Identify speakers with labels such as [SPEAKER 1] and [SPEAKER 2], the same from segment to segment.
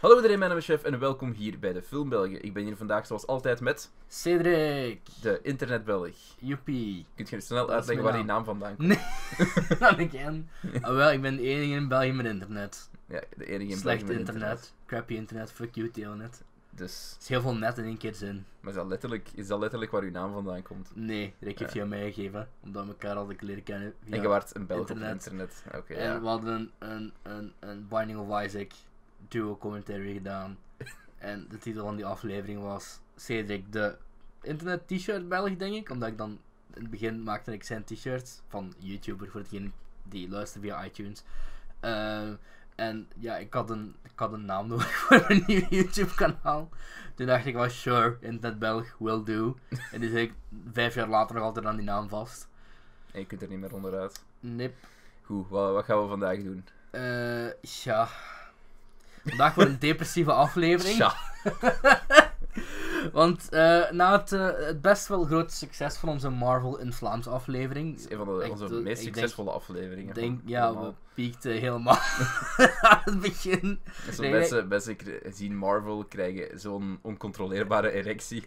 [SPEAKER 1] Hallo iedereen, mijn naam is Chef en welkom hier bij de Film België. Ik ben hier vandaag zoals altijd met
[SPEAKER 2] Cedric,
[SPEAKER 1] de Internet Belg.
[SPEAKER 2] joepie.
[SPEAKER 1] Kunt je snel
[SPEAKER 2] is
[SPEAKER 1] uitleggen
[SPEAKER 2] mijn
[SPEAKER 1] waar die naam vandaan komt?
[SPEAKER 2] Dat ik ken. Ah, wel, ik ben de enige in België met internet.
[SPEAKER 1] Ja, de enige in
[SPEAKER 2] Slecht
[SPEAKER 1] België met
[SPEAKER 2] internet. Crappy internet. Fuck you, telenet. Er
[SPEAKER 1] Dus,
[SPEAKER 2] is heel veel net in één keer zin.
[SPEAKER 1] maar is dat, letterlijk, is dat letterlijk waar uw naam vandaan komt?
[SPEAKER 2] Nee, Rick heeft
[SPEAKER 1] Ja.
[SPEAKER 2] jou mij gegeven. Omdat we elkaar al de kleren kennen. via-
[SPEAKER 1] En je waart een Belg op
[SPEAKER 2] internet.
[SPEAKER 1] internet. Oké,
[SPEAKER 2] En we
[SPEAKER 1] ja.
[SPEAKER 2] hadden een, een, een, een Binding of Isaac duo commentary gedaan. en de titel van die aflevering was Cedric de internet t-shirt Belg, denk ik. Omdat ik dan in het begin maakte ik zijn t-shirts van YouTuber voor degene die luistert via iTunes. Ehm, en ja, ik had, een, ik had een naam nodig voor mijn nieuw YouTube kanaal. Toen dacht ik wel, sure, internet Belg, will do. en dus ik vijf jaar later nog altijd aan die naam vast.
[SPEAKER 1] En je kunt er niet meer onderuit.
[SPEAKER 2] Nip.
[SPEAKER 1] Goed, wat, wat gaan we vandaag doen?
[SPEAKER 2] Eh, ja. Vandaag wordt een depressieve aflevering.
[SPEAKER 1] Tja.
[SPEAKER 2] Want eh, na het, eh, het best wel grote succes van onze Marvel in Vlaams aflevering.
[SPEAKER 1] Het is een van de,
[SPEAKER 2] Ik
[SPEAKER 1] onze
[SPEAKER 2] doe-
[SPEAKER 1] meest
[SPEAKER 2] ik denk-
[SPEAKER 1] succesvolle afleveringen.
[SPEAKER 2] Ik denk,
[SPEAKER 1] van
[SPEAKER 2] ja,
[SPEAKER 1] allemaal.
[SPEAKER 2] we piekten helemaal aan het begin.
[SPEAKER 1] Zo
[SPEAKER 2] nee, nee.
[SPEAKER 1] mensen, mensen kri- zien Marvel krijgen zo'n oncontroleerbare erectie.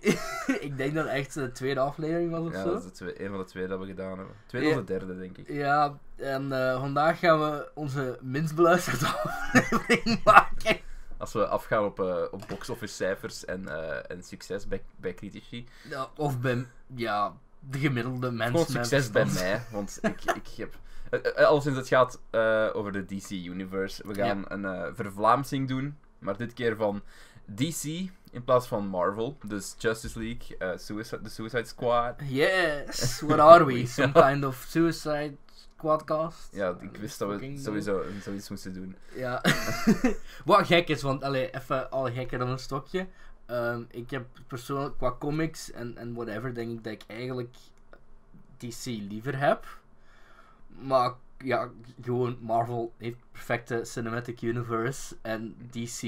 [SPEAKER 2] ik denk dat het echt de tweede aflevering was of
[SPEAKER 1] Ja,
[SPEAKER 2] zo.
[SPEAKER 1] dat is de twee- een van de twee dat we gedaan hebben. Tweede
[SPEAKER 2] Ja.
[SPEAKER 1] of de derde, denk ik.
[SPEAKER 2] Ja, en eh, vandaag gaan we onze minst beluisterde aflevering maken.
[SPEAKER 1] Als we afgaan op, eh op box-office cijfers en, eh, en succes bij, bij critici.
[SPEAKER 2] Ja, of bij, ja, de gemiddelde mensen.
[SPEAKER 1] Gewoon succes bij mij, want ik, ik heb... eh, eh, Al sinds het gaat eh, over de DC Universe. We gaan een eh, vervlaamsing doen, maar dit keer van DC in plaats van Marvel. Dus Justice League, eh, Suicide, de Suicide Squad.
[SPEAKER 2] Yes, what are
[SPEAKER 1] Ja.
[SPEAKER 2] we? Some kind of suicide squadcast?
[SPEAKER 1] Ja, ik wist dat we
[SPEAKER 2] Fucking
[SPEAKER 1] sowieso zoiets moesten doen.
[SPEAKER 2] Ja. Wat gek is, want allee, even al gekker dan een stokje. Ehm, ik heb persoonlijk qua comics en, en whatever, denk ik dat ik eigenlijk DC liever heb. Maar ja, gewoon Marvel heeft perfecte cinematic universe en DC.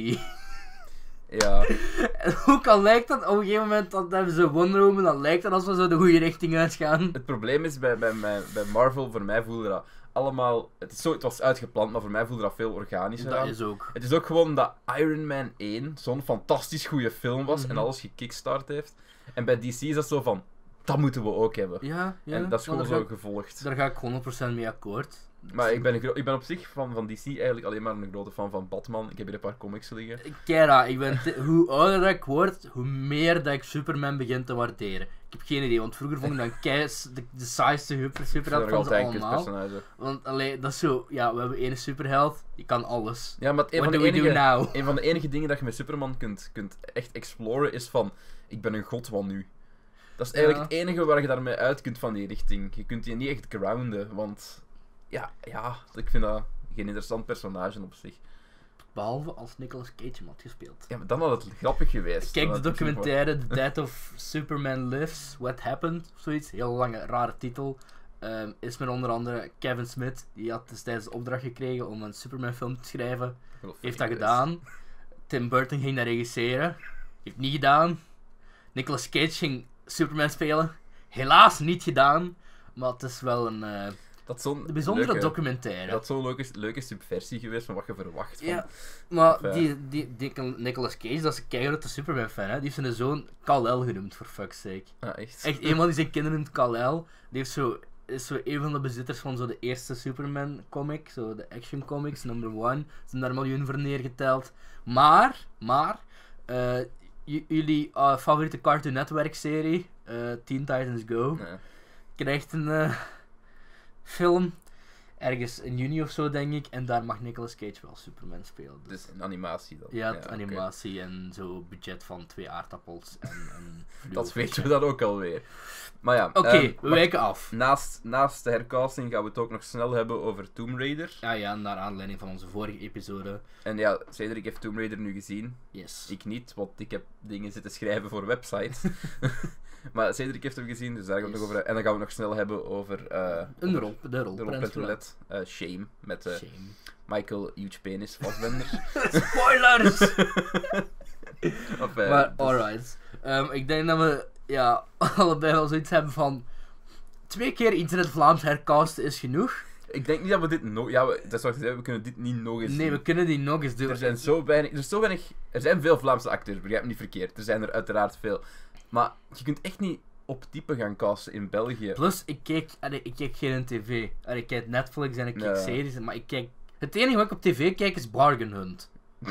[SPEAKER 1] Ja,
[SPEAKER 2] en ook al lijkt dat op een gegeven moment dat hebben ze Wonder Woman, dan lijkt dat als we zo de goede richting uitgaan.
[SPEAKER 1] het probleem is bij, bij, bij, bij Marvel, voor mij voelde dat allemaal... Het, is zo, het was uitgepland, maar voor mij voelde dat veel organischer
[SPEAKER 2] Dat
[SPEAKER 1] aan.
[SPEAKER 2] is ook.
[SPEAKER 1] Het is ook gewoon dat Iron Man 1 zo'n fantastisch goede film was en
[SPEAKER 2] Mhm.
[SPEAKER 1] alles gekickstart heeft. En bij DC is dat zo van, dat moeten we ook hebben.
[SPEAKER 2] Ja, ja.
[SPEAKER 1] en dat is
[SPEAKER 2] maar
[SPEAKER 1] gewoon
[SPEAKER 2] daar
[SPEAKER 1] zo
[SPEAKER 2] ga
[SPEAKER 1] gevolgd.
[SPEAKER 2] ik- Daar ga ik 100% mee akkoord.
[SPEAKER 1] Maar ik ben, een gro- ik ben op zich van, van DC eigenlijk alleen maar een grote fan van Batman. Ik heb hier een paar comics liggen.
[SPEAKER 2] Kera, ik ben te- hoe ouder dat ik word, hoe meer dat ik Superman begin te waarderen. Ik heb geen idee, want vroeger vond ik dan keis de, de saaiste super,
[SPEAKER 1] Ik vind er
[SPEAKER 2] superheld
[SPEAKER 1] nog
[SPEAKER 2] van ze
[SPEAKER 1] altijd een
[SPEAKER 2] allemaal.
[SPEAKER 1] kutpersonage.
[SPEAKER 2] Want alleen dat is zo, ja, we hebben één superheld, die kan alles.
[SPEAKER 1] Ja, maar het- een
[SPEAKER 2] What
[SPEAKER 1] van, de
[SPEAKER 2] do we do
[SPEAKER 1] enige,
[SPEAKER 2] now?
[SPEAKER 1] een van de enige dingen dat je met Superman kunt, kunt echt exploren is van, ik ben een god van nu. Dat is eigenlijk
[SPEAKER 2] Ja.
[SPEAKER 1] het enige waar je daarmee uit kunt van die richting. Je kunt die niet echt grounden, want ja, ja ik vind dat geen interessant personage op zich.
[SPEAKER 2] Behalve als Nicolas Cage hem had gespeeld.
[SPEAKER 1] Ja, maar dan had het grappig geweest.
[SPEAKER 2] Kijk
[SPEAKER 1] Dan
[SPEAKER 2] de
[SPEAKER 1] had het misschien wel-
[SPEAKER 2] documentaire The Death of Superman Lives, What Happened, of zoiets. Heel lange, rare titel. Ehm, is met onder andere Kevin Smith, die had destijds de opdracht gekregen om een Superman film te schrijven.
[SPEAKER 1] wel fijn
[SPEAKER 2] Heeft dat
[SPEAKER 1] geweest.
[SPEAKER 2] gedaan. Tim Burton ging dat regisseren. Heeft niet gedaan. Nicolas Cage ging Superman spelen. Helaas niet gedaan. Maar het is wel een eh,
[SPEAKER 1] Dat is zo'n
[SPEAKER 2] een bijzondere
[SPEAKER 1] leuke,
[SPEAKER 2] documentaire.
[SPEAKER 1] Dat is zo'n leuke, leuke subversie geweest van wat je verwacht. Van.
[SPEAKER 2] Ja, maar
[SPEAKER 1] Of, eh,
[SPEAKER 2] die, die, die Nicolas Cage, dat is een keiharde Superman-fan. hè. Die heeft zijn zoon Kal-El genoemd, voor fuck's sake.
[SPEAKER 1] Ah, echt.
[SPEAKER 2] Echt, een van die zijn kinderen noemt Kal-El. Die heeft zo, is zo een van de bezitters van zo de eerste Superman-comic. Zo de action comics, number one. Zijn daar een miljoen voor neergeteld. Maar, maar... eh, j- jullie eh, favoriete Cartoon Network-serie, eh, Teen Titans Go,
[SPEAKER 1] Nee.
[SPEAKER 2] krijgt een eh, film... Ergens in juni of zo, denk ik. En daar mag Nicolas Cage wel Superman spelen. Dus.
[SPEAKER 1] Dus een animatie dan.
[SPEAKER 2] Ja, het
[SPEAKER 1] oké.
[SPEAKER 2] animatie en zo budget van twee aardappels en, en
[SPEAKER 1] Dat
[SPEAKER 2] fluo-
[SPEAKER 1] weten we dan ook alweer. Maar ja,
[SPEAKER 2] Oké,
[SPEAKER 1] ehm,
[SPEAKER 2] we
[SPEAKER 1] maar
[SPEAKER 2] wijken af.
[SPEAKER 1] naast, naast de hercasting gaan we het ook nog snel hebben over Tomb Raider.
[SPEAKER 2] Ja, ja, naar aanleiding van onze vorige episode.
[SPEAKER 1] En ja, Cedric heeft Tomb Raider nu gezien.
[SPEAKER 2] Yes.
[SPEAKER 1] Ik niet, want ik heb dingen zitten schrijven voor websites. maar Cedric heeft hem gezien, dus daar gaan we het nog
[SPEAKER 2] Yes.
[SPEAKER 1] over hebben. En dan gaan we het nog snel hebben over... eh,
[SPEAKER 2] een rol, de rol.
[SPEAKER 1] De Roulette Roulette. eh, Shame. Met eh,
[SPEAKER 2] Shame.
[SPEAKER 1] Michael Huge Penis Fassbender.
[SPEAKER 2] Spoilers!
[SPEAKER 1] of, eh,
[SPEAKER 2] maar,
[SPEAKER 1] dus-
[SPEAKER 2] alright. Ehm, ik denk dat we ja, allebei wel zoiets hebben van... Twee keer Internet Vlaams hercasten is genoeg.
[SPEAKER 1] Ik denk niet dat we dit nog... Ja, we, dat is wat ik zei, we kunnen dit niet nog eens
[SPEAKER 2] Nee,
[SPEAKER 1] zien.
[SPEAKER 2] we kunnen die nog eens doen.
[SPEAKER 1] Er zijn zo weinig... Er, is zo weinig, er zijn veel Vlaamse acteurs, begrijp me niet verkeerd. Er zijn er uiteraard veel. Maar je kunt echt niet op type gaan casten in België. Ah
[SPEAKER 2] Plus, ik kijk, allee, ik kijk geen tv. Allee, ik kijk Netflix en ik kijk
[SPEAKER 1] Nee.
[SPEAKER 2] series, maar ik kijk... Het enige wat ik op tv kijk is Bargain Hunt.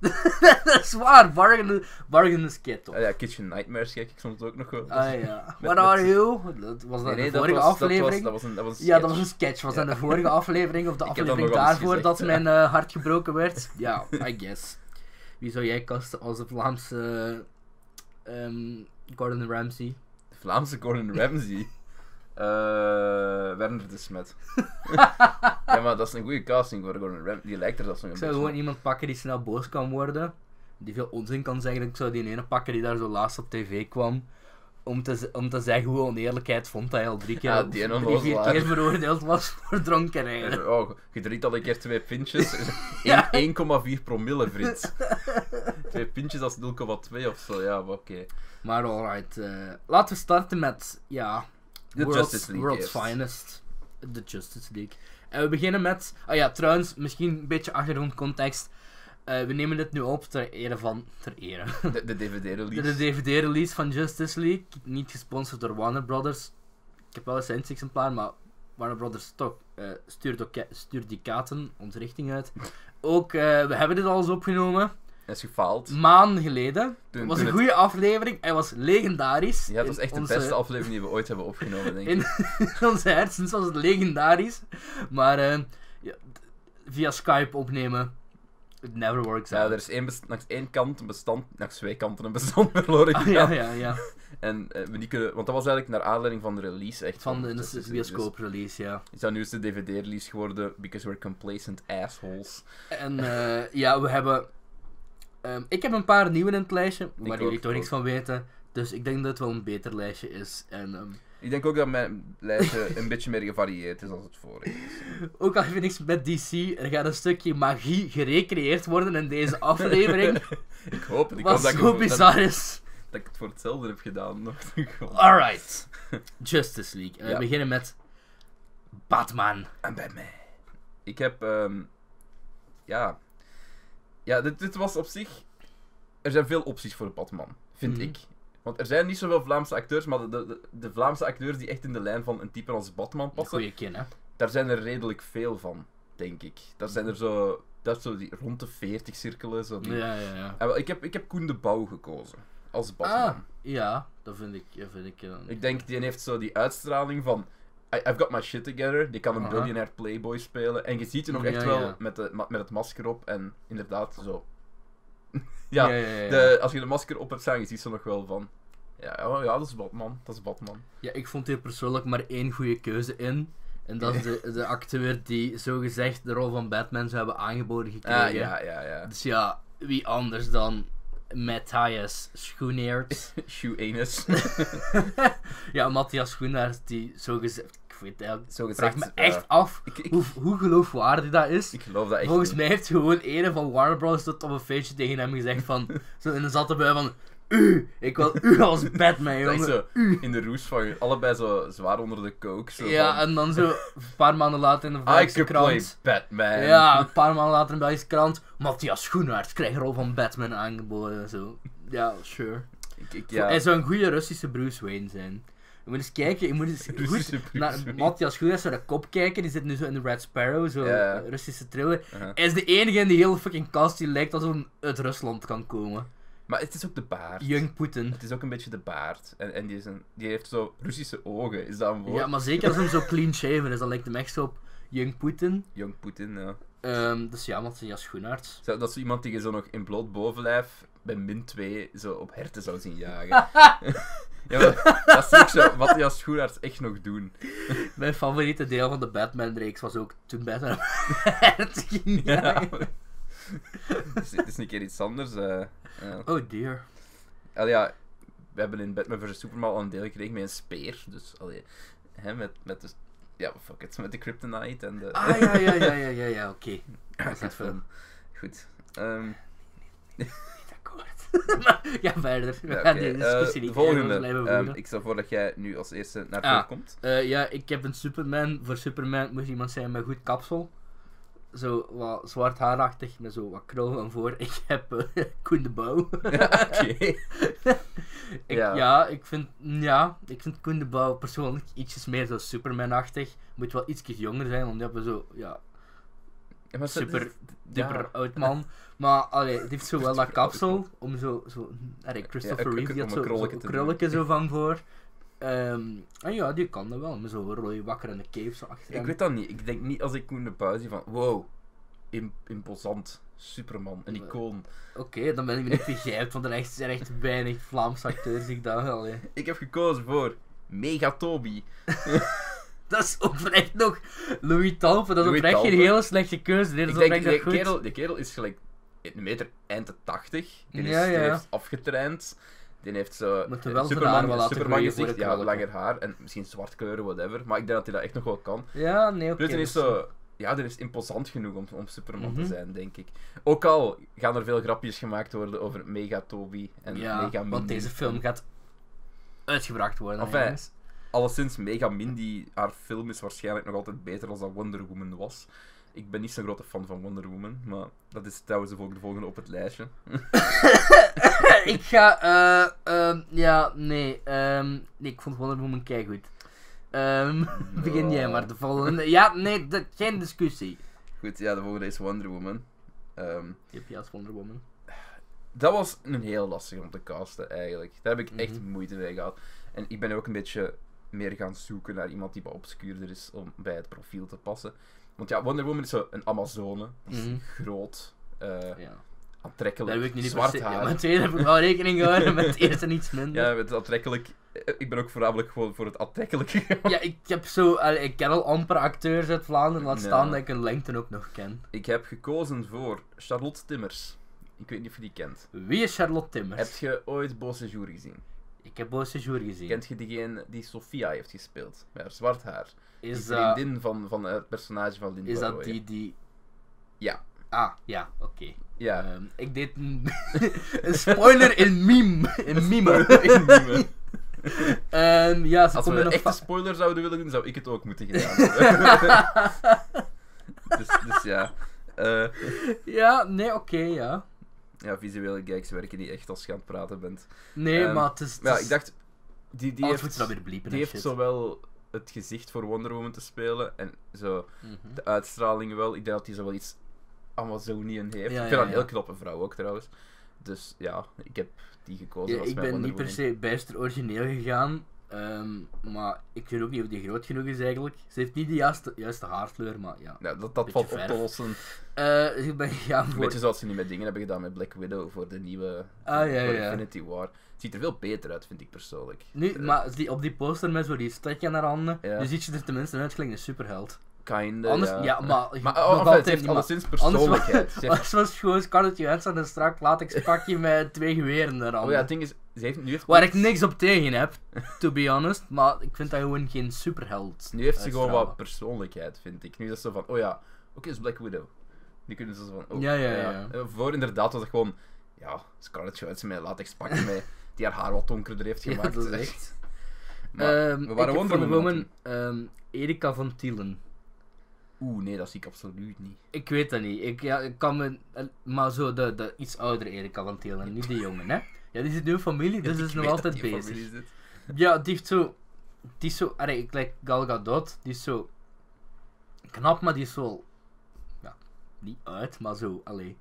[SPEAKER 2] dat is waar, Bargain, Hunt- Bargain Hunt is kei tof.
[SPEAKER 1] Ah ja, Kitchen Nightmares kijk ik soms ook nog wel.
[SPEAKER 2] Ah ja.
[SPEAKER 1] met-
[SPEAKER 2] What are
[SPEAKER 1] met-
[SPEAKER 2] you? Dat was dat
[SPEAKER 1] Dus- Nee, nee,
[SPEAKER 2] de
[SPEAKER 1] dat
[SPEAKER 2] vorige
[SPEAKER 1] was- dat was-
[SPEAKER 2] aflevering?
[SPEAKER 1] Dat was een- dat was een
[SPEAKER 2] Ja, dat
[SPEAKER 1] sketch.
[SPEAKER 2] was een sketch. Was
[SPEAKER 1] Ja.
[SPEAKER 2] dat de vorige aflevering of de
[SPEAKER 1] Ik heb dat
[SPEAKER 2] aflevering
[SPEAKER 1] nog wel eens
[SPEAKER 2] daarvoor dat
[SPEAKER 1] gezegd, ja.
[SPEAKER 2] mijn eh, hart gebroken werd? Ja, I guess. Wie zou jij kasten als de Vlaamse ehm, Gordon Ramsay?
[SPEAKER 1] De Vlaamse Gordon Ramsay. Eh Werner de Smet. ja, maar dat is een goede casting voor Gordon Ramsay. Die lijkt er dat zo'n
[SPEAKER 2] Ik
[SPEAKER 1] beetje
[SPEAKER 2] zou gewoon
[SPEAKER 1] op.
[SPEAKER 2] iemand pakken die snel boos kan worden, die veel onzin kan zeggen. Ik zou die ene pakken die daar zo laatst op tv kwam. Om te, z- om te zeggen hoe oneerlijkheid vond dat hij al drie keer,
[SPEAKER 1] Ja, die ene
[SPEAKER 2] drie, vier
[SPEAKER 1] onnozelaar.
[SPEAKER 2] keer veroordeeld was voor dronkenrijden.
[SPEAKER 1] Oh, je drinkt al een keer twee pintjes.
[SPEAKER 2] Ja.
[SPEAKER 1] Eén- 1,4 promille, Frits. twee pintjes, dat is 0,2 of zo. Ja, maar oké.
[SPEAKER 2] Maar alright, eh, laten we starten met, ja,
[SPEAKER 1] De
[SPEAKER 2] World's,
[SPEAKER 1] Justice League
[SPEAKER 2] World's
[SPEAKER 1] eerst.
[SPEAKER 2] Finest. De Justice League. En we beginnen met, ah ja, trouwens, misschien een beetje achtergrondcontext. Eh, we nemen dit nu op ter ere van, ter ere.
[SPEAKER 1] De, de DVD-release.
[SPEAKER 2] De DVD-release van Justice League, niet gesponsord door Warner Brothers. Ik heb wel eens een exemplaar, maar Warner Brothers toch, eh, stuurt, ook, stuurt die katen onze richting uit. Ook, eh, we hebben dit al eens opgenomen,
[SPEAKER 1] Dat is gefaald.
[SPEAKER 2] maanden geleden.
[SPEAKER 1] Toen,
[SPEAKER 2] Het was
[SPEAKER 1] toen
[SPEAKER 2] een
[SPEAKER 1] het-
[SPEAKER 2] goede aflevering, hij was legendarisch.
[SPEAKER 1] Ja, het was
[SPEAKER 2] In
[SPEAKER 1] echt de
[SPEAKER 2] onze-
[SPEAKER 1] beste aflevering die we ooit hebben opgenomen, denk ik.
[SPEAKER 2] In onze hersens was het legendarisch. Maar eh, ja, d- via Skype opnemen, it never works
[SPEAKER 1] Ja,
[SPEAKER 2] out.
[SPEAKER 1] er is één best- langs één kant een bestand, langs twee kanten een bestand verloren
[SPEAKER 2] Ah,
[SPEAKER 1] gegaan.
[SPEAKER 2] ja, ja, ja.
[SPEAKER 1] En eh, we niet kunnen, want dat was eigenlijk naar aanleiding van de release echt.
[SPEAKER 2] Van de, in
[SPEAKER 1] Justice
[SPEAKER 2] de
[SPEAKER 1] League. Dus
[SPEAKER 2] bioscoop-release, ja.
[SPEAKER 1] Is dat nu eens de DVD-release geworden? Because we're complacent assholes.
[SPEAKER 2] En eh, ja, we hebben... ehm, ik heb een paar nieuwe in het lijstje, waar
[SPEAKER 1] ook,
[SPEAKER 2] jullie toch
[SPEAKER 1] ook.
[SPEAKER 2] niks van weten. Dus ik denk dat het wel een beter lijstje is. En ehm,
[SPEAKER 1] Ik denk ook dat mijn lijstje een beetje meer gevarieerd is dan het vorige.
[SPEAKER 2] ook al heb je niks met DC, er gaat een stukje magie gerecreëerd worden in deze aflevering.
[SPEAKER 1] ik hoop het. Ik
[SPEAKER 2] wat
[SPEAKER 1] hoop dat ik,
[SPEAKER 2] zo
[SPEAKER 1] het- dat,
[SPEAKER 2] bizar is.
[SPEAKER 1] dat ik het voor hetzelfde heb gedaan. Nog
[SPEAKER 2] Alright. Justice League. En
[SPEAKER 1] Ja.
[SPEAKER 2] We beginnen met Batman.
[SPEAKER 1] En bij mij. Ik heb... ehm, ja... Ja, dit, dit was op zich... Er zijn veel opties voor Batman, vind
[SPEAKER 2] Mhm.
[SPEAKER 1] ik. Want er zijn niet zoveel Vlaamse acteurs, maar de, de, de- de Vlaamse acteurs die echt in de lijn van een type als Batman
[SPEAKER 2] Een
[SPEAKER 1] passen,
[SPEAKER 2] goede kin, hè?
[SPEAKER 1] daar zijn er redelijk veel van, denk ik. Daar zijn er zo... Dat is zo die, rond de 40 cirkelen, zo die-
[SPEAKER 2] Ja, ja, ja.
[SPEAKER 1] Ah, wel, ik, heb, ik heb Koen de Bouw gekozen. Als Batman.
[SPEAKER 2] Ah, ja, dat vind ik. Dat vind ik, eh,
[SPEAKER 1] Ik denk, die heeft zo die uitstraling van... I, I've got my shit together. Die kan een
[SPEAKER 2] Aha.
[SPEAKER 1] billionaire playboy spelen. En je ziet hem ook
[SPEAKER 2] Ja,
[SPEAKER 1] echt
[SPEAKER 2] ja.
[SPEAKER 1] wel met, de, ma- met het masker op. En inderdaad, zo... ja,
[SPEAKER 2] ja, ja, ja.
[SPEAKER 1] De, als je de masker op hebt staan, je ziet ze nog wel van... Ja, oh, ja, dat is Batman. Dat is Batman.
[SPEAKER 2] Ja, ik vond hier persoonlijk maar één goede keuze in. En dat is de, de acteur die zogezegd de rol van Batman zou hebben aangeboden gekregen.
[SPEAKER 1] Ah, ja, ja, ja.
[SPEAKER 2] Dus ja, wie anders dan Matthias Schoenaerts.
[SPEAKER 1] Shoe anus.
[SPEAKER 2] ja, Matthias Schoenaerts die zogezegd... Ik weet eigenlijk...
[SPEAKER 1] zo
[SPEAKER 2] vraag
[SPEAKER 1] gezegd.
[SPEAKER 2] me
[SPEAKER 1] eh,
[SPEAKER 2] echt af
[SPEAKER 1] ik, ik,
[SPEAKER 2] hoe, hoe geloofwaardig dat is.
[SPEAKER 1] ik geloof dat echt
[SPEAKER 2] Volgens
[SPEAKER 1] niet.
[SPEAKER 2] mij heeft gewoon ene van Warner Bros. tot op een feestje tegen hem gezegd van... zo in een zatte bui van... U! Ik wil u als Batman,
[SPEAKER 1] Dat is
[SPEAKER 2] jongen.
[SPEAKER 1] zo in de roes van... Allebei zo zwaar onder de coke. Zo
[SPEAKER 2] Ja,
[SPEAKER 1] van,
[SPEAKER 2] en dan zo een paar maanden later in de
[SPEAKER 1] I
[SPEAKER 2] Belgische
[SPEAKER 1] could play
[SPEAKER 2] krant...
[SPEAKER 1] Batman.
[SPEAKER 2] Ja, een paar maanden later in de Belgische krant... Matthias Schoenaerts krijgt een rol van Batman aangeboden en zo. Ja, sure.
[SPEAKER 1] Ik, ik-
[SPEAKER 2] Hij
[SPEAKER 1] ja.
[SPEAKER 2] zou een goede Russische Bruce Wayne zijn. Je moet eens kijken, je moet eens
[SPEAKER 1] Russische
[SPEAKER 2] goed
[SPEAKER 1] Bruce
[SPEAKER 2] naar
[SPEAKER 1] Wayne.
[SPEAKER 2] Matthias Schoenaerts naar de kop kijken. Die zit nu zo in de Red Sparrow, zo'n
[SPEAKER 1] Ja.
[SPEAKER 2] Russische thriller.
[SPEAKER 1] Aha.
[SPEAKER 2] Hij is de enige in die hele fucking cast die lijkt alsof hij uit Rusland kan komen.
[SPEAKER 1] Maar het is ook de baard.
[SPEAKER 2] Young Putin.
[SPEAKER 1] Het is ook een beetje de baard. En, en die, is een, die heeft zo Russische ogen. Is dat een woord?
[SPEAKER 2] Ja, maar zeker als hem zo clean shaven is, dan lijkt hem echt zo op Young Putin.
[SPEAKER 1] Young Putin, ja.
[SPEAKER 2] Ehm, dus ja, Matthias Schoenaerts.
[SPEAKER 1] Zou- Dat is zo iemand die je zo nog in bloot bovenlijf bij min 2 zo op herten zou zien jagen. ja, maar dat is ook zo wat die als schoenarts echt nog doen.
[SPEAKER 2] Mijn favoriete deel van de Batman-reeks was ook toen Batman het ging.
[SPEAKER 1] Ja. het, is, het is een keer iets anders. eh. ja.
[SPEAKER 2] Oh dear.
[SPEAKER 1] Al ja, we hebben in Batman vs. Superman al een deel gekregen met een speer. Dus allee, hè, met, met de... Ja, fuck it. Met de kryptonite en de...
[SPEAKER 2] Ah ja, ja, ja, ja, ja, ja oké.
[SPEAKER 1] Ja,
[SPEAKER 2] Dat is
[SPEAKER 1] goed
[SPEAKER 2] even
[SPEAKER 1] film. Goed. Ehm,
[SPEAKER 2] niet akkoord. Maar, ja, verder. We
[SPEAKER 1] Ja,
[SPEAKER 2] gaan
[SPEAKER 1] oké.
[SPEAKER 2] deze
[SPEAKER 1] Eh,
[SPEAKER 2] discussie niet
[SPEAKER 1] volgende.
[SPEAKER 2] eindigen, we
[SPEAKER 1] Ehm,
[SPEAKER 2] blijven voeren.
[SPEAKER 1] ik stel voor dat jij nu als eerste naar
[SPEAKER 2] Ah.
[SPEAKER 1] voren komt.
[SPEAKER 2] Eh, ja, ik heb een Superman. Voor Superman moest iemand zijn met goed kapsel. Zo wat zwart haarachtig, met zo wat krul van voor. Ik heb eh, Koen de Bouw.
[SPEAKER 1] Oké.
[SPEAKER 2] Ik,
[SPEAKER 1] Ja.
[SPEAKER 2] ja. ik vind, ja, ik vind Koen de Bouw persoonlijk ietsjes meer zo Superman-achtig. Moet wel ietsjes jonger zijn, want die hebben zo, ja,
[SPEAKER 1] Ja, maar ze-
[SPEAKER 2] Super-
[SPEAKER 1] ja.
[SPEAKER 2] dipper oud man. Maar allee, het heeft zo wel dat kapsel om zo, zo allee, Christopher
[SPEAKER 1] Ja, een-
[SPEAKER 2] Reeve die
[SPEAKER 1] om
[SPEAKER 2] had
[SPEAKER 1] een
[SPEAKER 2] zo, zo
[SPEAKER 1] krolletje
[SPEAKER 2] een
[SPEAKER 1] te doen.
[SPEAKER 2] krulletje zo van voor. Ehm, en ja, die kan dat wel, met zo'n rode wakker en een cape zo achter
[SPEAKER 1] Ik
[SPEAKER 2] hem.
[SPEAKER 1] weet dat niet. Ik denk niet als ik Koen de Buis zie van wow, im- imposant, Superman, een
[SPEAKER 2] Nee.
[SPEAKER 1] icoon.
[SPEAKER 2] Oké, dan ben ik me niet begrijpt, want er echt- zijn echt weinig Vlaamse acteurs die ik dat wel. hè.
[SPEAKER 1] Ik heb gekozen voor Megatobi.
[SPEAKER 2] Dat is oprecht nog Louis Talpe, dat is
[SPEAKER 1] Louis
[SPEAKER 2] oprecht geen
[SPEAKER 1] Talpe.
[SPEAKER 2] hele slechte keuze. Dit is
[SPEAKER 1] Ik denk,
[SPEAKER 2] oprecht
[SPEAKER 1] de
[SPEAKER 2] nog goed.
[SPEAKER 1] kerel, de kerel is gelijk een meter eind de 80. Die, is,
[SPEAKER 2] Ja,
[SPEAKER 1] die
[SPEAKER 2] ja.
[SPEAKER 1] heeft afgetraind. Die heeft zo
[SPEAKER 2] Moet er wel zijn haar wel
[SPEAKER 1] Superman,
[SPEAKER 2] laten
[SPEAKER 1] Superman
[SPEAKER 2] groeien voor
[SPEAKER 1] gezicht,
[SPEAKER 2] de
[SPEAKER 1] ja,
[SPEAKER 2] krullen.
[SPEAKER 1] langer haar en misschien zwart kleuren, whatever. Maar ik denk dat hij dat echt nog wel kan.
[SPEAKER 2] Ja, nee, oké. dus-
[SPEAKER 1] Pluton is
[SPEAKER 2] dat
[SPEAKER 1] zo. Ja, die is imposant genoeg om, om Superman
[SPEAKER 2] Mhm.
[SPEAKER 1] te zijn, denk ik. Ook al gaan er veel grapjes gemaakt worden over Megatobi en
[SPEAKER 2] ja,
[SPEAKER 1] Mega
[SPEAKER 2] want deze film gaat uitgebracht worden.
[SPEAKER 1] Enfin,
[SPEAKER 2] hè, jongens.
[SPEAKER 1] Alleszins, Mega Mindy, haar film is waarschijnlijk nog altijd beter dan dat Wonder Woman was. Ik ben niet zo'n grote fan van Wonder Woman, maar dat is trouwens ook de volgende op het lijstje.
[SPEAKER 2] ik ga, eh, ehm, ja, nee, ehm, nee, ik vond Wonder Woman keigoed. Ehm Begin jij maar de volgende. Ja, nee, dat, geen discussie.
[SPEAKER 1] Goed, ja, de volgende is Wonder Woman. Ehm,
[SPEAKER 2] Je hebt je als Wonder Woman.
[SPEAKER 1] dat was een heel lastig om te casten, eigenlijk. Daar heb ik echt
[SPEAKER 2] Mhm.
[SPEAKER 1] moeite mee gehad. En ik ben ook een beetje meer gaan zoeken naar iemand die wat obscuurder is om bij het profiel te passen. Want ja, Wonder Woman is zo een Amazone. Die is
[SPEAKER 2] Mhm.
[SPEAKER 1] groot, eh,
[SPEAKER 2] Ja. Daar
[SPEAKER 1] aantrekkelijk,
[SPEAKER 2] heb ik nu niet per
[SPEAKER 1] zwart
[SPEAKER 2] se-
[SPEAKER 1] haar.
[SPEAKER 2] Ja, met twee heb ik wel rekening gehouden, met het eerste iets minder.
[SPEAKER 1] Ja, het aantrekkelijk. eh, Ik ben ook voornamelijk gewoon voor het aantrekkelijke gegaan.
[SPEAKER 2] Ja, ik heb zo, allee, ik ken al amper acteurs uit Vlaanderen, laat
[SPEAKER 1] Ja.
[SPEAKER 2] staan dat ik een lengte ook nog ken.
[SPEAKER 1] Ik heb gekozen voor Charlotte Timmers. Ik weet niet of je die kent.
[SPEAKER 2] Wie is Charlotte Timmers?
[SPEAKER 1] Heb je ooit Beau Séjour gezien?
[SPEAKER 2] Ik heb Beau Séjour gezien.
[SPEAKER 1] Kent je diegene die Sophia heeft gespeeld? Met haar zwart haar. Die
[SPEAKER 2] is, dat,
[SPEAKER 1] vriendin van, van het personage van Linda
[SPEAKER 2] is dat
[SPEAKER 1] Roy.
[SPEAKER 2] die die...
[SPEAKER 1] Ja.
[SPEAKER 2] Ah, ja, oké.
[SPEAKER 1] Ja.
[SPEAKER 2] Ehm, ik deed een, een spoiler in meme. In meme.
[SPEAKER 1] In Nieuwe.
[SPEAKER 2] Ehm, ja, ze
[SPEAKER 1] Als we
[SPEAKER 2] komen
[SPEAKER 1] een
[SPEAKER 2] nog
[SPEAKER 1] echte
[SPEAKER 2] va-
[SPEAKER 1] spoiler zouden willen doen, zou ik het ook moeten gedaan hebben. dus, dus ja. Eh,
[SPEAKER 2] Ja, nee, oké, ja.
[SPEAKER 1] ja, visuele gags werken niet echt als je aan het praten bent.
[SPEAKER 2] Nee,
[SPEAKER 1] Ehm,
[SPEAKER 2] maar het is... het
[SPEAKER 1] Maar ja,
[SPEAKER 2] is-
[SPEAKER 1] ik dacht... Die, die
[SPEAKER 2] Anders
[SPEAKER 1] heeft...
[SPEAKER 2] moeten ze dat weer bliepen
[SPEAKER 1] Die
[SPEAKER 2] en
[SPEAKER 1] heeft
[SPEAKER 2] shit.
[SPEAKER 1] zowel het gezicht voor Wonder Woman te spelen en zo
[SPEAKER 2] Mhm.
[SPEAKER 1] de uitstraling wel. Ik denk dat hij zo wel iets Amazonian heeft. ik
[SPEAKER 2] Ja,
[SPEAKER 1] vind
[SPEAKER 2] ja,
[SPEAKER 1] dat een
[SPEAKER 2] ja.
[SPEAKER 1] heel knappe vrouw ook trouwens. Dus ja, ik heb die gekozen
[SPEAKER 2] Ja,
[SPEAKER 1] als
[SPEAKER 2] ik
[SPEAKER 1] mijn
[SPEAKER 2] ben
[SPEAKER 1] Wonder
[SPEAKER 2] niet per
[SPEAKER 1] Woman.
[SPEAKER 2] se bijster origineel gegaan, ehm, maar ik weet ook niet of die groot genoeg is eigenlijk. Ze heeft niet de juiste, juiste haarkleur, maar ja.
[SPEAKER 1] Ja, dat dat
[SPEAKER 2] Beetje
[SPEAKER 1] valt op te
[SPEAKER 2] verf.
[SPEAKER 1] lossen.
[SPEAKER 2] Eh, dus ik ben gegaan
[SPEAKER 1] Een
[SPEAKER 2] voor...
[SPEAKER 1] beetje zoals ze nu met dingen hebben gedaan met Black Widow voor de nieuwe
[SPEAKER 2] Ah, ja,
[SPEAKER 1] voor
[SPEAKER 2] ja.
[SPEAKER 1] Infinity War. Ziet er veel beter uit, vind ik persoonlijk.
[SPEAKER 2] Nu,
[SPEAKER 1] Eh,
[SPEAKER 2] maar die, op die poster met zo die stekje naar handen,
[SPEAKER 1] Ja.
[SPEAKER 2] nu ziet je er tenminste uit gelijk een superheld.
[SPEAKER 1] Kinda,
[SPEAKER 2] Anders,
[SPEAKER 1] ja.
[SPEAKER 2] ja, maar...
[SPEAKER 1] Maar
[SPEAKER 2] nog
[SPEAKER 1] oh, enfin,
[SPEAKER 2] altijd
[SPEAKER 1] ze heeft
[SPEAKER 2] niet, maar-
[SPEAKER 1] alleszins
[SPEAKER 2] Anders was,
[SPEAKER 1] persoonlijkheid. Ze heeft-
[SPEAKER 2] anders was gewoon Scarlett Johansson een strak latex pakje met twee geweren eraan.
[SPEAKER 1] oh ja, het ding is, ze heeft nu heeft
[SPEAKER 2] Waar ik niks op tegen heb, to be honest. Maar ik vind dat gewoon geen superheld.
[SPEAKER 1] Nu heeft ze gewoon
[SPEAKER 2] uitstralen.
[SPEAKER 1] wat persoonlijkheid, vind ik. Nu is dat zo van, oh ja, oké, is Black Widow. Nu kunnen ze zo van, oh
[SPEAKER 2] Ja, ja, ja.
[SPEAKER 1] Eh, Voor inderdaad was het gewoon, ja, Scarlett Johansson met een latex pakje mee, die haar haar wat donkerder heeft
[SPEAKER 2] Ja,
[SPEAKER 1] gemaakt.
[SPEAKER 2] dat is echt.
[SPEAKER 1] Maar,
[SPEAKER 2] Ehm,
[SPEAKER 1] we waren
[SPEAKER 2] ik heb
[SPEAKER 1] Wonder
[SPEAKER 2] van de
[SPEAKER 1] Woman aan
[SPEAKER 2] Woman ehm, Erika van Tielen.
[SPEAKER 1] oeh, nee, dat zie ik absoluut niet.
[SPEAKER 2] Ik weet dat niet. Ik, ja, ik kan me, eh, maar zo de, de iets oudere Erika van Tielen, niet die jongen, hè? Ja, die zit nu in familie, dus
[SPEAKER 1] Ik
[SPEAKER 2] is nog
[SPEAKER 1] weet
[SPEAKER 2] altijd
[SPEAKER 1] dat die
[SPEAKER 2] bezig.
[SPEAKER 1] familie zit.
[SPEAKER 2] Ja, die heeft zo. Die is zo. Allee, ik like Gal Gadot. Die is zo. Knap, maar die is zo. Ja, niet uit, maar zo. Allee.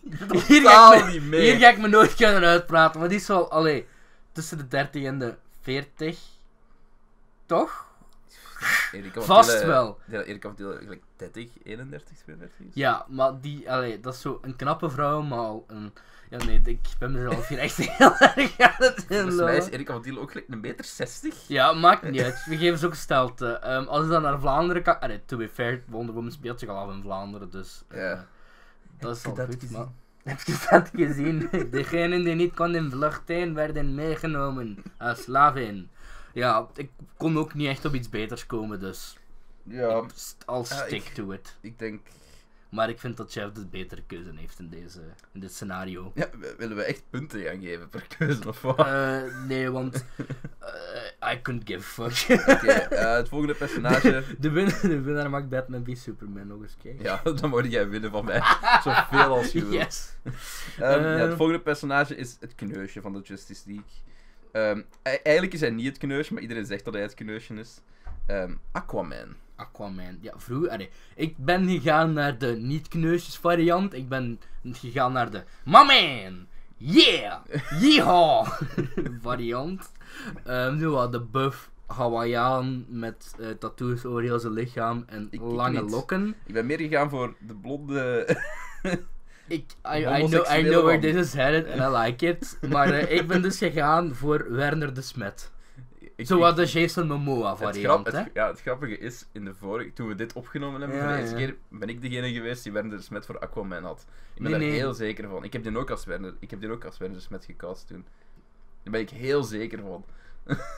[SPEAKER 2] Hier ga, ik
[SPEAKER 1] Totaal
[SPEAKER 2] me,
[SPEAKER 1] niet mee.
[SPEAKER 2] hier ga ik me nooit kunnen uitpraten, maar die is wel. Allee. Tussen de 30 en de 40. Toch?
[SPEAKER 1] Erika van
[SPEAKER 2] Vast
[SPEAKER 1] Tillen-
[SPEAKER 2] wel.
[SPEAKER 1] Ja, Erika van Tillen, gelijk 30, 31, 32. is.
[SPEAKER 2] Ja, maar die. Allee, dat is zo een knappe vrouw, maar al een. Ja, nee, ik ben mezelf hier echt heel erg aan het
[SPEAKER 1] Volgens Dus mij is
[SPEAKER 2] inlullen.
[SPEAKER 1] Erika van Tillen ook gelijk een meter 60.
[SPEAKER 2] Ja, maakt niet uit. We geven ze ook stelte. Ehm, als je dan naar Vlaanderen kan... Allee, to be fair, Wonder Woman speelt zich al af in Vlaanderen, dus... eh,
[SPEAKER 1] Ja.
[SPEAKER 2] dat is
[SPEAKER 1] Heb
[SPEAKER 2] al
[SPEAKER 1] je dat
[SPEAKER 2] goed,
[SPEAKER 1] gezien?
[SPEAKER 2] maar... Heb je dat gezien? Degenen die niet konden vluchten, werden meegenomen als slaven. Ja, ik kon ook niet echt op iets beters komen, dus...
[SPEAKER 1] Ja,
[SPEAKER 2] St- I'll
[SPEAKER 1] Ah,
[SPEAKER 2] stick
[SPEAKER 1] ik-
[SPEAKER 2] to it.
[SPEAKER 1] ik denk...
[SPEAKER 2] Maar ik vind dat Chef de betere keuze heeft in, deze, in dit scenario.
[SPEAKER 1] Ja, w- willen we echt punten gaan geven per keuze of wat?
[SPEAKER 2] Eh, nee, want eh, I couldn't give a fuck.
[SPEAKER 1] Oké, eh, het volgende personage.
[SPEAKER 2] De, winnaar, de winnaar maakt Batman v Superman nog eens kijken.
[SPEAKER 1] Ja, dan word jij winnen van mij. Zoveel als je wil.
[SPEAKER 2] Yes.
[SPEAKER 1] Ehm, ja, het
[SPEAKER 2] Ehm.
[SPEAKER 1] volgende personage is het kneusje van de Justice League. Ehm, e- eigenlijk is hij niet het kneusje, maar iedereen zegt dat hij het kneusje is. Ehm, Aquaman.
[SPEAKER 2] Aquaman. Ja, vroeger. Allee, ik ben gegaan naar de niet-kneusjes variant. Ik ben gegaan naar de Maman! Yeah! Yeehaw! variant. Ehm, nu wat de buff Hawaiian met eh, tattoos over heel zijn lichaam en
[SPEAKER 1] ik
[SPEAKER 2] lange
[SPEAKER 1] niet.
[SPEAKER 2] lokken.
[SPEAKER 1] Ik ben meer gegaan voor de blonde.
[SPEAKER 2] Ik, I, I know, I
[SPEAKER 1] Homoseksuele
[SPEAKER 2] know where
[SPEAKER 1] man.
[SPEAKER 2] this is headed and I like it. Maar eh, ik ben dus gegaan voor Werner de Smet.
[SPEAKER 1] Ik-
[SPEAKER 2] Zo wat
[SPEAKER 1] ik-
[SPEAKER 2] de Jason Momoa
[SPEAKER 1] het,
[SPEAKER 2] variant,
[SPEAKER 1] grap-
[SPEAKER 2] hè?
[SPEAKER 1] het- ja, het grappige is, in de vorige, toen we dit opgenomen hebben, voor de
[SPEAKER 2] Ja,
[SPEAKER 1] eerste
[SPEAKER 2] ja.
[SPEAKER 1] keer ben ik degene geweest die Werner de Smet voor Aquaman had. Ik ben daar
[SPEAKER 2] Nee, nee.
[SPEAKER 1] heel zeker van. Ik heb die ook als Werner, ik heb die ook als Werner de Smet gecast toen. Daar ben ik heel zeker van.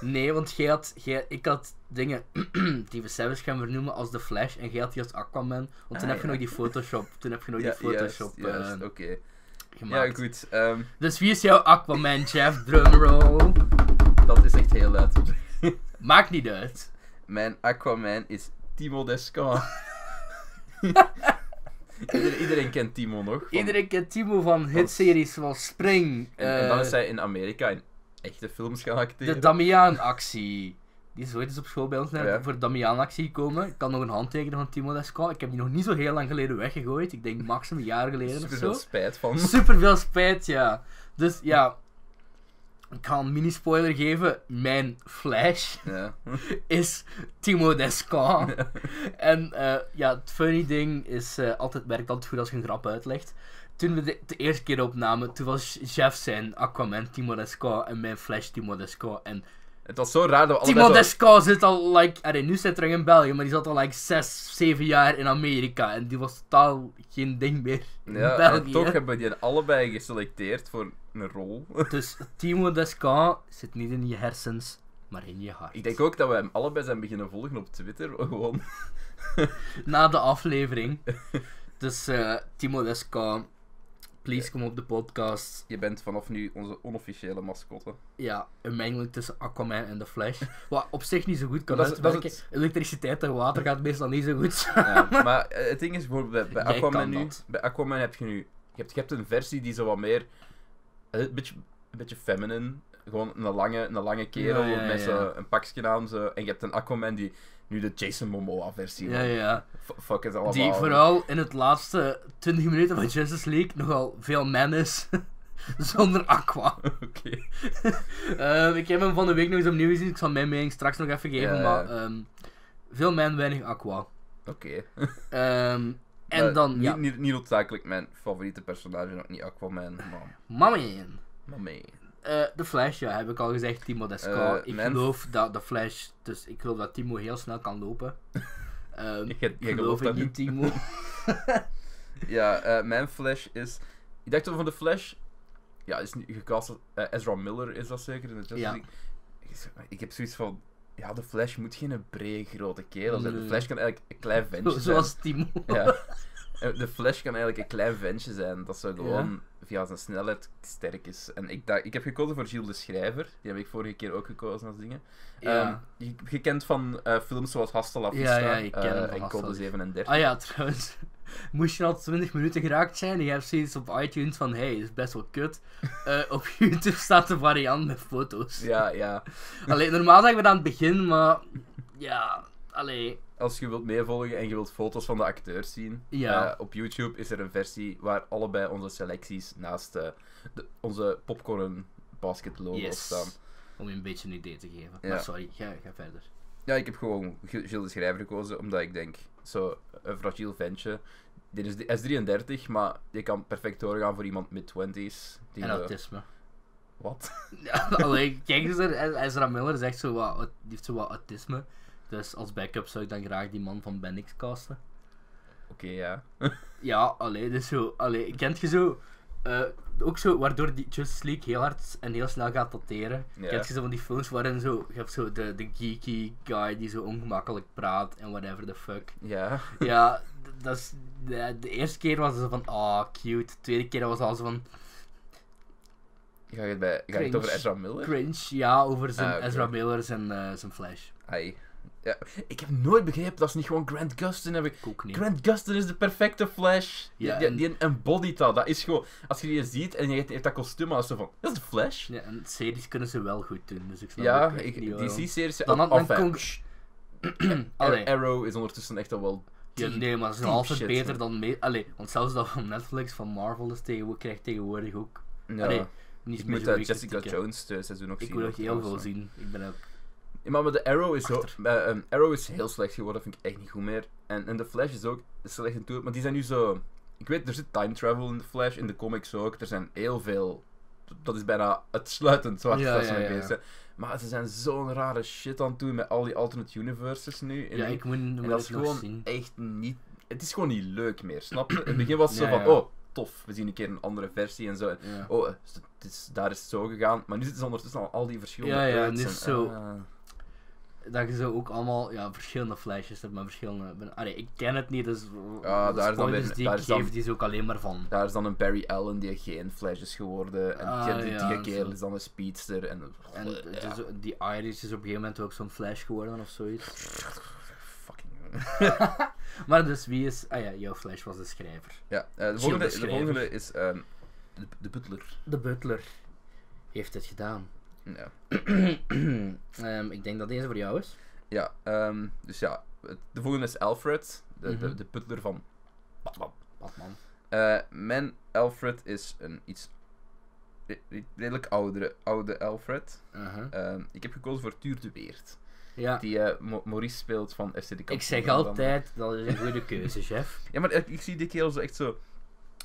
[SPEAKER 2] Nee, want jij had, jij, ik had dingen die we zelfs gaan vernoemen als de Flash en jij had die als Aquaman. Want toen
[SPEAKER 1] Ah,
[SPEAKER 2] heb je
[SPEAKER 1] ja.
[SPEAKER 2] nog die Photoshop. Toen heb je nog die Photoshop
[SPEAKER 1] juist, juist,
[SPEAKER 2] eh,
[SPEAKER 1] Oké. Ja,
[SPEAKER 2] gemaakt.
[SPEAKER 1] goed. ehm,
[SPEAKER 2] dus wie is jouw Aquaman, Jeff? Drumroll.
[SPEAKER 1] dat is echt heel luid.
[SPEAKER 2] Maakt niet uit.
[SPEAKER 1] Mijn Aquaman is Timo Descan. iedereen, iedereen kent Timo nog. van-
[SPEAKER 2] Iedereen kent Timo van hitseries zoals Spring.
[SPEAKER 1] En, en dan
[SPEAKER 2] eh,
[SPEAKER 1] is hij in Amerika in echte films gaan acteren.
[SPEAKER 2] de Damiaan-actie. Die is ooit eens op school bij ons naar,
[SPEAKER 1] Ja.
[SPEAKER 2] voor de Damiaan-actie gekomen. Ik kan nog een handtekening van Timo Descan. Ik heb die nog niet zo heel lang geleden weggegooid. Ik denk maximum een jaar geleden
[SPEAKER 1] Super
[SPEAKER 2] of
[SPEAKER 1] veel
[SPEAKER 2] zo.
[SPEAKER 1] spijt van.
[SPEAKER 2] Super veel spijt, ja. Dus ja, ik ga een mini-spoiler geven. Mijn Flash
[SPEAKER 1] Ja.
[SPEAKER 2] is Timo Descan. En eh, ja, het funny ding is, eh, altijd werkt altijd goed als je een grap uitlegt. Toen we de, de eerste keer opnamen, toen was Jeff zijn Aquaman Timo Descan en mijn Flash Timo Descan. En
[SPEAKER 1] Het was zo raar dat we
[SPEAKER 2] Timo
[SPEAKER 1] allebei zo-
[SPEAKER 2] Descan zit al, like, allee, nu zit hij terug in België, maar die zat al like 6, 7 jaar in Amerika. En die was totaal geen ding meer in
[SPEAKER 1] Ja, en
[SPEAKER 2] België.
[SPEAKER 1] toch hebben we die allebei geselecteerd voor een rol.
[SPEAKER 2] Dus Timo Descan zit niet in je hersens, maar in je hart.
[SPEAKER 1] Ik denk ook dat we hem allebei zijn beginnen volgen op Twitter. Gewoon.
[SPEAKER 2] Na de aflevering. Dus eh, Timo Descan, please kom op de podcast.
[SPEAKER 1] Je bent vanaf nu onze onofficiële mascotte.
[SPEAKER 2] Ja, een mengeling tussen Aquaman en The Flash. Wat op zich niet zo goed kan
[SPEAKER 1] Dat is- dat is
[SPEAKER 2] uitwerken. Elektriciteit en water gaat meestal niet zo goed
[SPEAKER 1] Ja,
[SPEAKER 2] samen.
[SPEAKER 1] maar eh, het ding is bijvoorbeeld bij, bij
[SPEAKER 2] Jij
[SPEAKER 1] Aquaman
[SPEAKER 2] kan
[SPEAKER 1] nu.
[SPEAKER 2] dat.
[SPEAKER 1] Bij Aquaman heb je nu. Je hebt, je hebt een versie die zo wat meer. eh, Een beetje, een beetje feminine. Gewoon een lange, een lange kerel
[SPEAKER 2] Ja, ja,
[SPEAKER 1] met
[SPEAKER 2] ja.
[SPEAKER 1] zo een pakje aan. Zo. En je hebt een Aquaman die nu de Jason Momoa versie.
[SPEAKER 2] Ja, ja.
[SPEAKER 1] Fuck is allemaal.
[SPEAKER 2] Die vooral in het laatste 20 minuten van Justice League nogal veel man is. Zonder aqua.
[SPEAKER 1] Oké.
[SPEAKER 2] Ehm, ik heb hem van de week nog eens opnieuw gezien. Ik zal mijn mening straks nog even geven.
[SPEAKER 1] Ja, ja.
[SPEAKER 2] Maar ehm, veel man, weinig aqua.
[SPEAKER 1] Oké.
[SPEAKER 2] Ehm, en
[SPEAKER 1] Maar
[SPEAKER 2] dan,
[SPEAKER 1] Niet,
[SPEAKER 2] ja,
[SPEAKER 1] niet, niet noodzakelijk mijn favoriete personage, nog niet Aquaman, maar.
[SPEAKER 2] Mammy.
[SPEAKER 1] maar mee.
[SPEAKER 2] Eh, de Flash, ja, heb ik al gezegd, Timo Descal.
[SPEAKER 1] Eh,
[SPEAKER 2] ik
[SPEAKER 1] mijn-
[SPEAKER 2] geloof dat de Flash, dus ik geloof dat Timo heel snel kan lopen. Ehm
[SPEAKER 1] Ik, ik
[SPEAKER 2] geloof
[SPEAKER 1] geloof
[SPEAKER 2] ik
[SPEAKER 1] dat
[SPEAKER 2] niet,
[SPEAKER 1] niet.
[SPEAKER 2] Timo.
[SPEAKER 1] Ja, eh, mijn Flash is. Ik dacht over de Flash. Ja, is nu gecast. als- eh, Ezra Miller is dat zeker in de Justice
[SPEAKER 2] Ja.
[SPEAKER 1] League. Ik zeg, maar, Ik heb zoiets van. Ja, de Flash moet geen brede grote kerel zijn.
[SPEAKER 2] Nee.
[SPEAKER 1] De Flash kan eigenlijk een klein ventje zijn.
[SPEAKER 2] Zoals Timo.
[SPEAKER 1] Ja. Eh, De Flash kan eigenlijk een klein ventje zijn. Dat zo gewoon via zijn snelheid sterk is. En ik, dacht, ik heb gekozen voor Gilles de Schrijver. Die heb ik vorige keer ook gekozen als dingen.
[SPEAKER 2] Ja.
[SPEAKER 1] Ehm, je, je kent van eh, films zoals Hasta La Vista
[SPEAKER 2] ja, ik ken
[SPEAKER 1] eh,
[SPEAKER 2] hem van
[SPEAKER 1] en
[SPEAKER 2] Hasta La
[SPEAKER 1] Code
[SPEAKER 2] Vista.
[SPEAKER 1] 37.
[SPEAKER 2] Ah ja, trouwens. Moest je al 20 minuten geraakt zijn en je hebt zoiets op iTunes van, hey, is best wel kut. Eh, op YouTube staat een variant met foto's.
[SPEAKER 1] Ja, ja.
[SPEAKER 2] Allee, normaal zeggen we dat aan het begin, maar ja, allee.
[SPEAKER 1] Als je wilt meevolgen en je wilt foto's van de acteurs zien,
[SPEAKER 2] Ja.
[SPEAKER 1] eh, op YouTube is er een versie waar allebei onze selecties naast eh, de- onze popcorn basket logo staan.
[SPEAKER 2] Om je een beetje een idee te geven.
[SPEAKER 1] Ja.
[SPEAKER 2] Maar sorry, ga, ga verder.
[SPEAKER 1] Ja, ik heb gewoon Gil- Gilles de Schrijver gekozen, omdat ik denk, zo, een fragiel ventje. Dit is, hij is 33, maar je kan perfect doorgaan voor iemand mid-twenties. die
[SPEAKER 2] en
[SPEAKER 1] zo-
[SPEAKER 2] autisme.
[SPEAKER 1] Wat?
[SPEAKER 2] Ja, Allee, kijk eens, er- Ezra Miller zegt zo wat, die heeft zo wat autisme. Dus als backup zou ik dan graag die man van Ben X casten.
[SPEAKER 1] Oké, ja.
[SPEAKER 2] Ja, allee, dus zo, allee, kent je zo, eh, ook zo, waardoor die Justice League heel hard en heel snel gaat dateren.
[SPEAKER 1] Ja.
[SPEAKER 2] Kent je zo van die films waarin zo, je hebt zo de, de geeky guy die zo ongemakkelijk praat en whatever the fuck.
[SPEAKER 1] Ja.
[SPEAKER 2] Ja, d- dat is, de, de eerste keer was ze van, ah, cute. De tweede keer was al zo van,
[SPEAKER 1] Ga je het, bij, ga je het
[SPEAKER 2] Cringe.
[SPEAKER 1] over Ezra Miller?
[SPEAKER 2] cringe, ja, over zijn
[SPEAKER 1] Ah, oké.
[SPEAKER 2] Ezra Miller en eh, zijn Flash.
[SPEAKER 1] Ai. Ja. Ik heb nooit begrepen dat ze niet gewoon Grant Gustin hebben.
[SPEAKER 2] Ik ook niet.
[SPEAKER 1] Grant Gustin is de perfecte Flash. Die,
[SPEAKER 2] Ja,
[SPEAKER 1] die,
[SPEAKER 2] en-
[SPEAKER 1] die embodied dat. Dat is gewoon... Als je die ziet en je heeft dat kostuum aan, is zo van... Dat is de Flash.
[SPEAKER 2] Ja, en series kunnen ze wel goed doen, dus ik snap
[SPEAKER 1] Ja,
[SPEAKER 2] het echt
[SPEAKER 1] ik,
[SPEAKER 2] niet
[SPEAKER 1] die
[SPEAKER 2] waarom.
[SPEAKER 1] C-series...
[SPEAKER 2] Dan had
[SPEAKER 1] enfin,
[SPEAKER 2] men Kong... Allee,
[SPEAKER 1] Ar- Arrow is ondertussen echt al wel...
[SPEAKER 2] ja,
[SPEAKER 1] diep.
[SPEAKER 2] nee, maar ze zijn
[SPEAKER 1] diep
[SPEAKER 2] altijd
[SPEAKER 1] shit,
[SPEAKER 2] beter
[SPEAKER 1] hè.
[SPEAKER 2] dan... Me- Allee, want zelfs dat van Netflix, van Marvel, is tegenwo- krijgt tegenwoordig ook
[SPEAKER 1] Ja.
[SPEAKER 2] Allee, niet
[SPEAKER 1] ik
[SPEAKER 2] meer
[SPEAKER 1] moet
[SPEAKER 2] zo
[SPEAKER 1] eh,
[SPEAKER 2] goeie
[SPEAKER 1] Jessica
[SPEAKER 2] kritieken.
[SPEAKER 1] Jones tweede seizoen ook
[SPEAKER 2] Ik
[SPEAKER 1] zien.
[SPEAKER 2] wil nog
[SPEAKER 1] hoor,
[SPEAKER 2] heel veel
[SPEAKER 1] trouwens. eh.
[SPEAKER 2] zien. Ik ben ook...
[SPEAKER 1] Ja, maar de Arrow is, zo,
[SPEAKER 2] Achter.
[SPEAKER 1] eh, ehm, Arrow is heel slecht geworden, vind ik echt niet goed meer. En, en de Flash is ook slecht in toe, maar die zijn nu zo... Ik weet, er zit time travel in de Flash, in de comics ook. Er zijn heel veel... Dat is bijna uitsluitend waar
[SPEAKER 2] Ja,
[SPEAKER 1] waar ze
[SPEAKER 2] ja,
[SPEAKER 1] mee
[SPEAKER 2] ja.
[SPEAKER 1] bezig zijn. Maar ze zijn zo'n rare shit aan het doen met al die alternate universes nu. En
[SPEAKER 2] Ja,
[SPEAKER 1] die-
[SPEAKER 2] ik moet hem
[SPEAKER 1] en
[SPEAKER 2] wel
[SPEAKER 1] dat is
[SPEAKER 2] eens nog
[SPEAKER 1] gewoon
[SPEAKER 2] zien.
[SPEAKER 1] echt niet... Het is gewoon niet leuk meer, snap je? In het begin was het
[SPEAKER 2] Ja,
[SPEAKER 1] zo van,
[SPEAKER 2] ja.
[SPEAKER 1] oh, tof, we zien een keer een andere versie en zo. En,
[SPEAKER 2] Ja.
[SPEAKER 1] oh, eh, het is, daar is het zo gegaan. Maar nu zitten ze ondertussen al al die verschillende
[SPEAKER 2] Ja, ja,
[SPEAKER 1] Earths
[SPEAKER 2] nu
[SPEAKER 1] en,
[SPEAKER 2] is zo-
[SPEAKER 1] ah.
[SPEAKER 2] Dat je zo ook allemaal ja, verschillende flesjes hebt, maar verschillende... ben- Allee, ik ken het niet, dus...
[SPEAKER 1] Ja, daar is dan
[SPEAKER 2] spoilers
[SPEAKER 1] weer-
[SPEAKER 2] die
[SPEAKER 1] daar
[SPEAKER 2] ik
[SPEAKER 1] is dan-
[SPEAKER 2] geef, die is ook alleen maar van.
[SPEAKER 1] Daar is dan een Barry Allen die geen Flash is geworden. En
[SPEAKER 2] Ah,
[SPEAKER 1] die- die,
[SPEAKER 2] ja,
[SPEAKER 1] die
[SPEAKER 2] en
[SPEAKER 1] kerel
[SPEAKER 2] zo.
[SPEAKER 1] is dan een speedster. En, Eh,
[SPEAKER 2] En
[SPEAKER 1] Ja,
[SPEAKER 2] het is- die Iris is op een gegeven moment ook zo'n flash geworden of zoiets.
[SPEAKER 1] fucking...
[SPEAKER 2] Maar dus wie is... Ah ja, jouw flash was de schrijver.
[SPEAKER 1] Ja, eh, de, volgende, de volgende is ehm, de, de Butler.
[SPEAKER 2] De butler heeft het gedaan.
[SPEAKER 1] Ja,
[SPEAKER 2] Ehm, ik denk dat deze voor jou is.
[SPEAKER 1] ja ehm, dus ja. het- De volgende is Alfred, de, de,
[SPEAKER 2] Mhm.
[SPEAKER 1] de Butler van Batman.
[SPEAKER 2] Batman.
[SPEAKER 1] Eh, mijn Alfred is een iets re- re- redelijk oudere, oude Alfred.
[SPEAKER 2] Uh-huh.
[SPEAKER 1] Ehm, ik heb gekozen voor Tuur de Weert,
[SPEAKER 2] Ja,
[SPEAKER 1] die eh, Mo- Maurice speelt van FC de
[SPEAKER 2] ik zeg
[SPEAKER 1] Kampioenen.
[SPEAKER 2] altijd, dat is een goede keuze, chef.
[SPEAKER 1] Ja, maar ik, ik zie die kerel zo echt zo.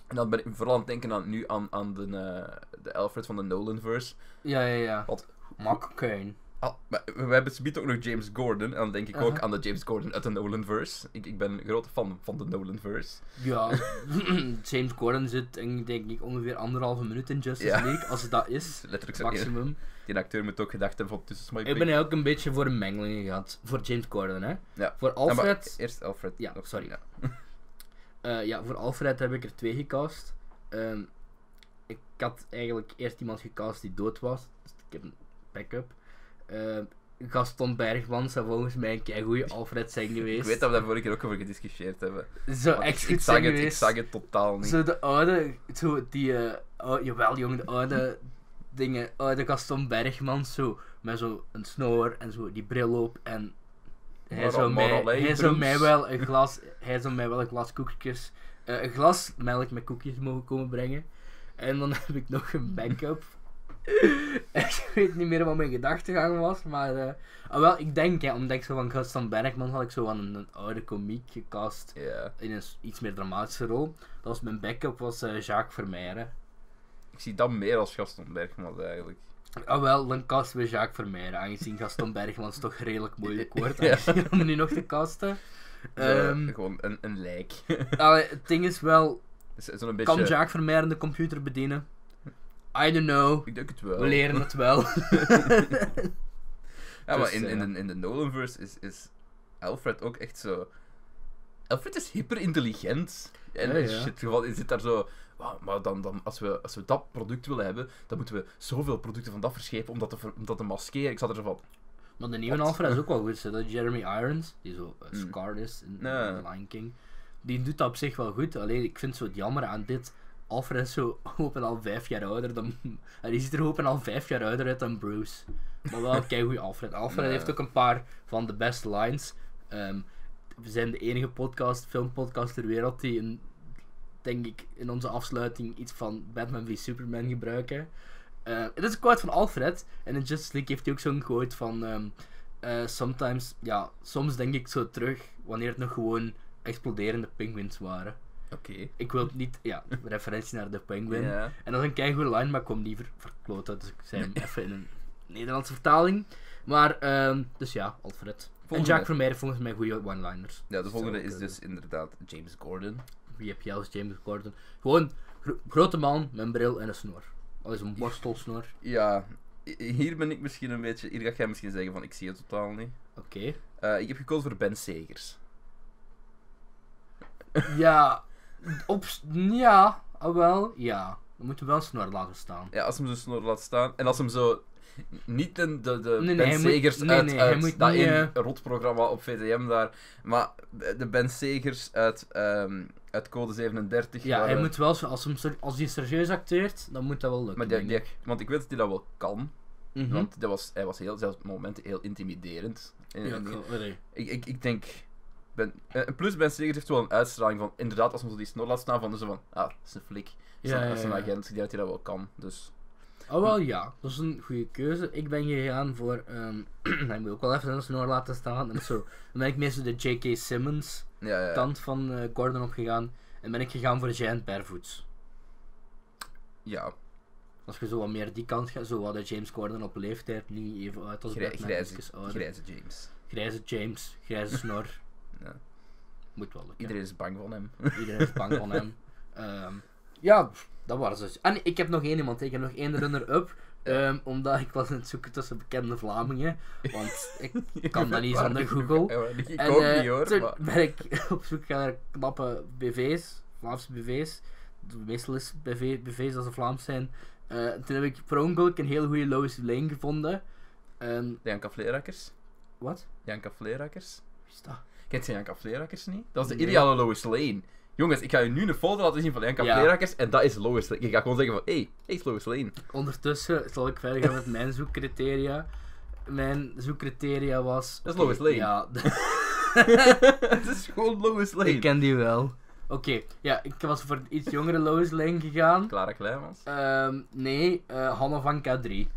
[SPEAKER 1] En dan ben ik vooral aan het denken aan, nu aan, aan de, eh, de Alfred van de Nolanverse.
[SPEAKER 2] Ja, ja, ja.
[SPEAKER 1] Wat?
[SPEAKER 2] Mak Keun.
[SPEAKER 1] Al- Ah, maar we we hebben subiet ook nog James Gordon. En dan denk ik ook
[SPEAKER 2] Aha.
[SPEAKER 1] aan de James Gordon uit de Nolanverse. Ik, ik ben een grote fan van de Nolanverse.
[SPEAKER 2] Ja, James Gordon zit in, denk ik ongeveer anderhalve minuut in Justice
[SPEAKER 1] Ja.
[SPEAKER 2] League, als het dat is.
[SPEAKER 1] Letterlijk zijn die,
[SPEAKER 2] Maximum.
[SPEAKER 1] die acteur moet ook gedacht hebben van tussen my
[SPEAKER 2] Ik ben ook een beetje voor een mengeling gehad. Voor James Gordon, hè.
[SPEAKER 1] Ja.
[SPEAKER 2] Voor
[SPEAKER 1] Ja, maar
[SPEAKER 2] Alfred...
[SPEAKER 1] eerst Alfred.
[SPEAKER 2] Ja,
[SPEAKER 1] Nog-
[SPEAKER 2] sorry.
[SPEAKER 1] ja.
[SPEAKER 2] Eh, ja, voor Alfred heb ik er twee gecast. Ehm, ik had eigenlijk eerst iemand gecast die dood was. Dus ik heb een backup. Ehm, Gaston Bergmans zou volgens mij een keigoeie Alfred zijn geweest.
[SPEAKER 1] Ik weet dat we daar vorige keer ook over gediscussieerd hebben.
[SPEAKER 2] Zo
[SPEAKER 1] Want ik,
[SPEAKER 2] echt goed
[SPEAKER 1] ik, zag
[SPEAKER 2] zijn
[SPEAKER 1] het, ik
[SPEAKER 2] geweest.
[SPEAKER 1] zag het totaal niet.
[SPEAKER 2] Zo de oude... Zo die... eh oh, jawel, jongen. De oude dingen. Oude Gaston Bergmans. Zo, met zo'n snor en zo die bril op. En hij
[SPEAKER 1] Maar-
[SPEAKER 2] zou,
[SPEAKER 1] maar
[SPEAKER 2] mij,
[SPEAKER 1] alleen
[SPEAKER 2] hij zou
[SPEAKER 1] Bruce.
[SPEAKER 2] mij wel een glas... Hij zou mij wel een glas koekjes... eh, een glas melk met koekjes mogen komen brengen. En dan heb ik nog een backup. ik weet niet meer wat mijn gedachtegang was, maar... eh, ah, wel, ik denk, hè, omdat ik zo van Gaston Bergman had ik zo aan een, een oude komiek gecast
[SPEAKER 1] Ja.
[SPEAKER 2] in een s- iets meer dramatische rol. Dat was mijn backup, was eh, Jacques Vermeijeren.
[SPEAKER 1] Ik zie dat meer als Gaston Bergman eigenlijk.
[SPEAKER 2] Ah wel, dan casten we Jacques Vermeijeren, aangezien Gaston Bergmans toch redelijk moeilijk wordt
[SPEAKER 1] Ja.
[SPEAKER 2] aangezien om nu nog te casten.
[SPEAKER 1] Zo,
[SPEAKER 2] Ehm,
[SPEAKER 1] gewoon een, een lijk.
[SPEAKER 2] allee, het ding is wel,
[SPEAKER 1] Zo- Zo'n beetje...
[SPEAKER 2] kan Jacques Vermeijeren de computer bedienen? I don't know,
[SPEAKER 1] Ik denk het wel.
[SPEAKER 2] we leren het wel.
[SPEAKER 1] Ja, maar
[SPEAKER 2] Dus,
[SPEAKER 1] in, in,
[SPEAKER 2] eh,
[SPEAKER 1] de- in de Nolanverse is, is Alfred ook echt zo... Alfred is hyperintelligent. En
[SPEAKER 2] Ja,
[SPEAKER 1] in
[SPEAKER 2] ja.
[SPEAKER 1] shit geval is zit daar zo... "Wauw, maar dan, dan, als, we, als we dat product willen hebben, dan moeten we zoveel producten van dat verschepen om dat te, ver- om dat te maskeren. Ik zat er zo van...
[SPEAKER 2] maar de nieuwe
[SPEAKER 1] Wat?
[SPEAKER 2] Alfred is ook wel goed, zo, dat Jeremy Irons, die zo eh,
[SPEAKER 1] Mm.
[SPEAKER 2] Scar is in, in
[SPEAKER 1] Ja.
[SPEAKER 2] Lion King, die doet dat op zich wel goed, alleen ik vind het zo het jammer aan dit... Alfred is zo hoop en al vijf jaar ouder dan... en Die ziet er hoop en al vijf jaar ouder uit dan Bruce. Maar wel een goede Alfred. Alfred
[SPEAKER 1] Ja.
[SPEAKER 2] heeft ook een paar van de beste lines. Ehm, we zijn de enige podcast, filmpodcast ter wereld die een, denk ik in onze afsluiting iets van Batman v Superman gebruiken. Eh, Het is een quote van Alfred. En in Justice League heeft hij ook zo'n quote van... ehm, eh, sometimes, ja, soms denk ik zo terug wanneer het nog gewoon exploderende penguins waren.
[SPEAKER 1] Oké.
[SPEAKER 2] Ik wil het niet, ja, referentie naar de Penguin.
[SPEAKER 1] Ja.
[SPEAKER 2] En dat is een keigoede line, maar ik kwam liever verkloot uit. Dus ik zei hem even in een Nederlandse vertaling. Maar, ehm, dus ja, Alfred. En
[SPEAKER 1] Volgende.
[SPEAKER 2] Jack Vermeijden volgens mij goede one-liners.
[SPEAKER 1] ja, de volgende is
[SPEAKER 2] Zou
[SPEAKER 1] dus inderdaad James Gordon.
[SPEAKER 2] Wie heb jij als James Gordon? Gewoon, gro- grote man met een bril en een snor. Al is een borstelsnor.
[SPEAKER 1] Ja, i- hier ben ik misschien een beetje... Hier ga jij misschien zeggen van, ik zie het totaal niet.
[SPEAKER 2] Oké.
[SPEAKER 1] Eh, ik heb gekozen voor Ben Segers.
[SPEAKER 2] Ja, op, s- ja, ah, wel, ja. Dan moeten we wel een snor laten staan.
[SPEAKER 1] Ja, als hem zijn snor laat staan. En als hem zo... Niet de, de, de
[SPEAKER 2] Nee, nee,
[SPEAKER 1] Ben
[SPEAKER 2] hij moet-
[SPEAKER 1] Segers
[SPEAKER 2] nee,
[SPEAKER 1] uit,
[SPEAKER 2] nee, hij
[SPEAKER 1] uit
[SPEAKER 2] moet
[SPEAKER 1] dat
[SPEAKER 2] niet,
[SPEAKER 1] één
[SPEAKER 2] eh,
[SPEAKER 1] rotprogramma op VTM daar. Maar de de Ben Segers uit, ehm, uit Code 37.
[SPEAKER 2] Ja,
[SPEAKER 1] waar,
[SPEAKER 2] hij
[SPEAKER 1] eh,
[SPEAKER 2] moet wel, zo- als, hem, ser- als hij serieus acteert, dan moet dat wel lukken.
[SPEAKER 1] Maar die,
[SPEAKER 2] denk ik.
[SPEAKER 1] die- want ik weet dat hij dat wel kan.
[SPEAKER 2] Mhm.
[SPEAKER 1] Want dat was, hij was heel, zelfs op momenten heel intimiderend. En-
[SPEAKER 2] Ja,
[SPEAKER 1] en-
[SPEAKER 2] ik- allee.
[SPEAKER 1] ik, ik, ik denk... Ben, eh, en plus, Ben Segers heeft wel een uitstraling van... Inderdaad, als hij zo die snor laat staan, van... Dus van ah, dat is een flik. Dat is
[SPEAKER 2] Ja,
[SPEAKER 1] een-
[SPEAKER 2] ja,
[SPEAKER 1] dat is een
[SPEAKER 2] ja.
[SPEAKER 1] agent. Ik denk dat hij dat wel kan. Dus...
[SPEAKER 2] Oh, wel ja, dat is een goede keuze. Ik ben gegaan voor. ehm hij moet ook wel even zijn snor laten staan en zo. Dan ben ik meestal de J.K. Simmons
[SPEAKER 1] Ja, ja, ja.
[SPEAKER 2] kant van eh, Gordon opgegaan. En ben ik gegaan voor Giant Barefoots.
[SPEAKER 1] ja.
[SPEAKER 2] Als je zo wat meer die kant gaat, zo wat de James Gordon op leeftijd, niet even uit als
[SPEAKER 1] Grij-
[SPEAKER 2] Batman,
[SPEAKER 1] grijze,
[SPEAKER 2] even ouder.
[SPEAKER 1] grijze James.
[SPEAKER 2] Grijze James, grijze snor.
[SPEAKER 1] Ja.
[SPEAKER 2] Moet wel lukken.
[SPEAKER 1] Iedereen is bang van hem.
[SPEAKER 2] Iedereen is bang van hem. Ehm, ja, pff, dat waren ze. Ah, nee, ik heb nog één iemand. Ik heb nog één runner-up. ehm, omdat ik was aan het zoeken tussen bekende Vlamingen. Want ik kan dat niet zonder Google.
[SPEAKER 1] Ja, maar ik ik
[SPEAKER 2] En,
[SPEAKER 1] ook
[SPEAKER 2] eh,
[SPEAKER 1] niet hoor.
[SPEAKER 2] toen
[SPEAKER 1] Maar...
[SPEAKER 2] ben ik op zoek gaan naar knappe BV's, Vlaamse BV's. Meestal is BV, BV's als ze Vlaams zijn. Eh, toen heb ik per ongeluk een heel goede Lois Lane gevonden. Ehm,
[SPEAKER 1] Janka Vleerakkers.
[SPEAKER 2] wat?
[SPEAKER 1] Janka Vleerakkers.
[SPEAKER 2] Wie is dat?
[SPEAKER 1] Kent je Janka Vleerakkers niet? Dat is de
[SPEAKER 2] Nee.
[SPEAKER 1] ideale Lois Lane. Jongens, ik ga je nu een foto laten zien van Janka
[SPEAKER 2] Ja.
[SPEAKER 1] Vleerakkers en dat is Lois Lane. Ik ga gewoon zeggen van, hé, hey, hey is Lois Lane.
[SPEAKER 2] Ondertussen zal ik verder gaan met mijn zoekcriteria. Mijn zoekcriteria was.
[SPEAKER 1] Dat is
[SPEAKER 2] oké,
[SPEAKER 1] Lois Lane.
[SPEAKER 2] Ja,
[SPEAKER 1] Het is gewoon Lois Lane.
[SPEAKER 2] ik ken die wel. Oké, ja, ik was voor iets jongere Lois Lane gegaan.
[SPEAKER 1] Clara Kleimans.
[SPEAKER 2] Ehm, nee, eh Hanna van K3. Dat is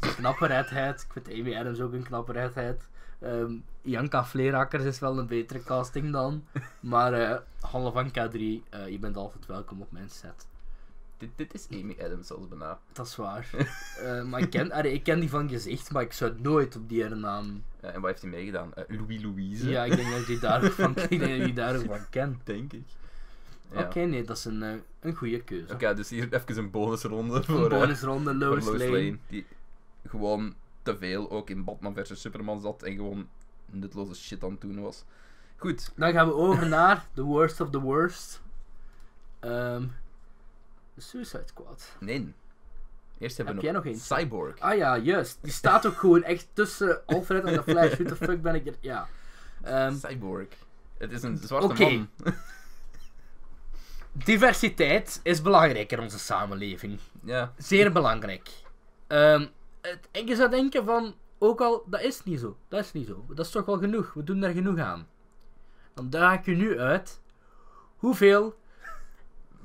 [SPEAKER 2] een knappe redheid. Ik vind Amy Adams ook een knappe redheid. Ehm Janka Vleerakkers is wel een betere casting dan. Maar eh Hanna van K3, eh, je bent altijd welkom op mijn set.
[SPEAKER 1] Dit, dit is Amy Adams zelfs bijna.
[SPEAKER 2] Dat is waar. Eh, maar ik ken, allee, ik ken die van gezicht, maar ik zou nooit op die haar naam
[SPEAKER 1] Eh, en wat heeft hij meegedaan? Eh, Louis Louise?
[SPEAKER 2] Ja, ik denk dat ik die daar ook van, ik denk dat ik die daar ook van ken.
[SPEAKER 1] denk ik. Ja.
[SPEAKER 2] Oké, nee, dat is een, eh, een goede keuze.
[SPEAKER 1] Oké, dus hier even een bonusronde voor...
[SPEAKER 2] een
[SPEAKER 1] eh,
[SPEAKER 2] bonusronde, Lois
[SPEAKER 1] Van
[SPEAKER 2] Lane.
[SPEAKER 1] Die gewoon te veel ook in Batman versus Superman zat en gewoon nutloze shit aan het doen was. Goed,
[SPEAKER 2] Dan gaan we over naar The Worst of the Worst. Ehm, de Suicide Squad.
[SPEAKER 1] nee. Eerst hebben
[SPEAKER 2] Heb
[SPEAKER 1] we
[SPEAKER 2] jij nog één?
[SPEAKER 1] Cyborg.
[SPEAKER 2] Ah ja, juist. Die staat ook gewoon echt tussen Alfred en de Flash. Hoe de fuck ben ik er... Ja. Ehm,
[SPEAKER 1] Cyborg. Het is een zwarte
[SPEAKER 2] Oké.
[SPEAKER 1] man.
[SPEAKER 2] diversiteit is belangrijk in onze samenleving.
[SPEAKER 1] Ja.
[SPEAKER 2] Zeer belangrijk. Ehm het, en je zou denken van, ook al, dat is niet zo. Dat is niet zo. Dat is toch wel genoeg. We doen daar genoeg aan. Dan daag ik je nu uit hoeveel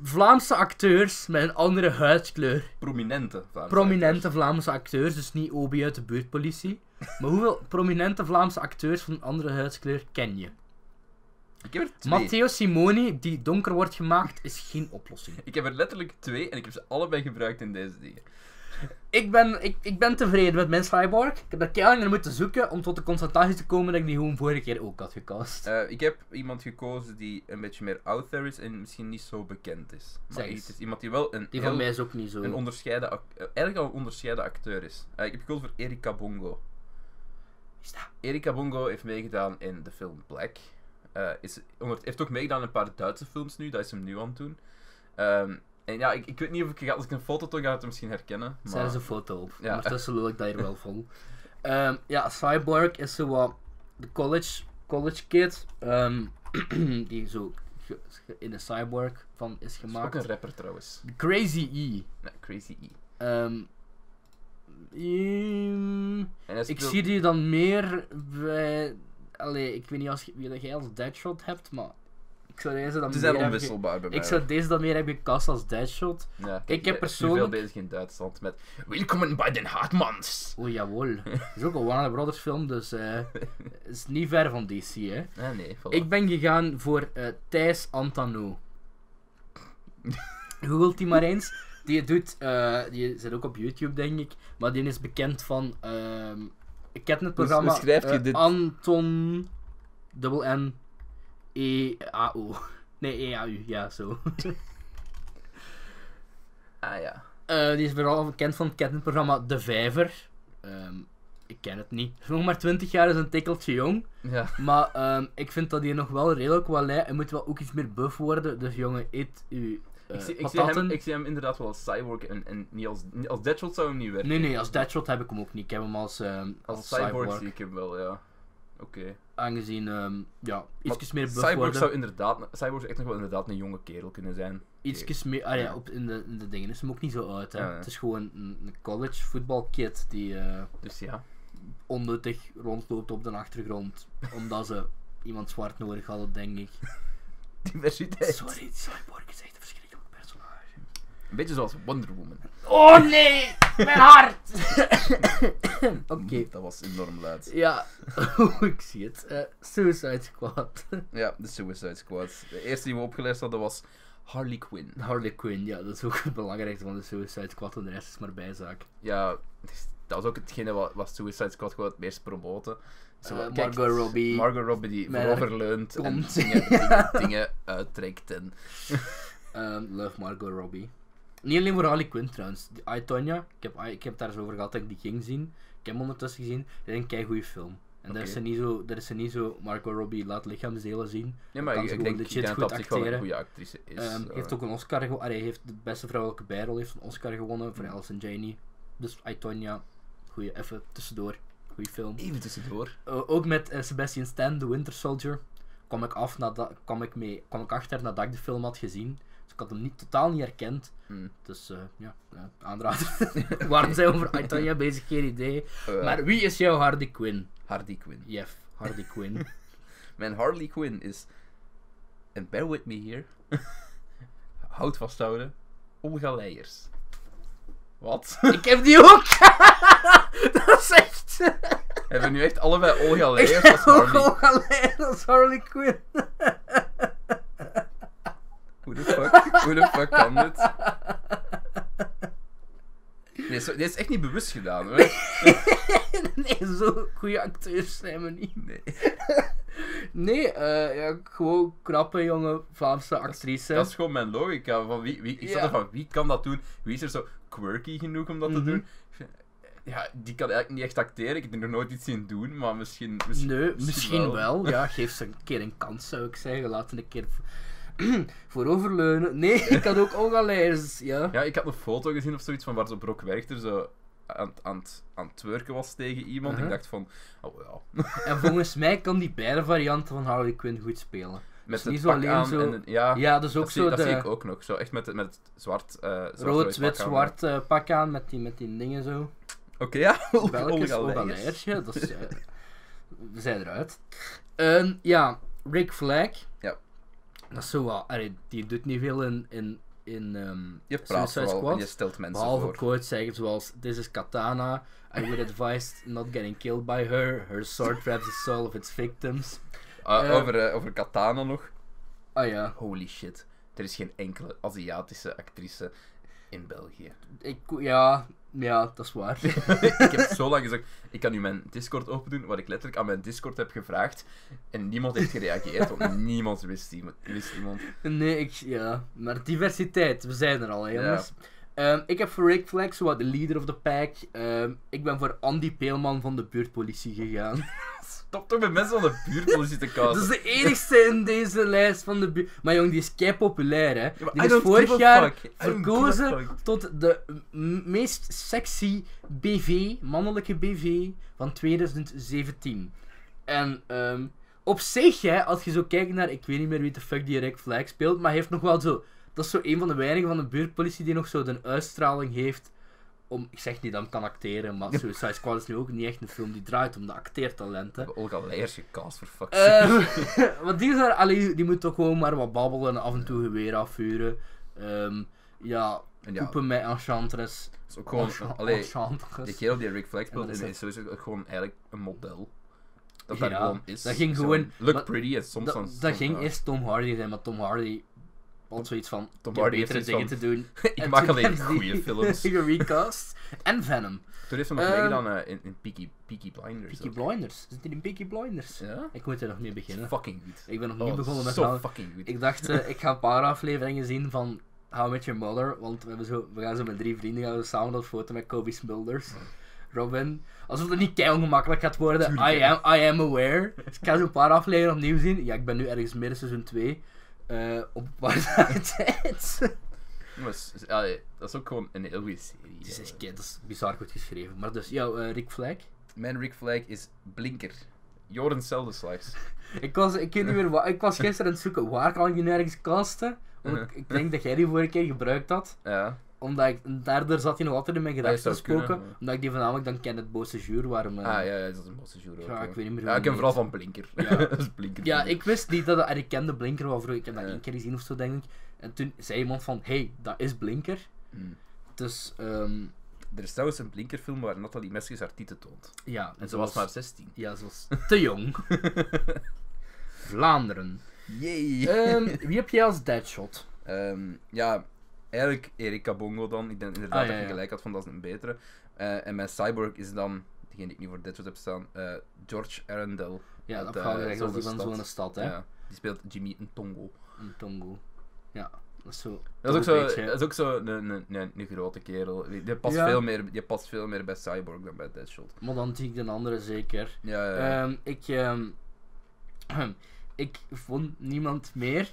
[SPEAKER 2] Vlaamse acteurs met een andere huidskleur,
[SPEAKER 1] Prominente. Vlaamse
[SPEAKER 2] prominente Vlaamse acteurs, dus niet OB uit de buurtpolitie, maar hoeveel prominente Vlaamse acteurs van een andere huidskleur ken je?
[SPEAKER 1] acteurs. Ik heb er twee.
[SPEAKER 2] Matteo Simoni, die donker wordt gemaakt, is geen oplossing.
[SPEAKER 1] Ik heb er letterlijk twee en ik heb ze allebei gebruikt in deze dingen.
[SPEAKER 2] ik ben, ik, ik ben tevreden met mijn cyborg. Ik heb er keihard naar moeten zoeken om tot de constatatie te komen dat ik die gewoon vorige keer ook had gecast.
[SPEAKER 1] Eh, ik heb iemand gekozen die een beetje meer out there is en misschien niet zo bekend is. Maar
[SPEAKER 2] Zeg eens.
[SPEAKER 1] het is iemand die wel een
[SPEAKER 2] die
[SPEAKER 1] heel
[SPEAKER 2] van mij is ook niet zo.
[SPEAKER 1] een onderscheiden, ac- eh, eigenlijk al een onderscheiden acteur is. Eh, ik heb gekozen voor Erika Bongo.
[SPEAKER 2] Is dat?
[SPEAKER 1] Erika Bongo heeft meegedaan in de film Black. Eh, is, onder- heeft ook meegedaan in een paar Duitse films nu, dat is hem nu aan het doen. Ehm, en ja, ik, ik weet niet of ik, als ik een foto toon, ga ik het misschien herkennen. Maar...
[SPEAKER 2] Zet eens een foto op.
[SPEAKER 1] Ja.
[SPEAKER 2] Ondertussen lul ik dat hier wel vol. Ehm, ja, cyborg is zo wat de college, college kid ehm, die zo ge- ge- in de cyborg van is
[SPEAKER 1] Is ook
[SPEAKER 2] gemaakt.
[SPEAKER 1] een rapper trouwens.
[SPEAKER 2] Crazy E.
[SPEAKER 1] Nee, Crazy E.
[SPEAKER 2] Ehm, ehm,
[SPEAKER 1] En hij
[SPEAKER 2] Ik
[SPEAKER 1] speelt-
[SPEAKER 2] zie die dan meer bij. Allee, ik weet niet als, je- wie dat jij als Deadshot hebt, maar. Ik zou deze dan
[SPEAKER 1] Ze
[SPEAKER 2] meer
[SPEAKER 1] zijn
[SPEAKER 2] hebben
[SPEAKER 1] onwisselbaar bij
[SPEAKER 2] ge-
[SPEAKER 1] mij.
[SPEAKER 2] Ik zou deze dan meer hebben gekast als Deadshot.
[SPEAKER 1] Ja, kijk,
[SPEAKER 2] heb
[SPEAKER 1] ben nu
[SPEAKER 2] persoonlijk-
[SPEAKER 1] veel bezig in Duitsland met... Welkom bij den Hartmans!
[SPEAKER 2] Oh jawel. Het is ook een Warner Brothers film, dus. eh, het is niet ver van DC, hè.
[SPEAKER 1] Ah nee, voilà.
[SPEAKER 2] Ik ben gegaan voor eh, Thijs Antanou. Googelt die maar eens. Die doet, eh, die zit ook op YouTube denk ik, maar die is bekend van, ehm ik ken het programma.
[SPEAKER 1] hoe schrijf je
[SPEAKER 2] eh,
[SPEAKER 1] dit?
[SPEAKER 2] Anton, dubbel N, E, A, O. Nee, E, A, U, ja zo.
[SPEAKER 1] Ah ja. Ah,
[SPEAKER 2] Eh, die is vooral bekend van het kettingprogramma De Vijver. Ehm, ik ken het niet. Hij is nog maar 20 jaar is een tikkeltje jong.
[SPEAKER 1] Ja.
[SPEAKER 2] Maar ehm, ik vind dat hij nog wel redelijk wat lijkt. Hij moet wel ook iets meer buff worden. Dus jongen, eet u. eh,
[SPEAKER 1] Ik zie, ik, zie
[SPEAKER 2] patatten.
[SPEAKER 1] hem, ik zie hem inderdaad wel als cyborg en, en niet als, niet- als Deadshot zou hem niet werken.
[SPEAKER 2] Nee, nee, als Deadshot heb ik hem ook niet. Ik heb hem als, ehm,
[SPEAKER 1] Als,
[SPEAKER 2] als
[SPEAKER 1] cyborg,
[SPEAKER 2] cyborg.
[SPEAKER 1] zie ik hem wel, ja. Oké.
[SPEAKER 2] Aangezien, ehm, ja, iets meer buff
[SPEAKER 1] Cyborg
[SPEAKER 2] worden.
[SPEAKER 1] zou inderdaad, Cyborg zou echt nog wel inderdaad een jonge kerel kunnen zijn.
[SPEAKER 2] Iets meer. Ah ja,
[SPEAKER 1] Ja.
[SPEAKER 2] op, in, de, in de dingen is hem ook niet zo uit. Hè.
[SPEAKER 1] Ja, ja.
[SPEAKER 2] Het is gewoon een, een college voetbalkid die eh,
[SPEAKER 1] Dus ja.
[SPEAKER 2] onnuttig rondloopt op de achtergrond. Omdat ze iemand zwart nodig hadden, denk ik.
[SPEAKER 1] Diversiteit.
[SPEAKER 2] Sorry, Cyborg is echt een verschrikkelijk personage.
[SPEAKER 1] Een beetje zoals Wonder Woman.
[SPEAKER 2] Oh nee, mijn hart! Oké.
[SPEAKER 1] Mm,
[SPEAKER 2] Eh,
[SPEAKER 1] Dat was enorm luid.
[SPEAKER 2] Ja, oh, ik zie het. Eh, Suicide Squad.
[SPEAKER 1] Ja, de Suicide Squad. De eerste die we opgeleid hadden was Harley Quinn.
[SPEAKER 2] Harley Quinn, ja, dat is ook het belangrijkste van de Suicide Squad, en de rest is maar bijzaak.
[SPEAKER 1] Ja, dat was ook hetgene wat, wat Suicide Squad gewoon het meest promoten. Zo,
[SPEAKER 2] Eh,
[SPEAKER 1] kijk,
[SPEAKER 2] Margot Robbie.
[SPEAKER 1] Margot Robbie die
[SPEAKER 2] Met
[SPEAKER 1] voorover leunt en
[SPEAKER 2] kont.
[SPEAKER 1] dingen, dingen, dingen uittrekt. En,
[SPEAKER 2] Ehm, love Margot Robbie. Niet alleen voor Harley Quinn trouwens. Die I, Tonya, ik heb, I- ik heb daar eens over gehad dat ik die ging zien. Ik heb hem ondertussen gezien. Het is een kei goede film. En daar, is
[SPEAKER 1] Oké.
[SPEAKER 2] ze niet zo, daar is ze niet zo Margot Robbie laat lichaamsdelen zien.
[SPEAKER 1] ja, maar
[SPEAKER 2] Kan
[SPEAKER 1] ik,
[SPEAKER 2] ze
[SPEAKER 1] ik
[SPEAKER 2] gewoon
[SPEAKER 1] denk
[SPEAKER 2] legit
[SPEAKER 1] ik denk
[SPEAKER 2] goed
[SPEAKER 1] dat ze gewoon een
[SPEAKER 2] acteren.
[SPEAKER 1] goede actrice is.
[SPEAKER 2] Ehm,
[SPEAKER 1] eh.
[SPEAKER 2] heeft ook een Oscar gewonnen. Hij heeft de beste vrouwelijke bijrol heeft een Oscar gewonnen voor Alice en Janie. Dus I, Tonya, goeie, even tussendoor. Goeie film.
[SPEAKER 1] Even tussendoor.
[SPEAKER 2] Eh, ook met eh, Sebastian Stan, The Winter Soldier, kwam ik, af nadat, kwam, ik mee, kwam ik achter nadat ik de film had gezien. Dus ik had hem niet, totaal niet herkend.
[SPEAKER 1] Hm.
[SPEAKER 2] Dus eh, ja, eh, aanrader. Waarom zijn we over Aitanya bezig? Geen idee.
[SPEAKER 1] Eh,
[SPEAKER 2] Maar wie is jouw Hardy Quinn?
[SPEAKER 1] Harley Quinn.
[SPEAKER 2] Jeff, Hardy Quinn.
[SPEAKER 1] Mijn Harley Quinn is. En bear with me here. Hout vasthouden. Olga Leijers. Wat?
[SPEAKER 2] ik heb die ook! dat is echt...
[SPEAKER 1] Hebben we nu echt allebei Olga
[SPEAKER 2] Ik
[SPEAKER 1] Leijers als
[SPEAKER 2] heb ook
[SPEAKER 1] Harley?
[SPEAKER 2] al alleen als Harley Quinn.
[SPEAKER 1] Hoe de fuck, hoe de fuck kan dit? Dit is, dit is echt niet bewust gedaan hoor.
[SPEAKER 2] nee, zo goede acteurs zijn we niet.
[SPEAKER 1] Nee.
[SPEAKER 2] Nee, eh, ja, gewoon knappe jonge Vlaamse actrice.
[SPEAKER 1] Dat is gewoon mijn logica. Van wie, wie, ik zat
[SPEAKER 2] Ja.
[SPEAKER 1] er van wie kan dat doen? Wie is er zo quirky genoeg om dat
[SPEAKER 2] Mhm.
[SPEAKER 1] te doen? Ja, die kan eigenlijk niet echt acteren. Ik heb er nog nooit iets in doen, maar misschien. dus misschien
[SPEAKER 2] Nee, misschien
[SPEAKER 1] wel.
[SPEAKER 2] wel. Ja, geef ze een keer een kans, zou ik zeggen. Laat ze een keer v- vooroverleunen. Nee, ik had ook Olga Leijers, ja.
[SPEAKER 1] Ja, ik had een foto gezien of zoiets van waar zo'n Brock Werchter zo aan, het- aan, het- aan het twerken was tegen iemand.
[SPEAKER 2] Mhm.
[SPEAKER 1] Ik dacht van, oh ja.
[SPEAKER 2] En volgens mij kan die beide varianten van Harley Quinn goed spelen.
[SPEAKER 1] Met
[SPEAKER 2] niet
[SPEAKER 1] het
[SPEAKER 2] zo
[SPEAKER 1] pak
[SPEAKER 2] alleen
[SPEAKER 1] aan
[SPEAKER 2] zo-
[SPEAKER 1] en het- ja,
[SPEAKER 2] Ja, dus ook
[SPEAKER 1] dat, zie,
[SPEAKER 2] zo
[SPEAKER 1] dat
[SPEAKER 2] de
[SPEAKER 1] zie ik ook nog. Zo echt met, het- met het zwart, eh zwart
[SPEAKER 2] rood, wit,
[SPEAKER 1] pak aan.
[SPEAKER 2] zwart eh, pak aan met die, met die dingen zo.
[SPEAKER 1] Oké, ja.
[SPEAKER 2] Belgisch
[SPEAKER 1] Olga
[SPEAKER 2] Olga
[SPEAKER 1] Leijers.
[SPEAKER 2] Leijers, ja, dat is... eh, we zijn eruit. Ehm, ja, Rick Flag.
[SPEAKER 1] Ja.
[SPEAKER 2] Dat is zo wat... allee, die doet niet veel in... in, in ehm,
[SPEAKER 1] Je praat
[SPEAKER 2] Suicide
[SPEAKER 1] vooral en
[SPEAKER 2] Squad.
[SPEAKER 1] je stelt mensen
[SPEAKER 2] Behalve
[SPEAKER 1] voor.
[SPEAKER 2] quotes zeggen zoals This is Katana, I would advise not getting killed by her, her sword traps the soul of its victims.
[SPEAKER 1] Ah,
[SPEAKER 2] Eh,
[SPEAKER 1] over, eh, over Katana nog.
[SPEAKER 2] Ah ja,
[SPEAKER 1] Holy shit. Er is geen enkele Aziatische actrice in België.
[SPEAKER 2] ik, ja, ja, dat is waar.
[SPEAKER 1] ik heb zo lang gezegd, ik kan nu mijn Discord open doen, wat ik letterlijk aan mijn Discord heb gevraagd. En niemand heeft gereageerd, want niemand wist iemand. Wist iemand.
[SPEAKER 2] nee, ik, ja, maar diversiteit, we zijn er al, hè, jongens. Ehm, ik heb voor Rick Flex, wat de leader of the pack, ehm, ik ben voor Andy Peelman van de buurtpolitie gegaan.
[SPEAKER 1] Stop toch met mensen van de buurtpolitie te
[SPEAKER 2] Dat is
[SPEAKER 1] kasten.
[SPEAKER 2] de enigste in deze lijst van de buurt. Maar jong, die is kei populair, hè.
[SPEAKER 1] maar
[SPEAKER 2] die
[SPEAKER 1] I
[SPEAKER 2] is
[SPEAKER 1] don't
[SPEAKER 2] vorig
[SPEAKER 1] give a
[SPEAKER 2] jaar
[SPEAKER 1] fuck. I don't give a
[SPEAKER 2] verkozen
[SPEAKER 1] fuck.
[SPEAKER 2] tot de m- meest sexy BV, mannelijke BV, van 2017. En ehm, op zich, hè, als je zo kijkt naar, ik weet niet meer wie de fuck die Rick Flag speelt, maar hij heeft nog wel zo... Dat is zo een van de weinigen van de buurtpolitie die nog zo de uitstraling heeft om... Ik zeg niet dat hij kan acteren, maar Suicide Squad is nu ook niet echt een film die draait om de acteertalenten.
[SPEAKER 1] We hebben Olga Leijers gecast, voor fuck's sake.
[SPEAKER 2] Ehm, Want die, is daar, allee, die moet toch gewoon maar wat babbelen en af en toe geweer afvuren. Ehm, ja,
[SPEAKER 1] En ja,
[SPEAKER 2] poepen met enchantress.
[SPEAKER 1] dat is ook gewoon...
[SPEAKER 2] Enchant-
[SPEAKER 1] Allee,
[SPEAKER 2] enchantress.
[SPEAKER 1] de kerel die Rick Flag
[SPEAKER 2] En
[SPEAKER 1] speelt
[SPEAKER 2] dat
[SPEAKER 1] oh. is,
[SPEAKER 2] is
[SPEAKER 1] is sowieso ook gewoon eigenlijk een model. Dat daar
[SPEAKER 2] Ja,
[SPEAKER 1] gewoon is.
[SPEAKER 2] dat ging
[SPEAKER 1] Zo,
[SPEAKER 2] gewoon-
[SPEAKER 1] Look
[SPEAKER 2] maar
[SPEAKER 1] pretty en soms...
[SPEAKER 2] Dat,
[SPEAKER 1] dan-
[SPEAKER 2] dat
[SPEAKER 1] soms-
[SPEAKER 2] ging
[SPEAKER 1] ja.
[SPEAKER 2] eerst Tom Hardy zijn, maar Tom Hardy had zoiets van...
[SPEAKER 1] Tom
[SPEAKER 2] "Ik heb
[SPEAKER 1] Hardy heeft
[SPEAKER 2] betere dingen
[SPEAKER 1] zoiets
[SPEAKER 2] te doen.
[SPEAKER 1] Ik maak alleen goede
[SPEAKER 2] goede
[SPEAKER 1] films.
[SPEAKER 2] gerecast. En Venom.
[SPEAKER 1] Toen heeft hij nog
[SPEAKER 2] Ehm,
[SPEAKER 1] meegedaan eh, in, in Peaky, Peaky Blinders.
[SPEAKER 2] Peaky
[SPEAKER 1] ook.
[SPEAKER 2] Blinders. Zit hij in Peaky Blinders?
[SPEAKER 1] Ja?
[SPEAKER 2] Ik moet er nog mee beginnen.
[SPEAKER 1] Fucking goed.
[SPEAKER 2] Ik ben nog
[SPEAKER 1] Oh,
[SPEAKER 2] niet begonnen met
[SPEAKER 1] zo
[SPEAKER 2] Venom.
[SPEAKER 1] fucking goed.
[SPEAKER 2] Ik dacht, eh, ik ga een paar afleveringen zien van How I Met Your Mother, want we, hebben zo, we gaan zo met drie vrienden gaan we samen dat foto met Kobe Smulders. Robin. Alsof het niet keihard gemakkelijk gaat worden.
[SPEAKER 1] Tuurlijk,
[SPEAKER 2] I
[SPEAKER 1] hè.
[SPEAKER 2] am, I am aware. Dus ik ga zo'n paar afleveringen opnieuw zien. Ja, ik ben nu ergens midden seizoen 2. eh op een paar dagen tijd.
[SPEAKER 1] Maar s- s- allee, dat is ook gewoon een heel goede serie.
[SPEAKER 2] Het is echt
[SPEAKER 1] eigenlijk.
[SPEAKER 2] kei- dat is bizar goed geschreven. Maar dus, ja, eh, Rick Flag.
[SPEAKER 1] Mijn Rick Flag is blinker. Joren Seldenslags.
[SPEAKER 2] Ik was, ik, weet niet meer waar, ik was gisteren aan het zoeken waar kan ik die nergens casten. Want ik, ik denk dat jij die vorige keer gebruikt had.
[SPEAKER 1] Ja.
[SPEAKER 2] Omdat ik, daardoor zat hij nog altijd in mijn
[SPEAKER 1] Ah, je
[SPEAKER 2] gedachten
[SPEAKER 1] zou
[SPEAKER 2] te spoken.
[SPEAKER 1] kunnen, ja.
[SPEAKER 2] Omdat ik die voornamelijk dan ken het boze juur waarom... eh,
[SPEAKER 1] Ah ja, ja, dat is een bosse jury.
[SPEAKER 2] Ja, ik weet niet meer
[SPEAKER 1] Ja,
[SPEAKER 2] hoe
[SPEAKER 1] ik ken
[SPEAKER 2] die
[SPEAKER 1] vooral van Blinker.
[SPEAKER 2] Ja.
[SPEAKER 1] dat is Blinker.
[SPEAKER 2] Ja, ik wist niet dat en ik kende Blinker wel vroeger. Ik heb dat
[SPEAKER 1] Ja.
[SPEAKER 2] één keer gezien of zo, denk ik. En toen zei iemand van, hey, dat is Blinker.
[SPEAKER 1] Hmm.
[SPEAKER 2] Dus, ehm,
[SPEAKER 1] Er is trouwens een Blinkerfilm waar Nathalie Meskes haar tieten toont.
[SPEAKER 2] ja.
[SPEAKER 1] En ze was maar 16.
[SPEAKER 2] Ja, ze was te jong. Vlaanderen.
[SPEAKER 1] Jee!
[SPEAKER 2] Ehm, wie heb jij als deadshot?
[SPEAKER 1] Ehm, ja, eigenlijk Erika Bongo dan. Ik denk inderdaad
[SPEAKER 2] Ah, ja,
[SPEAKER 1] dat je
[SPEAKER 2] ja.
[SPEAKER 1] gelijk had van dat is een betere. Eh, en mijn cyborg is dan, degene die ik nu voor Deadwood heb staan, eh, George Arundel.
[SPEAKER 2] Ja,
[SPEAKER 1] Uit,
[SPEAKER 2] dat
[SPEAKER 1] eh,
[SPEAKER 2] gaat echt als die van
[SPEAKER 1] Zonderstad.
[SPEAKER 2] zo'n stad, hè.
[SPEAKER 1] Ja, die speelt Jimmy Ntongo.
[SPEAKER 2] Een Tongo. Ja, dat is zo...
[SPEAKER 1] Dat is ook
[SPEAKER 2] toch
[SPEAKER 1] zo,
[SPEAKER 2] een beetje-
[SPEAKER 1] dat is ook zo een, een, een, een grote kerel. Die die past,
[SPEAKER 2] Ja.
[SPEAKER 1] veel meer, die past veel meer bij Cyborg dan bij Deadshot.
[SPEAKER 2] Maar dan zie ik de andere zeker.
[SPEAKER 1] Ja, ja, ja.
[SPEAKER 2] Ehm, ik, ehm, ik vond niemand meer.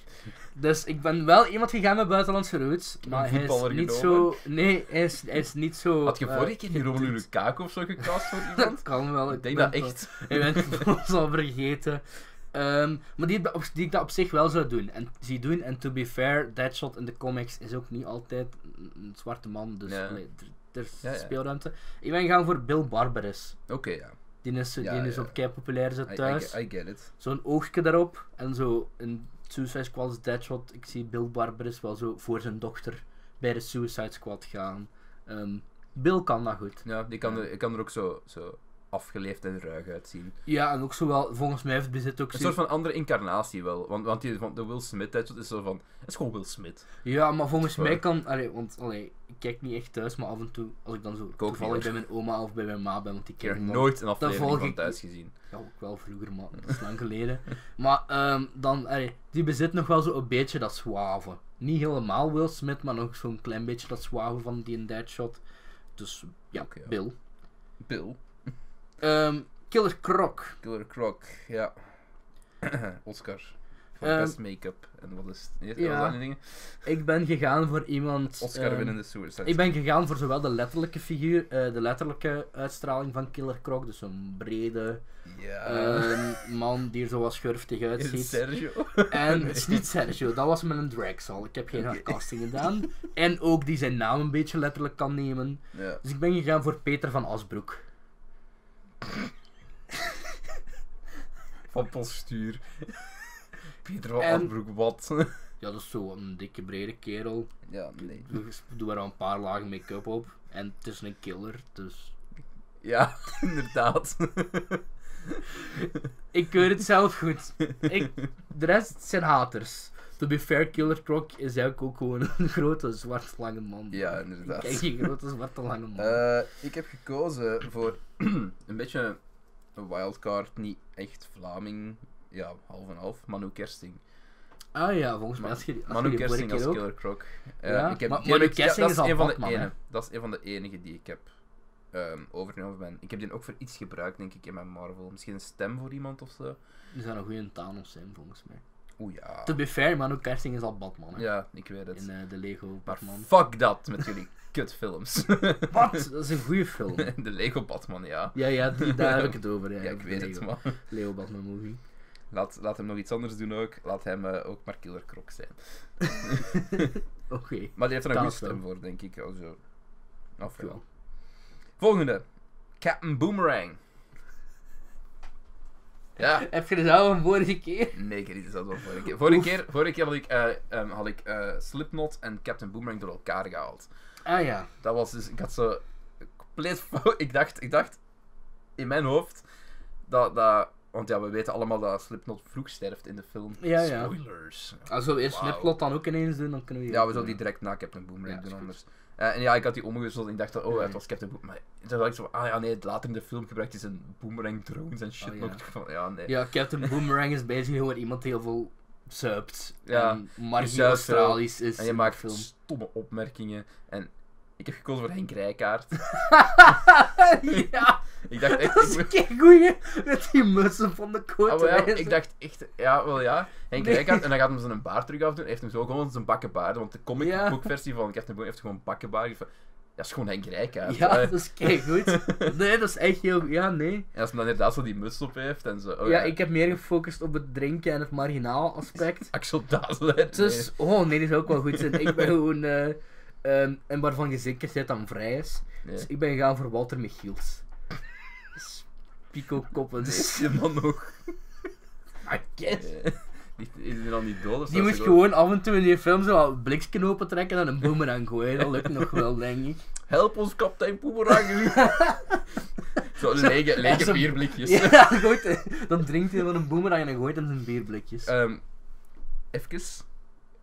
[SPEAKER 2] Dus ik ben wel iemand gegaan met buitenlandse roots. Maar hij is
[SPEAKER 1] voetballer
[SPEAKER 2] niet
[SPEAKER 1] genomen.
[SPEAKER 2] zo. Nee, hij is, hij is niet zo.
[SPEAKER 1] Had je
[SPEAKER 2] eh,
[SPEAKER 1] vorige keer die Romelu Lukaku of zo gecast voor iemand?
[SPEAKER 2] dat kan wel.
[SPEAKER 1] Ik denk
[SPEAKER 2] ben
[SPEAKER 1] dat echt.
[SPEAKER 2] het- Ik ben het ons al vergeten. Ehm, maar die, die ik dat op zich wel zou doen. En zie doen. En to be fair, Deadshot in de comics is ook niet altijd een, een zwarte man. Dus
[SPEAKER 1] Ja.
[SPEAKER 2] allee, er- er is
[SPEAKER 1] Ja, ja.
[SPEAKER 2] speelruimte. Ik ben gaan voor Bill Barberis.
[SPEAKER 1] Oké, ja.
[SPEAKER 2] Die is,
[SPEAKER 1] Ja,
[SPEAKER 2] die is
[SPEAKER 1] ja.
[SPEAKER 2] ook kei populair zo
[SPEAKER 1] I- I,
[SPEAKER 2] thuis.
[SPEAKER 1] I get it.
[SPEAKER 2] zo'n oogje daarop en zo een Suicide Squad is Deadshot. Ik zie Bill Barberis wel zo voor zijn dochter bij de Suicide Squad gaan. Ehm, Bill kan dat goed.
[SPEAKER 1] Ja, die kan, Er, kan er ook zo, zo afgeleefd en ruig uitzien.
[SPEAKER 2] Ja, en ook zo wel, volgens mij heeft bezit ook
[SPEAKER 1] Een
[SPEAKER 2] zo...
[SPEAKER 1] soort van andere incarnatie wel. Want, want die, van de Will Smith Deadshot is zo van. Het is gewoon Will Smith.
[SPEAKER 2] Ja, maar volgens
[SPEAKER 1] Waar.
[SPEAKER 2] mij kan... Allee, want allee, ik kijk niet echt thuis, maar af en toe, als ik dan zo
[SPEAKER 1] ook niet,
[SPEAKER 2] toevallig bij
[SPEAKER 1] hoor.
[SPEAKER 2] mijn oma of bij mijn ma ben, want die
[SPEAKER 1] Ik heb
[SPEAKER 2] kijken
[SPEAKER 1] nog
[SPEAKER 2] dan-
[SPEAKER 1] nooit een aflevering
[SPEAKER 2] volg
[SPEAKER 1] van
[SPEAKER 2] ik
[SPEAKER 1] thuis gezien.
[SPEAKER 2] Ja, ook wel vroeger, maar dat is lang geleden. Maar ehm, dan, allee, die bezit nog wel zo'n beetje dat zwaven. Niet helemaal Will Smith, maar nog zo'n klein beetje dat zwaven van die en Deadshot. Dus ja,
[SPEAKER 1] Oké, ja.
[SPEAKER 2] Bill.
[SPEAKER 1] Bill.
[SPEAKER 2] Ehm, Killer Croc.
[SPEAKER 1] Killer Croc. Ja. Oscar. Voor
[SPEAKER 2] Ehm,
[SPEAKER 1] best make-up. En wat is. Ja.
[SPEAKER 2] ja.
[SPEAKER 1] dat die dingen?
[SPEAKER 2] Ik ben gegaan voor iemand...
[SPEAKER 1] Oscar
[SPEAKER 2] ehm,
[SPEAKER 1] winnende Suicide
[SPEAKER 2] Ik ben gegaan voor zowel de letterlijke figuur, eh, de letterlijke uitstraling van Killer Croc. Dus een brede
[SPEAKER 1] Squad. Ja. Eh,
[SPEAKER 2] ehm, man die er zo wat schurftig
[SPEAKER 1] is het
[SPEAKER 2] uitziet.
[SPEAKER 1] Sergio?
[SPEAKER 2] En het is niet Sergio, dat was met een Drexel. Ik heb geen casting gedaan. En ook die zijn naam een beetje letterlijk kan nemen.
[SPEAKER 1] ja.
[SPEAKER 2] Dus ik ben gegaan voor Peter van Asbroek.
[SPEAKER 1] Van postuur. Peter van
[SPEAKER 2] En-
[SPEAKER 1] Afbroek, wat?
[SPEAKER 2] Ja, dat is zo een dikke brede kerel.
[SPEAKER 1] ja, nee.
[SPEAKER 2] Doe, doe er al een paar lagen make-up op. En het is een killer, dus...
[SPEAKER 1] Ja, inderdaad.
[SPEAKER 2] Ik keur het zelf goed. Ik, de rest zijn haters. To be fair, Killer Croc is eigenlijk ook gewoon een grote zwart lange man.
[SPEAKER 1] ja,
[SPEAKER 2] Ik
[SPEAKER 1] inderdaad.
[SPEAKER 2] kijk geen grote zwarte lange man.
[SPEAKER 1] Eh, ik heb gekozen voor een beetje een wildcard, niet echt Vlaming. Ja, half en half. Manu Kersting.
[SPEAKER 2] ah ja, volgens mij
[SPEAKER 1] Ma-
[SPEAKER 2] als je, als je
[SPEAKER 1] Manu
[SPEAKER 2] die vorige
[SPEAKER 1] Kersting als
[SPEAKER 2] keer ook...
[SPEAKER 1] Killer Croc. Eh,
[SPEAKER 2] Ja,
[SPEAKER 1] ik heb,
[SPEAKER 2] maar
[SPEAKER 1] die heb
[SPEAKER 2] Manu
[SPEAKER 1] ik-
[SPEAKER 2] Kersting
[SPEAKER 1] dat
[SPEAKER 2] is al
[SPEAKER 1] een van de
[SPEAKER 2] Batman, hè?
[SPEAKER 1] ene- Dat is een van de enige die ik heb ehm, overgenomen ben. Ik heb die ook voor iets gebruikt, denk ik, in mijn Marvel. Misschien een stem voor iemand of zo.
[SPEAKER 2] Die zijn een goede Thanos zijn, volgens mij.
[SPEAKER 1] Oeh ja.
[SPEAKER 2] To be fair, Manu Kersting is al Batman. hè.
[SPEAKER 1] Ja, ik weet het.
[SPEAKER 2] In eh, de Lego
[SPEAKER 1] Maar
[SPEAKER 2] Batman.
[SPEAKER 1] fuck dat met jullie kutfilms.
[SPEAKER 2] Wat? Dat is een goede film.
[SPEAKER 1] de Lego Batman, ja.
[SPEAKER 2] Ja, ja, die, daar heb ik het over. Ja,
[SPEAKER 1] Ja, ik
[SPEAKER 2] over
[SPEAKER 1] weet
[SPEAKER 2] de
[SPEAKER 1] het,
[SPEAKER 2] Lego,
[SPEAKER 1] man.
[SPEAKER 2] Lego Batman movie.
[SPEAKER 1] Laat, laat hem nog iets anders doen ook. Laat hem eh, ook maar Killer Croc zijn.
[SPEAKER 2] Oké,
[SPEAKER 1] Maar die heeft er een goede
[SPEAKER 2] Dat wel.
[SPEAKER 1] stem voor, denk ik. Oh, zo. Of ja.
[SPEAKER 2] cool.
[SPEAKER 1] Volgende. Captain Boomerang. Ja.
[SPEAKER 2] Heb je het al een vorige keer?
[SPEAKER 1] Nee, dit is dat wel vorige keer. Vorige keer, vorige keer had ik, eh, ehm, had ik eh, Slipknot en Captain Boomerang door elkaar gehaald.
[SPEAKER 2] Ah ja.
[SPEAKER 1] Dat was dus... Ik had zo... Compleet fout. Ik dacht... Ik dacht in mijn hoofd... Dat... dat want ja, we weten allemaal dat Slipknot vroeg sterft in de film.
[SPEAKER 2] Ja, ja.
[SPEAKER 1] Spoilers.
[SPEAKER 2] Als we Ah, eerst
[SPEAKER 1] Wauw.
[SPEAKER 2] Slipknot dan ook ineens doen, dan kunnen we
[SPEAKER 1] Ja, we zullen
[SPEAKER 2] ook,
[SPEAKER 1] die
[SPEAKER 2] eh,
[SPEAKER 1] direct na Captain Boomerang
[SPEAKER 2] Ja,
[SPEAKER 1] doen
[SPEAKER 2] is goed.
[SPEAKER 1] anders. Eh, en ja, ik had die omgewisseld en ik dacht, dat, oh, het
[SPEAKER 2] Nee.
[SPEAKER 1] was Captain Boomerang. Maar toen dacht ik zo, ah ja, nee, later in de film gebruikt hij zijn boomerang drones en shit
[SPEAKER 2] Oh, ja.
[SPEAKER 1] nog. Van, ja, nee.
[SPEAKER 2] Ja, Captain Boomerang is bezig gewoon iemand die heel veel suipt.
[SPEAKER 1] Ja,
[SPEAKER 2] En Margie
[SPEAKER 1] die zuipt
[SPEAKER 2] Australisch is
[SPEAKER 1] En je
[SPEAKER 2] in
[SPEAKER 1] maakt
[SPEAKER 2] de film.
[SPEAKER 1] stomme opmerkingen. En Ik heb gekozen voor Henk Rijkaard.
[SPEAKER 2] ja,
[SPEAKER 1] Ik dacht echt...
[SPEAKER 2] dat is
[SPEAKER 1] ik moet-
[SPEAKER 2] een keigoeie. Met die mutsen van de quote.
[SPEAKER 1] Ah, wel ja, ik dacht echt, ja, wel ja. Henk
[SPEAKER 2] Nee.
[SPEAKER 1] Rijkaard, en dan gaat hem zijn baard terug afdoen. Hij heeft hem zo gewoon zijn bakkenbaard. Want de
[SPEAKER 2] Ja.
[SPEAKER 1] comicboekversie van Captain Boom heeft gewoon bakkenbaard. Ik dacht van, Dat is gewoon Henk Rijkaard.
[SPEAKER 2] Ja,
[SPEAKER 1] Eh,
[SPEAKER 2] dat is keigoed. Nee, dat is echt heel... Ja, nee.
[SPEAKER 1] En als hij dan inderdaad zo die muts op heeft en zo. Oh,
[SPEAKER 2] ja, ik heb meer gefocust op het drinken en het marginaal aspect.
[SPEAKER 1] Axel Dazelet.
[SPEAKER 2] Dus, oh nee, dat zou ook wel goed zijn. Ik ben gewoon, eh, ehm, en waarvan je zeker bent dat hij vrij is.
[SPEAKER 1] Nee.
[SPEAKER 2] Dus ik ben gegaan voor Walter Michiels. Dus Pico Koppens.
[SPEAKER 1] Is die man nog?
[SPEAKER 2] I guess.
[SPEAKER 1] Eh, die- Is die dan niet dood? Of
[SPEAKER 2] Ah, Die
[SPEAKER 1] zo?
[SPEAKER 2] moet
[SPEAKER 1] Zo
[SPEAKER 2] gewoon af en toe in die film zo wat bliksknopen trekken en een boemerang gooien. Dat lukt nog wel, denk ik.
[SPEAKER 1] Help ons, kapitein Poemerang. zo lege,
[SPEAKER 2] Ja,
[SPEAKER 1] lege
[SPEAKER 2] zo-
[SPEAKER 1] bierblikjes.
[SPEAKER 2] Ja, gooit, dan drinkt hij van een boemerang en dan gooit hem zijn bierblikjes.
[SPEAKER 1] Ehm, even.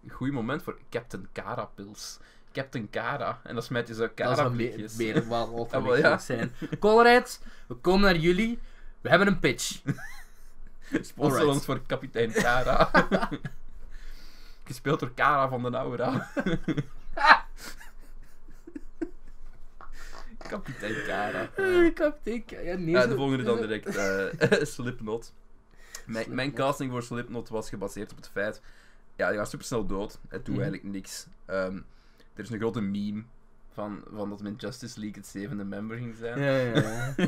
[SPEAKER 1] Een goed moment voor Captain Cara pils. Captain Cara. En dan smijt je zo
[SPEAKER 2] dat
[SPEAKER 1] Cara
[SPEAKER 2] zou meer,
[SPEAKER 1] blikjes.
[SPEAKER 2] meer wel Walter
[SPEAKER 1] Ah, wel,
[SPEAKER 2] Michiels
[SPEAKER 1] ja.
[SPEAKER 2] zijn. Colruyt, we komen naar jullie. We hebben een pitch.
[SPEAKER 1] Sponsor
[SPEAKER 2] Alright.
[SPEAKER 1] ons voor kapitein Cara. Gespeeld door Cara van den Aura. kapitein Cara.
[SPEAKER 2] Eh, Kapitein, Ka- ja, nee,
[SPEAKER 1] Ja,
[SPEAKER 2] zo-
[SPEAKER 1] de volgende dan
[SPEAKER 2] zo-
[SPEAKER 1] direct. eh, Slipknot. Mijn, mijn
[SPEAKER 2] Slipknot.
[SPEAKER 1] casting voor Slipknot was gebaseerd op het feit... Ja, die was supersnel dood. Het doet
[SPEAKER 2] Mhm.
[SPEAKER 1] eigenlijk niks. Ehm, er is een grote meme van, van dat men Justice League het zevende member ging zijn.
[SPEAKER 2] Ja, ja, ja.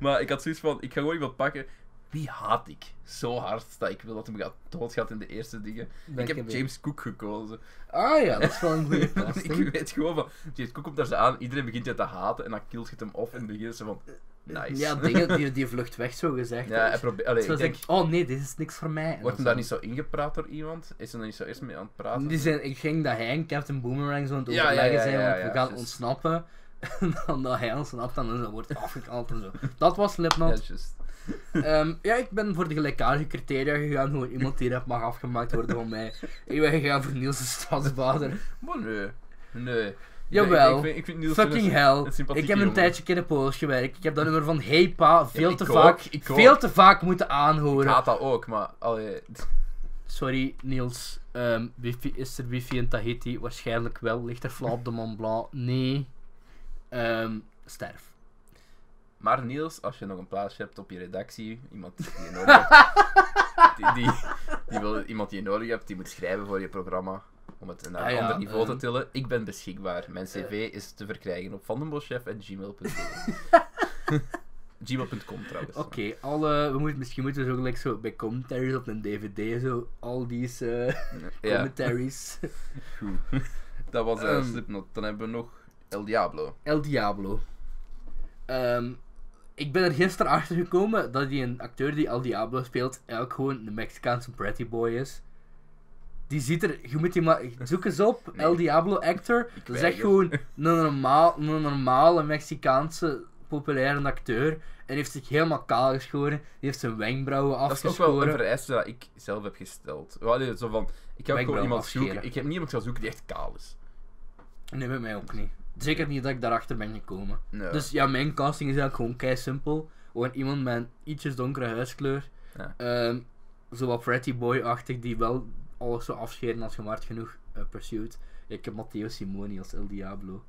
[SPEAKER 1] Maar ik had zoiets van, ik ga gewoon iemand pakken. Wie haat ik zo hard dat ik wil dat hem gaat, doodgaat in de eerste dingen?
[SPEAKER 2] Dank
[SPEAKER 1] ik
[SPEAKER 2] je
[SPEAKER 1] heb
[SPEAKER 2] wel.
[SPEAKER 1] James Cook gekozen.
[SPEAKER 2] Ah ja, dat is wel een goede
[SPEAKER 1] ik
[SPEAKER 2] casting.
[SPEAKER 1] weet gewoon van, James Cook komt daar ze aan, iedereen begint je te haten en dan killt je hem op en beginnen ze van, nice.
[SPEAKER 2] Ja, dingen, die, die vlucht weg, zo gezegd.
[SPEAKER 1] Ja, hij probeert... Allee, ik
[SPEAKER 2] Zoals
[SPEAKER 1] denk,
[SPEAKER 2] ik, oh nee, dit is niks voor mij. En
[SPEAKER 1] Wordt hem
[SPEAKER 2] dan
[SPEAKER 1] daar niet
[SPEAKER 2] zo-
[SPEAKER 1] zo ingepraat door iemand? Is hij er niet zo eerst mee aan het praten?
[SPEAKER 2] Die zijn, ik ging dat hij en Captain Boomerang zo aan het
[SPEAKER 1] Ja, ja,
[SPEAKER 2] overleggen
[SPEAKER 1] ja,
[SPEAKER 2] zijn,
[SPEAKER 1] ja,
[SPEAKER 2] want
[SPEAKER 1] ja,
[SPEAKER 2] we gaan
[SPEAKER 1] precies.
[SPEAKER 2] ontsnappen. En dan dat hij ontsnapt en dan zo wordt afgekald en zo. Dat was
[SPEAKER 1] Ja,
[SPEAKER 2] Slipknot.
[SPEAKER 1] juist.
[SPEAKER 2] Ehm, ja, ik ben voor de gelijkaardige criteria gegaan. Gewoon iemand die dat mag afgemaakt worden van mij. Ik ben gegaan voor Niels de Stadsbader.
[SPEAKER 1] Maar nee. Nee. Ik-
[SPEAKER 2] Jawel.
[SPEAKER 1] Ik, vind, ik vind Niels
[SPEAKER 2] Fucking
[SPEAKER 1] een-
[SPEAKER 2] hell.
[SPEAKER 1] een sympathieke
[SPEAKER 2] Ik heb een
[SPEAKER 1] jongen.
[SPEAKER 2] tijdje in een Poos gewerkt. Ik heb dat nummer van Hey Pa veel
[SPEAKER 1] ik
[SPEAKER 2] te
[SPEAKER 1] ook,
[SPEAKER 2] vaak,
[SPEAKER 1] ik ook.
[SPEAKER 2] veel te vaak moeten
[SPEAKER 1] Ik
[SPEAKER 2] aanhoren.
[SPEAKER 1] haat dat ook, maar... Allee,
[SPEAKER 2] Sorry Niels, Ehm, wifi, is er wifi in Tahiti? Waarschijnlijk wel. Ligt er flauw op de Mont Blanc? Nee. Ehm, sterf.
[SPEAKER 1] maar Niels, als je nog een plaatsje hebt op je redactie, iemand die je nodig hebt... Die, die, die wil, iemand die je nodig hebt, die moet schrijven voor je programma. Om het naar een
[SPEAKER 2] Ah ja, Eh.
[SPEAKER 1] ander niveau te
[SPEAKER 2] ehm.
[SPEAKER 1] tillen. Ik ben beschikbaar. Mijn cv is te verkrijgen op vandenboschef.gmail.com Gmail.com trouwens.
[SPEAKER 2] Oké, alle, we moeten, misschien moeten we zo gelijk zo bij commentaries op een dvd zo al die eh,
[SPEAKER 1] Ja.
[SPEAKER 2] commentaries.
[SPEAKER 1] Goed. Dat was eh,
[SPEAKER 2] Ehm.
[SPEAKER 1] Slipknot. Dan hebben we nog El Diablo.
[SPEAKER 2] El Diablo. Ehm, ik ben er gisteren achter gekomen dat die een acteur die El Diablo speelt eigenlijk gewoon een Mexicaanse bratty boy is. Die ziet er, je moet die maar, zoek eens op,
[SPEAKER 1] Nee.
[SPEAKER 2] El Diablo actor. Dat is echt
[SPEAKER 1] weiger.
[SPEAKER 2] gewoon een, normaal, een normale Mexicaanse populaire acteur. En heeft zich helemaal kaal geschoren. Die heeft zijn wenkbrauwen
[SPEAKER 1] Dat is ook wel een
[SPEAKER 2] afgeschoren.
[SPEAKER 1] vereiste dat ik zelf heb gesteld. Wel, nee, zo van, ik heb
[SPEAKER 2] Wenkbrauwen
[SPEAKER 1] gewoon iemand
[SPEAKER 2] afscheren.
[SPEAKER 1] zoeken. Ik heb niemand gaan zoeken die echt kaal is.
[SPEAKER 2] nee, bij mij ook niet. Zeker niet dat ik daarachter ben gekomen.
[SPEAKER 1] Nee.
[SPEAKER 2] Dus ja, mijn casting is eigenlijk gewoon kei simpel. Gewoon iemand met een ietsjes donkere huidskleur.
[SPEAKER 1] Ja.
[SPEAKER 2] Ehm, zo wat pretty boy-achtig, die wel alles zo afscheren als je maar hard genoeg eh, pursuit. Ik heb Matteo Simoni als El Diablo.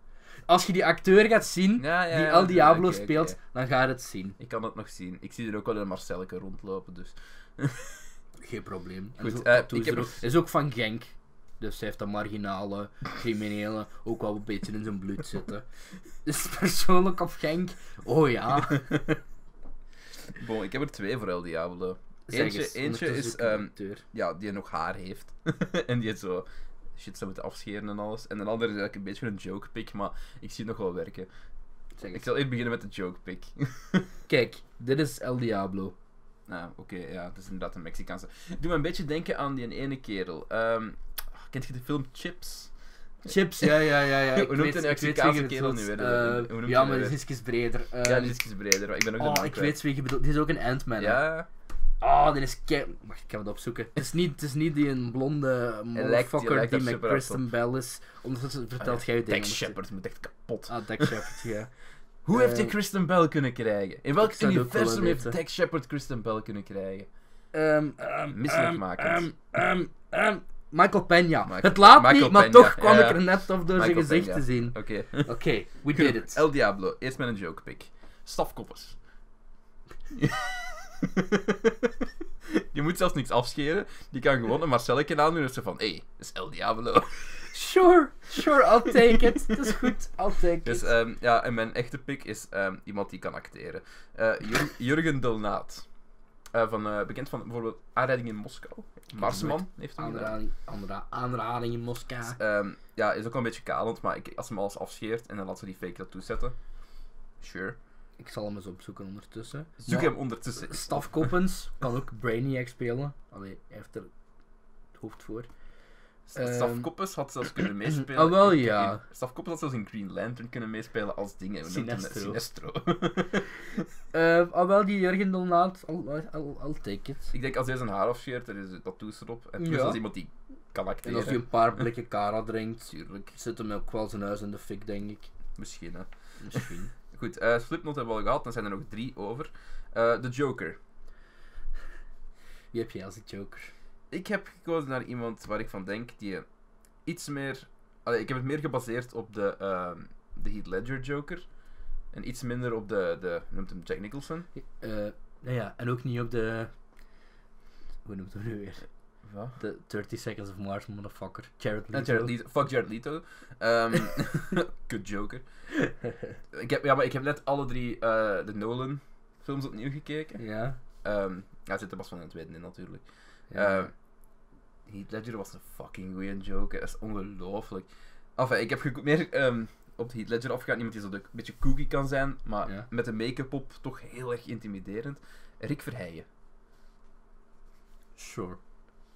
[SPEAKER 2] Als je die acteur gaat zien,
[SPEAKER 1] Ja, ja,
[SPEAKER 2] die
[SPEAKER 1] ja,
[SPEAKER 2] El
[SPEAKER 1] oké,
[SPEAKER 2] Diablo
[SPEAKER 1] oké,
[SPEAKER 2] speelt,
[SPEAKER 1] oké.
[SPEAKER 2] dan ga je het zien.
[SPEAKER 1] Ik kan het nog zien. Ik zie er ook wel een Marcelke rondlopen, dus...
[SPEAKER 2] Geen probleem. En
[SPEAKER 1] Goed,
[SPEAKER 2] zo,
[SPEAKER 1] eh,
[SPEAKER 2] tattoos
[SPEAKER 1] ik heb
[SPEAKER 2] er ook-
[SPEAKER 1] nog-
[SPEAKER 2] is ook van Genk. Dus hij heeft dat marginale, criminele ook wel een beetje in zijn bloed zitten. Dus persoonlijk op Genk, oh ja.
[SPEAKER 1] Bon, ik heb er twee voor El Diablo.
[SPEAKER 2] Zeg
[SPEAKER 1] Eentje-
[SPEAKER 2] eens,
[SPEAKER 1] eentje
[SPEAKER 2] ondertussen
[SPEAKER 1] is,
[SPEAKER 2] zoek ik een
[SPEAKER 1] ehm,
[SPEAKER 2] acteur.
[SPEAKER 1] Ja, die nog haar heeft. en die het zo... Shit, zou moeten afscheren en alles. En een andere is eigenlijk een beetje een joke pick, maar ik zie het nog wel werken.
[SPEAKER 2] Zeg
[SPEAKER 1] Ik
[SPEAKER 2] eens.
[SPEAKER 1] zal eerst beginnen met de joke pick.
[SPEAKER 2] Kijk, dit is El Diablo.
[SPEAKER 1] Nou, oké, ja, het is inderdaad een Mexicaanse. Doe me een beetje denken aan die ene kerel. Ehm, kent je de film Chips?
[SPEAKER 2] Chips, ja, ja, ja. ja.
[SPEAKER 1] Hoe noemt een Mexicaanse kerel nu weer? Hoe
[SPEAKER 2] weer?
[SPEAKER 1] noemt hij
[SPEAKER 2] eh, ja,
[SPEAKER 1] nu
[SPEAKER 2] maar
[SPEAKER 1] weer?
[SPEAKER 2] dit is iets breder. Eh,
[SPEAKER 1] ja, die is iets breder, maar ik ben ook de
[SPEAKER 2] oh,
[SPEAKER 1] naam
[SPEAKER 2] ik
[SPEAKER 1] kwijt.
[SPEAKER 2] weet wie je bedoelt. Dit is ook een Ant-Man. hè?
[SPEAKER 1] Ja,
[SPEAKER 2] Oh, dit is kei... Wacht, ik ga het opzoeken. Het is niet, het is niet die een blonde
[SPEAKER 1] die
[SPEAKER 2] motherfucker
[SPEAKER 1] lijkt daar
[SPEAKER 2] die met
[SPEAKER 1] super hard Ah,
[SPEAKER 2] Kristen Bell is. Ondertussen vertelt jij je dingen.
[SPEAKER 1] Dex Shepard moet echt kapot.
[SPEAKER 2] Ah, Dex Shepard, ja.
[SPEAKER 1] Hoe heeft
[SPEAKER 2] eh,
[SPEAKER 1] hij Kristen Bell kunnen krijgen? In welk
[SPEAKER 2] ik zou het ook wel
[SPEAKER 1] universum
[SPEAKER 2] willen
[SPEAKER 1] heeft
[SPEAKER 2] weten.
[SPEAKER 1] Dex Shepard Kristen Bell kunnen krijgen?
[SPEAKER 2] Ehm, ehm,
[SPEAKER 1] Misselijkmakend.
[SPEAKER 2] ehm, ehm, ehm, Michael Peña.
[SPEAKER 1] Michael-
[SPEAKER 2] het laat
[SPEAKER 1] Michael
[SPEAKER 2] niet, maar
[SPEAKER 1] Peña,
[SPEAKER 2] toch kwam
[SPEAKER 1] ja.
[SPEAKER 2] ik er net af door zijn
[SPEAKER 1] Michael
[SPEAKER 2] gezicht
[SPEAKER 1] Peña.
[SPEAKER 2] te zien.
[SPEAKER 1] Oké.
[SPEAKER 2] Oké, we did it.
[SPEAKER 1] El Diablo, eerst met een joke pick. Stafkoppers. Je moet zelfs niks afscheren. Die kan gewoon een Marcelletje aandoen en ze van, hé, hey, dat is El Diablo.
[SPEAKER 2] Sure, sure, I'll take it. Het is goed, I'll take
[SPEAKER 1] Dus
[SPEAKER 2] it.
[SPEAKER 1] ehm, ja, en mijn echte pick is ehm, iemand die kan acteren. Eh, Jur- Jurgen Delnaat. Eh, van, eh, bekend van bijvoorbeeld Aanrijding in Moskou. Marsman heeft hem gedaan.
[SPEAKER 2] Aanrading, aanra- aanrading in Moskou.
[SPEAKER 1] Ehm, ja, is ook wel een beetje kalend, maar ik, als ze hem alles afscheert en dan laat ze die fake dat toezetten. Sure.
[SPEAKER 2] Ik zal hem eens opzoeken ondertussen.
[SPEAKER 1] Zoek
[SPEAKER 2] Maar-
[SPEAKER 1] hem ondertussen.
[SPEAKER 2] Stafkoppens kan ook Brainiac spelen. Allee, hij heeft er het hoofd voor. Ehm,
[SPEAKER 1] Stafkoppes had zelfs kunnen meespelen.
[SPEAKER 2] ah, wel,
[SPEAKER 1] in-
[SPEAKER 2] ja.
[SPEAKER 1] in- Stafkoppes had zelfs in Green Lantern kunnen meespelen als dingen. We noemden het
[SPEAKER 2] Sinestro.
[SPEAKER 1] Sinestro.
[SPEAKER 2] Eh al wel die Jurgen Dolnaat, I'll, I'll, I'll take it.
[SPEAKER 1] ik denk als hij zijn haar afscheert, er is tattoos erop. En plus
[SPEAKER 2] Ja.
[SPEAKER 1] als iemand die kan
[SPEAKER 2] En
[SPEAKER 1] acteren.
[SPEAKER 2] als hij een paar blikken Kara drinkt,
[SPEAKER 1] Tuurlijk.
[SPEAKER 2] zit hem ook wel zijn huis in de fik, denk ik.
[SPEAKER 1] Misschien, hè.
[SPEAKER 2] Misschien.
[SPEAKER 1] Goed, eh Slipknot hebben we al gehad, dan zijn er nog drie over. Eh, de Joker.
[SPEAKER 2] Wie heb jij als de Joker?
[SPEAKER 1] Ik heb gekozen naar iemand waar ik van denk die iets meer. Allee, ik heb het meer gebaseerd op de, ehm, de Heath Ledger Joker. En iets minder op de. de noemt hem Jack Nicholson.
[SPEAKER 2] Eh, nou ja, en ook niet op de... Hoe noemt hem nu weer?
[SPEAKER 1] Wat?
[SPEAKER 2] De 30 Seconds of Mars, motherfucker. Jared Leto.
[SPEAKER 1] En Eh, Jared Leto. Fuck Jared Leto. Ehm kut Joker. Ik heb, ja, maar ik heb net alle drie eh, de Nolan films opnieuw gekeken.
[SPEAKER 2] ja.
[SPEAKER 1] Ehm ja, het zit er pas van in het tweede in natuurlijk.
[SPEAKER 2] ja.
[SPEAKER 1] Ehm, Heath Ledger was een fucking goeie Joker. Dat is ongelooflijk. Enfin, ik heb geko- meer ehm, op Heath Ledger afgegaan. Iemand die zo de- een beetje kooky kan zijn, maar
[SPEAKER 2] Ja.
[SPEAKER 1] met een make-up op toch heel erg intimiderend. Rick Verheijen.
[SPEAKER 2] Sure.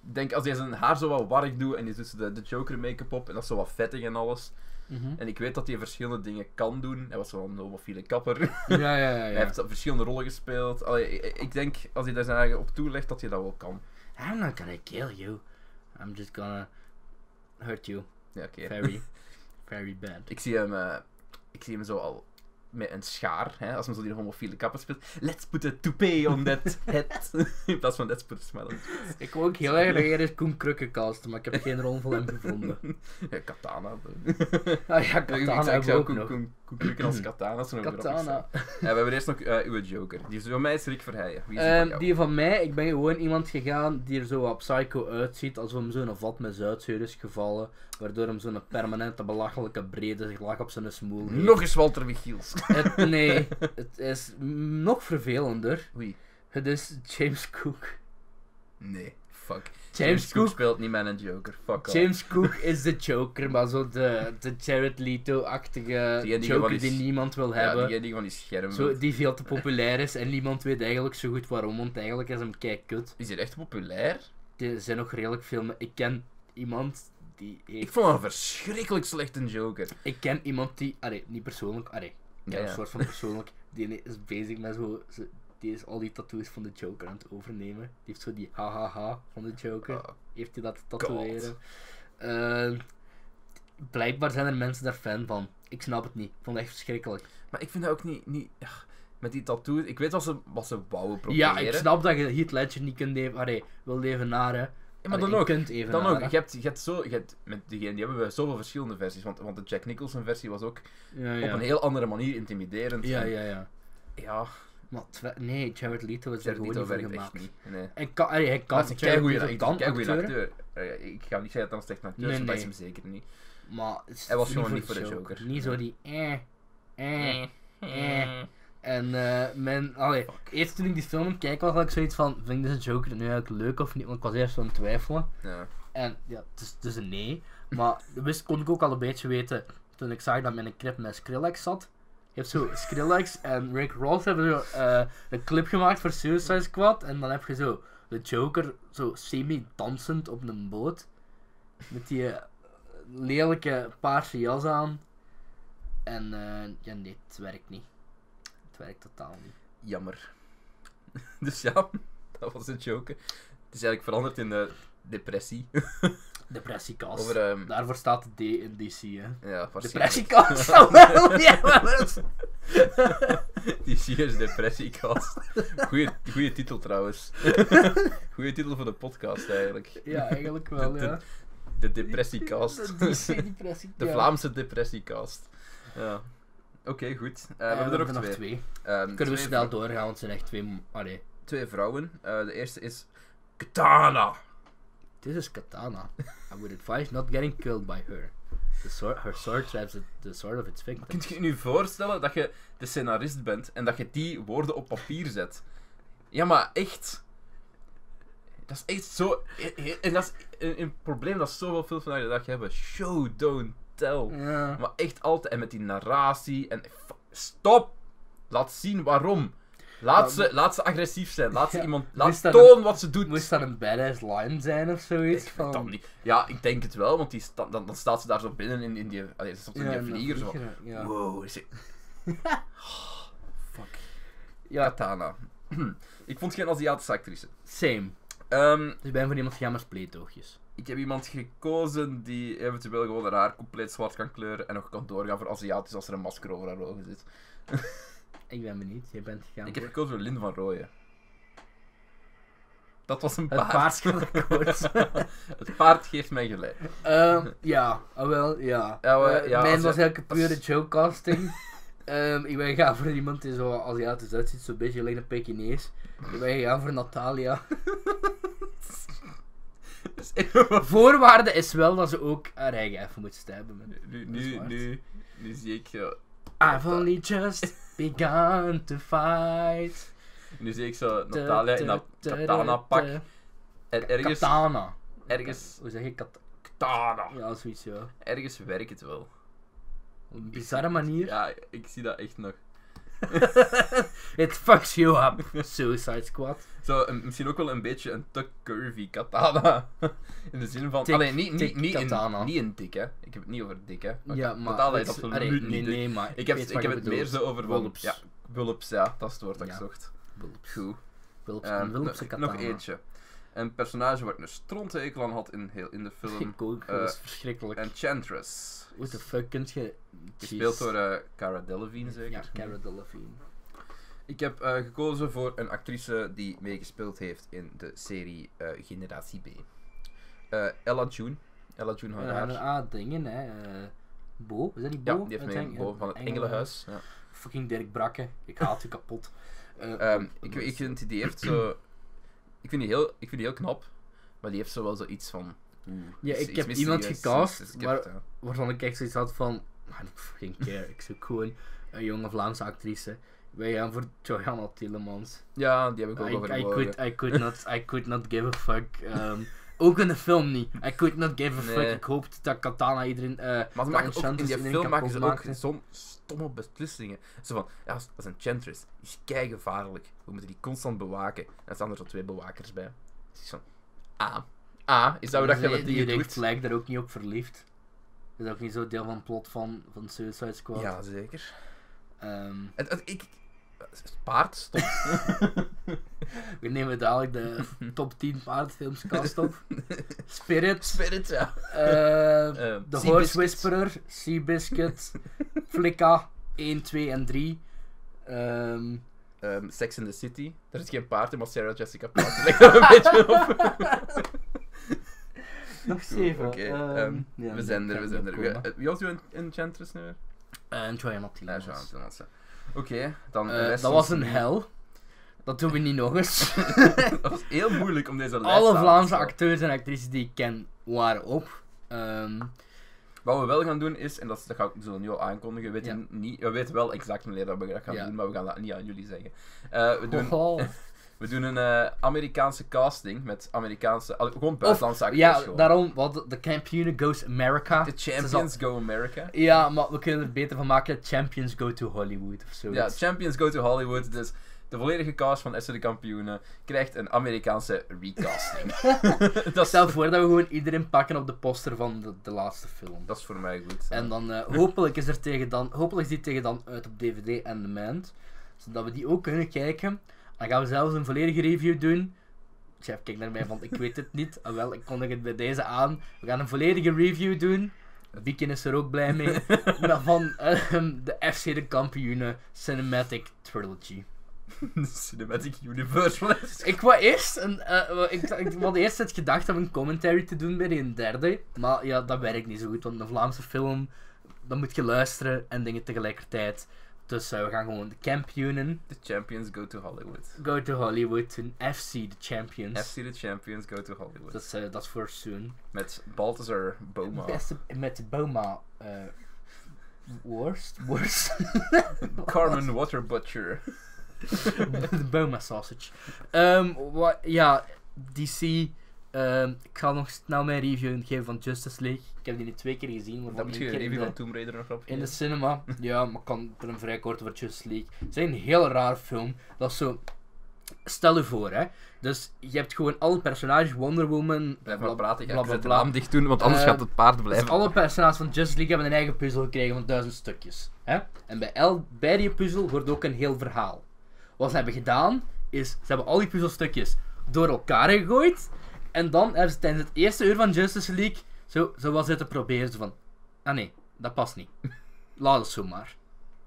[SPEAKER 1] Ik denk als hij zijn haar zo wat warrig doet en die doet zo de, de Joker make-up op en dat is zo wat vettig en alles.
[SPEAKER 2] Mhm.
[SPEAKER 1] En ik weet dat hij verschillende dingen kan doen. Hij was wel een homofiele kapper.
[SPEAKER 2] Ja, ja, ja.
[SPEAKER 1] Hij heeft verschillende rollen gespeeld. Allee, ik, ik denk, als hij daar zijn eigen op toelegt, dat hij dat wel kan.
[SPEAKER 2] I'm not gonna kill you. I'm just gonna hurt you.
[SPEAKER 1] Ja, oké.
[SPEAKER 2] Very, very bad.
[SPEAKER 1] Ik, zie hem, eh, ik zie hem zo al met een schaar, hè, als hij zo die homofiele kapper speelt. Let's put a toupee on that head. In plaats van let's put a smile on it.
[SPEAKER 2] Ik wou ook heel erg leren is Koen Krukke casten, maar ik heb geen rol voor hem gevonden.
[SPEAKER 1] Ja, katana. bro.
[SPEAKER 2] Ah ja,
[SPEAKER 1] Ik zou-
[SPEAKER 2] Katana
[SPEAKER 1] ik
[SPEAKER 2] hebben we
[SPEAKER 1] zou
[SPEAKER 2] ook
[SPEAKER 1] Koen-
[SPEAKER 2] nog.
[SPEAKER 1] Koen- Koen Krukken als katana. zo'n
[SPEAKER 2] Katana.
[SPEAKER 1] Ja, we hebben eerst nog eh, uw joker. Die is voor mij is Rick Verheijen. Wie is die
[SPEAKER 2] Ehm,
[SPEAKER 1] voor jou?
[SPEAKER 2] die van mij, ik ben gewoon iemand gegaan die er zo op psycho uitziet, alsof hem zo'n vat met zuidzuur is gevallen, waardoor hem zo'n permanente belachelijke brede lach op zijn smoel heeft.
[SPEAKER 1] Nog eens Walter Michiels.
[SPEAKER 2] Het- nee, het is nog vervelender.
[SPEAKER 1] Oei.
[SPEAKER 2] Het is James Cook.
[SPEAKER 1] Nee, fuck.
[SPEAKER 2] James, Cook
[SPEAKER 1] speelt niet Man en Joker. Fuck off.
[SPEAKER 2] James Cook is de Joker, maar zo de, de Jared Leto-achtige
[SPEAKER 1] Die en die
[SPEAKER 2] Joker
[SPEAKER 1] gewoon
[SPEAKER 2] die
[SPEAKER 1] is-
[SPEAKER 2] niemand wil
[SPEAKER 1] Ja,
[SPEAKER 2] hebben.
[SPEAKER 1] die die van die schermen.
[SPEAKER 2] zo, die veel te populair is en niemand weet eigenlijk zo goed waarom, want eigenlijk is hem kei kut.
[SPEAKER 1] Is hier echt populair?
[SPEAKER 2] Er zijn nog redelijk veel, me- ik ken iemand die heeft...
[SPEAKER 1] Ik vond hem een verschrikkelijk slechte Joker.
[SPEAKER 2] Ik ken iemand die, allee, niet persoonlijk, allee, ja,
[SPEAKER 1] Ja,
[SPEAKER 2] een
[SPEAKER 1] ja.
[SPEAKER 2] soort van persoonlijk, die is bezig met zo... zo- die is al die tattoos van de Joker aan het overnemen. Die heeft zo die hahaha van de Joker.
[SPEAKER 1] Oh,
[SPEAKER 2] heeft hij dat tatoeëren. Eh, blijkbaar zijn er mensen daar fan van. Ik snap het niet. Ik vond het echt verschrikkelijk.
[SPEAKER 1] maar ik vind dat ook niet... niet ach, met die tattoos... Ik weet wat ze, wat ze wouden proberen.
[SPEAKER 2] Ja, ik snap dat je Heath Ledger niet kunt even, allee, wil leven naar, hè.
[SPEAKER 1] Ja, maar
[SPEAKER 2] Allee,
[SPEAKER 1] dan
[SPEAKER 2] je
[SPEAKER 1] ook.
[SPEAKER 2] kunt even
[SPEAKER 1] Dan
[SPEAKER 2] naar,
[SPEAKER 1] ook.
[SPEAKER 2] hè.
[SPEAKER 1] Je hebt, je hebt zo... Je hebt, met diegene, die hebben we zoveel verschillende versies. Want, want de Jack Nicholson versie was ook
[SPEAKER 2] Ja, ja.
[SPEAKER 1] op een heel andere manier intimiderend.
[SPEAKER 2] ja,
[SPEAKER 1] En-
[SPEAKER 2] ja, ja.
[SPEAKER 1] ja
[SPEAKER 2] Maar twe- nee, Jared Leto is er
[SPEAKER 1] Jared
[SPEAKER 2] gewoon
[SPEAKER 1] Leto
[SPEAKER 2] niet voor
[SPEAKER 1] werkt echt
[SPEAKER 2] gemaakt.
[SPEAKER 1] niet. Nee.
[SPEAKER 2] Hij kan, allee, hij kan,
[SPEAKER 1] Maar het is een
[SPEAKER 2] Jared
[SPEAKER 1] keigoeie acteur.
[SPEAKER 2] Leto kan
[SPEAKER 1] keigoeie
[SPEAKER 2] acteuren,
[SPEAKER 1] acteur. Eh, Ik ga niet zeggen dat hij een slecht acteur is, want
[SPEAKER 2] Nee,
[SPEAKER 1] dat is
[SPEAKER 2] nee.
[SPEAKER 1] hem zeker niet.
[SPEAKER 2] Maar het is
[SPEAKER 1] Hij was
[SPEAKER 2] niet
[SPEAKER 1] gewoon
[SPEAKER 2] voor
[SPEAKER 1] niet voor de Joker.
[SPEAKER 2] Niet zo
[SPEAKER 1] Nee.
[SPEAKER 2] die eh, eh. Eh. En eh, mijn, allee, eerst toen ik die film aan het kijken was, had ik zoiets van, vind ik deze Joker nu eigenlijk leuk of niet? Want ik was eerst zo aan het twijfelen.
[SPEAKER 1] Ja.
[SPEAKER 2] En ja, het is, het is een nee. Maar wist, kon ik ook al een beetje weten toen ik zag dat mijn clip met Skrillex zat. Je hebt zo Skrillex en Rick Ross hebben zo eh, een clip gemaakt voor Suicide Squad. En dan heb je zo de Joker zo semi-dansend op een boot. Met die eh, lelijke paarse jas aan. En eh, ja, nee, het werkt niet. Het werkt totaal niet.
[SPEAKER 1] Jammer. Dus ja, dat was de joker. Het is eigenlijk veranderd in de depressie.
[SPEAKER 2] Depressiekast.
[SPEAKER 1] Over, ehm,
[SPEAKER 2] Daarvoor staat de D in DC, hè.
[SPEAKER 1] ja, waarschijnlijk.
[SPEAKER 2] Depressiekast, dat wel, ja, maar dat is-
[SPEAKER 1] Die Serious Depressiekast. Goeie, goeie titel trouwens. Goeie titel voor de podcast eigenlijk.
[SPEAKER 2] Ja, eigenlijk wel,
[SPEAKER 1] De-
[SPEAKER 2] ja.
[SPEAKER 1] De Depressiekast.
[SPEAKER 2] De DC depressie.
[SPEAKER 1] De Vlaamse Depressiekast. Ja. Oké, goed. Eh, we hebben er ook twee. Ehm,
[SPEAKER 2] Kunnen we
[SPEAKER 1] twee
[SPEAKER 2] snel
[SPEAKER 1] vrou-
[SPEAKER 2] doorgaan, want het zijn echt twee... mo- Allee,
[SPEAKER 1] Twee vrouwen. Eh, de eerste is Katana.
[SPEAKER 2] this is Katana. I would advise not getting killed by her. The sword, her sword traps the- the sword of its victim.
[SPEAKER 1] Kunt je je nu voorstellen dat je de scenarist bent en dat je die woorden op papier zet? Ja, maar echt. Dat is echt zo. En dat is een, een probleem dat zoveel films vandaag de dag hebben. Show, don't tell.
[SPEAKER 2] Ja.
[SPEAKER 1] Maar echt altijd. En met die narratie. En f- stop! Laat zien waarom. Laat,
[SPEAKER 2] Ja,
[SPEAKER 1] ze, laat ze agressief zijn. Laat ze
[SPEAKER 2] Ja,
[SPEAKER 1] iemand.
[SPEAKER 2] moest
[SPEAKER 1] Laat
[SPEAKER 2] dat
[SPEAKER 1] toon wat ze doet.
[SPEAKER 2] Moest dat een badass line zijn of zoiets?
[SPEAKER 1] Ik weet dat
[SPEAKER 2] Van...
[SPEAKER 1] niet. Ja, ik denk het wel, want die sta- dan, dan staat ze daar zo binnen in, in die, allee, ze stond in
[SPEAKER 2] Ja,
[SPEAKER 1] die
[SPEAKER 2] en dan
[SPEAKER 1] vlieger. Zo. van,
[SPEAKER 2] vliegen, ja.
[SPEAKER 1] Wow, is het... Fuck.
[SPEAKER 2] ja,
[SPEAKER 1] Katana. ik vond geen Aziatische actrice.
[SPEAKER 2] same.
[SPEAKER 1] Ehm,
[SPEAKER 2] Dus ik ben voor iemand gegaan met spleetoogjes.
[SPEAKER 1] ik heb iemand gekozen die eventueel gewoon haar haar compleet zwart kan kleuren en nog kan doorgaan voor Aziatisch als er een masker over haar ogen zit.
[SPEAKER 2] Ik ben benieuwd, jij bent gegaan
[SPEAKER 1] Ik heb
[SPEAKER 2] voor-
[SPEAKER 1] gekozen voor Lin van Rooyen. Dat was een
[SPEAKER 2] het
[SPEAKER 1] paard.
[SPEAKER 2] paars akkoord.
[SPEAKER 1] het paard geeft mij gelijk.
[SPEAKER 2] Ehm, ja, ah, wel, ja.
[SPEAKER 1] Ja, wel,
[SPEAKER 2] Eh,
[SPEAKER 1] ja,
[SPEAKER 2] mijn
[SPEAKER 1] als
[SPEAKER 2] was
[SPEAKER 1] je-
[SPEAKER 2] eigenlijk een pure
[SPEAKER 1] als-
[SPEAKER 2] joke casting. Ehm, ik ben gegaan voor iemand die zo Aziatisch uitziet, zo'n beetje alleen een Pekinees. Ik ben gegaan voor Natalia. Voorwaarde is wel dat ze ook haar eigen even moet stabben. man.
[SPEAKER 1] nu,
[SPEAKER 2] Dat is
[SPEAKER 1] nu,
[SPEAKER 2] waar.
[SPEAKER 1] nu, nu zie ik eh, zo
[SPEAKER 2] I've only just begun to fight.
[SPEAKER 1] Nu zie ik zo Natalia in dat katana pak. En ergens,
[SPEAKER 2] Katana.
[SPEAKER 1] ergens,
[SPEAKER 2] Hoe zeg je kat
[SPEAKER 1] katana.
[SPEAKER 2] Ja, zoiets, ja.
[SPEAKER 1] Ergens werkt het wel.
[SPEAKER 2] Op een bizarre manier.
[SPEAKER 1] Ja, ik zie dat echt nog.
[SPEAKER 2] It fucks you up, Suicide Squad.
[SPEAKER 1] Zo, een- misschien ook wel een beetje een te curvy katana. In de zin van,
[SPEAKER 2] Dik-
[SPEAKER 1] alleen niet, niet,
[SPEAKER 2] dik
[SPEAKER 1] niet,
[SPEAKER 2] katana.
[SPEAKER 1] in, niet in dik hè. Ik heb het niet over dik hè.
[SPEAKER 2] Ja, maar...
[SPEAKER 1] katana is
[SPEAKER 2] het
[SPEAKER 1] absoluut
[SPEAKER 2] allee,
[SPEAKER 1] niet
[SPEAKER 2] nee,
[SPEAKER 1] dik.
[SPEAKER 2] nee, maar...
[SPEAKER 1] dus. Ik heb,
[SPEAKER 2] weet
[SPEAKER 1] ik
[SPEAKER 2] wat
[SPEAKER 1] heb
[SPEAKER 2] je
[SPEAKER 1] het meer
[SPEAKER 2] bedoelt.
[SPEAKER 1] zo over van-
[SPEAKER 2] Wulps.
[SPEAKER 1] Ja, bulbs, ja, dat is het woord dat
[SPEAKER 2] Ja.
[SPEAKER 1] ik zocht.
[SPEAKER 2] Wulps.
[SPEAKER 1] Goed.
[SPEAKER 2] Wulps.
[SPEAKER 1] Ehm,
[SPEAKER 2] een
[SPEAKER 1] nog,
[SPEAKER 2] Wulpse katana.
[SPEAKER 1] nog eentje. Een personage waar ik een stronthekel aan had in, heel, in de film.
[SPEAKER 2] Ik ook,
[SPEAKER 1] eh,
[SPEAKER 2] dat is verschrikkelijk.
[SPEAKER 1] Enchantress.
[SPEAKER 2] What the fuck, kunt je...
[SPEAKER 1] Gespeeld door Oh, eh, Cara Delevingne zeker?
[SPEAKER 2] Ja, Cara Delevingne.
[SPEAKER 1] Ik heb eh, gekozen voor een actrice die meegespeeld heeft in de serie eh, Generatie B. Eh, Ella June. Ella June
[SPEAKER 2] Ja,
[SPEAKER 1] haar
[SPEAKER 2] haar
[SPEAKER 1] haar.
[SPEAKER 2] ah, dingen, hè. eh, Bo? Is dat die Bo?
[SPEAKER 1] Ja, die heeft
[SPEAKER 2] Dat
[SPEAKER 1] mee
[SPEAKER 2] zijn-
[SPEAKER 1] Bo van het Engelenhuis. Ja.
[SPEAKER 2] Fucking Dirk Brakke. Ik haat u kapot. Eh,
[SPEAKER 1] Ehm,
[SPEAKER 2] wat
[SPEAKER 1] ik,
[SPEAKER 2] was-
[SPEAKER 1] ik vind die, die heeft zo... Ik vind die, heel, ik vind die heel knap, maar die heeft zo wel zoiets van... oeh,
[SPEAKER 2] Ja,
[SPEAKER 1] iets-
[SPEAKER 2] ik
[SPEAKER 1] iets
[SPEAKER 2] heb iemand
[SPEAKER 1] mysterieus,
[SPEAKER 2] gecast,
[SPEAKER 1] iets- iets- ik
[SPEAKER 2] maar-
[SPEAKER 1] heb het, ja.
[SPEAKER 2] waarvan ik echt zoiets had van, I don't fucking care, ik zoek gewoon een jonge Vlaamse actrice. Wij gaan voor Johanna Tillemans.
[SPEAKER 1] Ja, die heb ik ook
[SPEAKER 2] I, I,
[SPEAKER 1] overwogen.
[SPEAKER 2] could, I, could not, I could not give a fuck. ehm, ook in de film niet. I could not give a
[SPEAKER 1] Nee.
[SPEAKER 2] fuck. Ik hoopte dat Katana iedereen... eh
[SPEAKER 1] Maar ze
[SPEAKER 2] dat
[SPEAKER 1] maken ook, in
[SPEAKER 2] Enchantress
[SPEAKER 1] die
[SPEAKER 2] iedereen
[SPEAKER 1] film maken ze ook
[SPEAKER 2] kapot
[SPEAKER 1] zo'n stomme beslissingen. Zo van, ja, dat is een chantress. Die is keigevaarlijk. We moeten die constant bewaken. En dan staan er zo twee bewakers bij. Dus ik zo, ah. Ah, is dat hoe dat je
[SPEAKER 2] Dus,
[SPEAKER 1] dat
[SPEAKER 2] eh,
[SPEAKER 1] die
[SPEAKER 2] die Rick
[SPEAKER 1] doet?
[SPEAKER 2] Flag daar ook niet op verliefd. Dat is ook niet zo deel van het plot van, van Suicide Squad.
[SPEAKER 1] Ja, zeker.
[SPEAKER 2] Ehm,
[SPEAKER 1] Het, het- ik... het Paard, stop.
[SPEAKER 2] we nemen dadelijk de top 10 paardfilms cast op. Spirit.
[SPEAKER 1] Spirit, ja.
[SPEAKER 2] eh,
[SPEAKER 1] Eh,
[SPEAKER 2] De
[SPEAKER 1] Seabiscuit.
[SPEAKER 2] Horse Whisperer, Seabiscuit, Flicka 1, 2 en 3. Ehm,
[SPEAKER 1] Ehm, Sex in the City. Daar zit geen paard in, maar Sarah Jessica Parker lijkt er een beetje op.
[SPEAKER 2] nog 7.
[SPEAKER 1] Oké, ehm, we zijn er, we zijn er. Wie- eh, Wie was uw enchantress nu weer?
[SPEAKER 2] En Joanna
[SPEAKER 1] Ja,
[SPEAKER 2] Tillemans.
[SPEAKER 1] Jean Antonas, ja. Oké, dan... de
[SPEAKER 2] Eh,
[SPEAKER 1] rest
[SPEAKER 2] Dat
[SPEAKER 1] van-
[SPEAKER 2] was een hel. Dat doen we niet nog eens.
[SPEAKER 1] Dat was heel moeilijk om deze lijst
[SPEAKER 2] Alle
[SPEAKER 1] samen te
[SPEAKER 2] Vlaamse
[SPEAKER 1] stellen.
[SPEAKER 2] acteurs en actrices die ik ken waren op. Ehm,
[SPEAKER 1] Wat we wel gaan doen is, en dat, is- dat ga ik zo nu al aankondigen, we weten,
[SPEAKER 2] Ja.
[SPEAKER 1] niet, we weten wel exact wanneer dat we dat gaan
[SPEAKER 2] Ja.
[SPEAKER 1] doen, maar we gaan dat niet aan jullie zeggen. Eh, we, doen,
[SPEAKER 2] oh,
[SPEAKER 1] we doen een eh, Amerikaanse casting met Amerikaanse, al- gewoon buitenlandse acteurs.
[SPEAKER 2] ja,
[SPEAKER 1] gewoon.
[SPEAKER 2] daarom, wat de Campione goes America.
[SPEAKER 1] De
[SPEAKER 2] Ze zal-
[SPEAKER 1] Champions Go America.
[SPEAKER 2] Ja, maar we kunnen er beter van maken. Champions go to Hollywood of zo.
[SPEAKER 1] Ja, Champions Go to Hollywood. Dus de volledige cast van FC de Kampioenen krijgt een Amerikaanse recasting. dat, is,
[SPEAKER 2] Stel voor dat we gewoon iedereen pakken op de poster van de, de laatste film.
[SPEAKER 1] dat is voor mij goed.
[SPEAKER 2] En dan eh, hopelijk is er tegen dan, hopelijk is die tegen dan uit op DVD en demand. Zodat we die ook kunnen kijken. Dan gaan we zelfs een volledige review doen. Chef keek naar mij van, ik weet het niet. Ah, wel, ik kondig het bij deze aan. We gaan een volledige review doen. Bikin is er ook blij mee. maar van ehm, de FC de kampioenen Cinematic Trilogy.
[SPEAKER 1] De Cinematic Universe was.
[SPEAKER 2] Ik wou eerst, een, eh, wou- ik, ik had eerst het gedacht om een commentary te doen bij die derde. Maar ja, dat werkt niet zo goed, want een Vlaamse film, dan moet je luisteren en dingen tegelijkertijd. Dus eh, we gaan gewoon de kampioenen,
[SPEAKER 1] The champions go to Hollywood.
[SPEAKER 2] go to Hollywood, doen FC de champions.
[SPEAKER 1] FC the champions go to Hollywood.
[SPEAKER 2] Dat is, eh, dat is voor soon.
[SPEAKER 1] Met Balthazar Boma.
[SPEAKER 2] Beste- met de Boma. eh worst? Worst?
[SPEAKER 1] Carmen Water Butcher.
[SPEAKER 2] de Boma sausage. Ehm, wa- ja, DC. ehm, ik ga nog snel mijn review geven van Justice League. Ik heb die nu twee keer gezien.
[SPEAKER 1] Dan
[SPEAKER 2] waarvan
[SPEAKER 1] moet
[SPEAKER 2] één
[SPEAKER 1] je een
[SPEAKER 2] keer in
[SPEAKER 1] review
[SPEAKER 2] de-
[SPEAKER 1] van Tomb Raider nog op.
[SPEAKER 2] in de cinema. Ja, maar ik kan er een vrij kort over Justice League. Het is een heel raar film. Dat is zo... Stel je voor, hè. Dus je hebt gewoon alle personages. Wonder Woman...
[SPEAKER 1] Blijf maar
[SPEAKER 2] bla-
[SPEAKER 1] praten. Ik
[SPEAKER 2] bla,
[SPEAKER 1] ga
[SPEAKER 2] bla,
[SPEAKER 1] het
[SPEAKER 2] bla.
[SPEAKER 1] raam dicht doen, want anders
[SPEAKER 2] Eh,
[SPEAKER 1] gaat het paard
[SPEAKER 2] Dus
[SPEAKER 1] blijven.
[SPEAKER 2] alle personages van Justice League hebben een eigen puzzel gekregen van duizend stukjes. Hè? En bij, el, bij die puzzel wordt ook een heel verhaal. Wat ze hebben gedaan, is ze hebben al die puzzelstukjes door elkaar gegooid. En dan hebben ze tijdens het eerste uur van Justice League zo, zo wat zitten proberen. Zo van, ah nee, dat past niet. Laat het zo maar.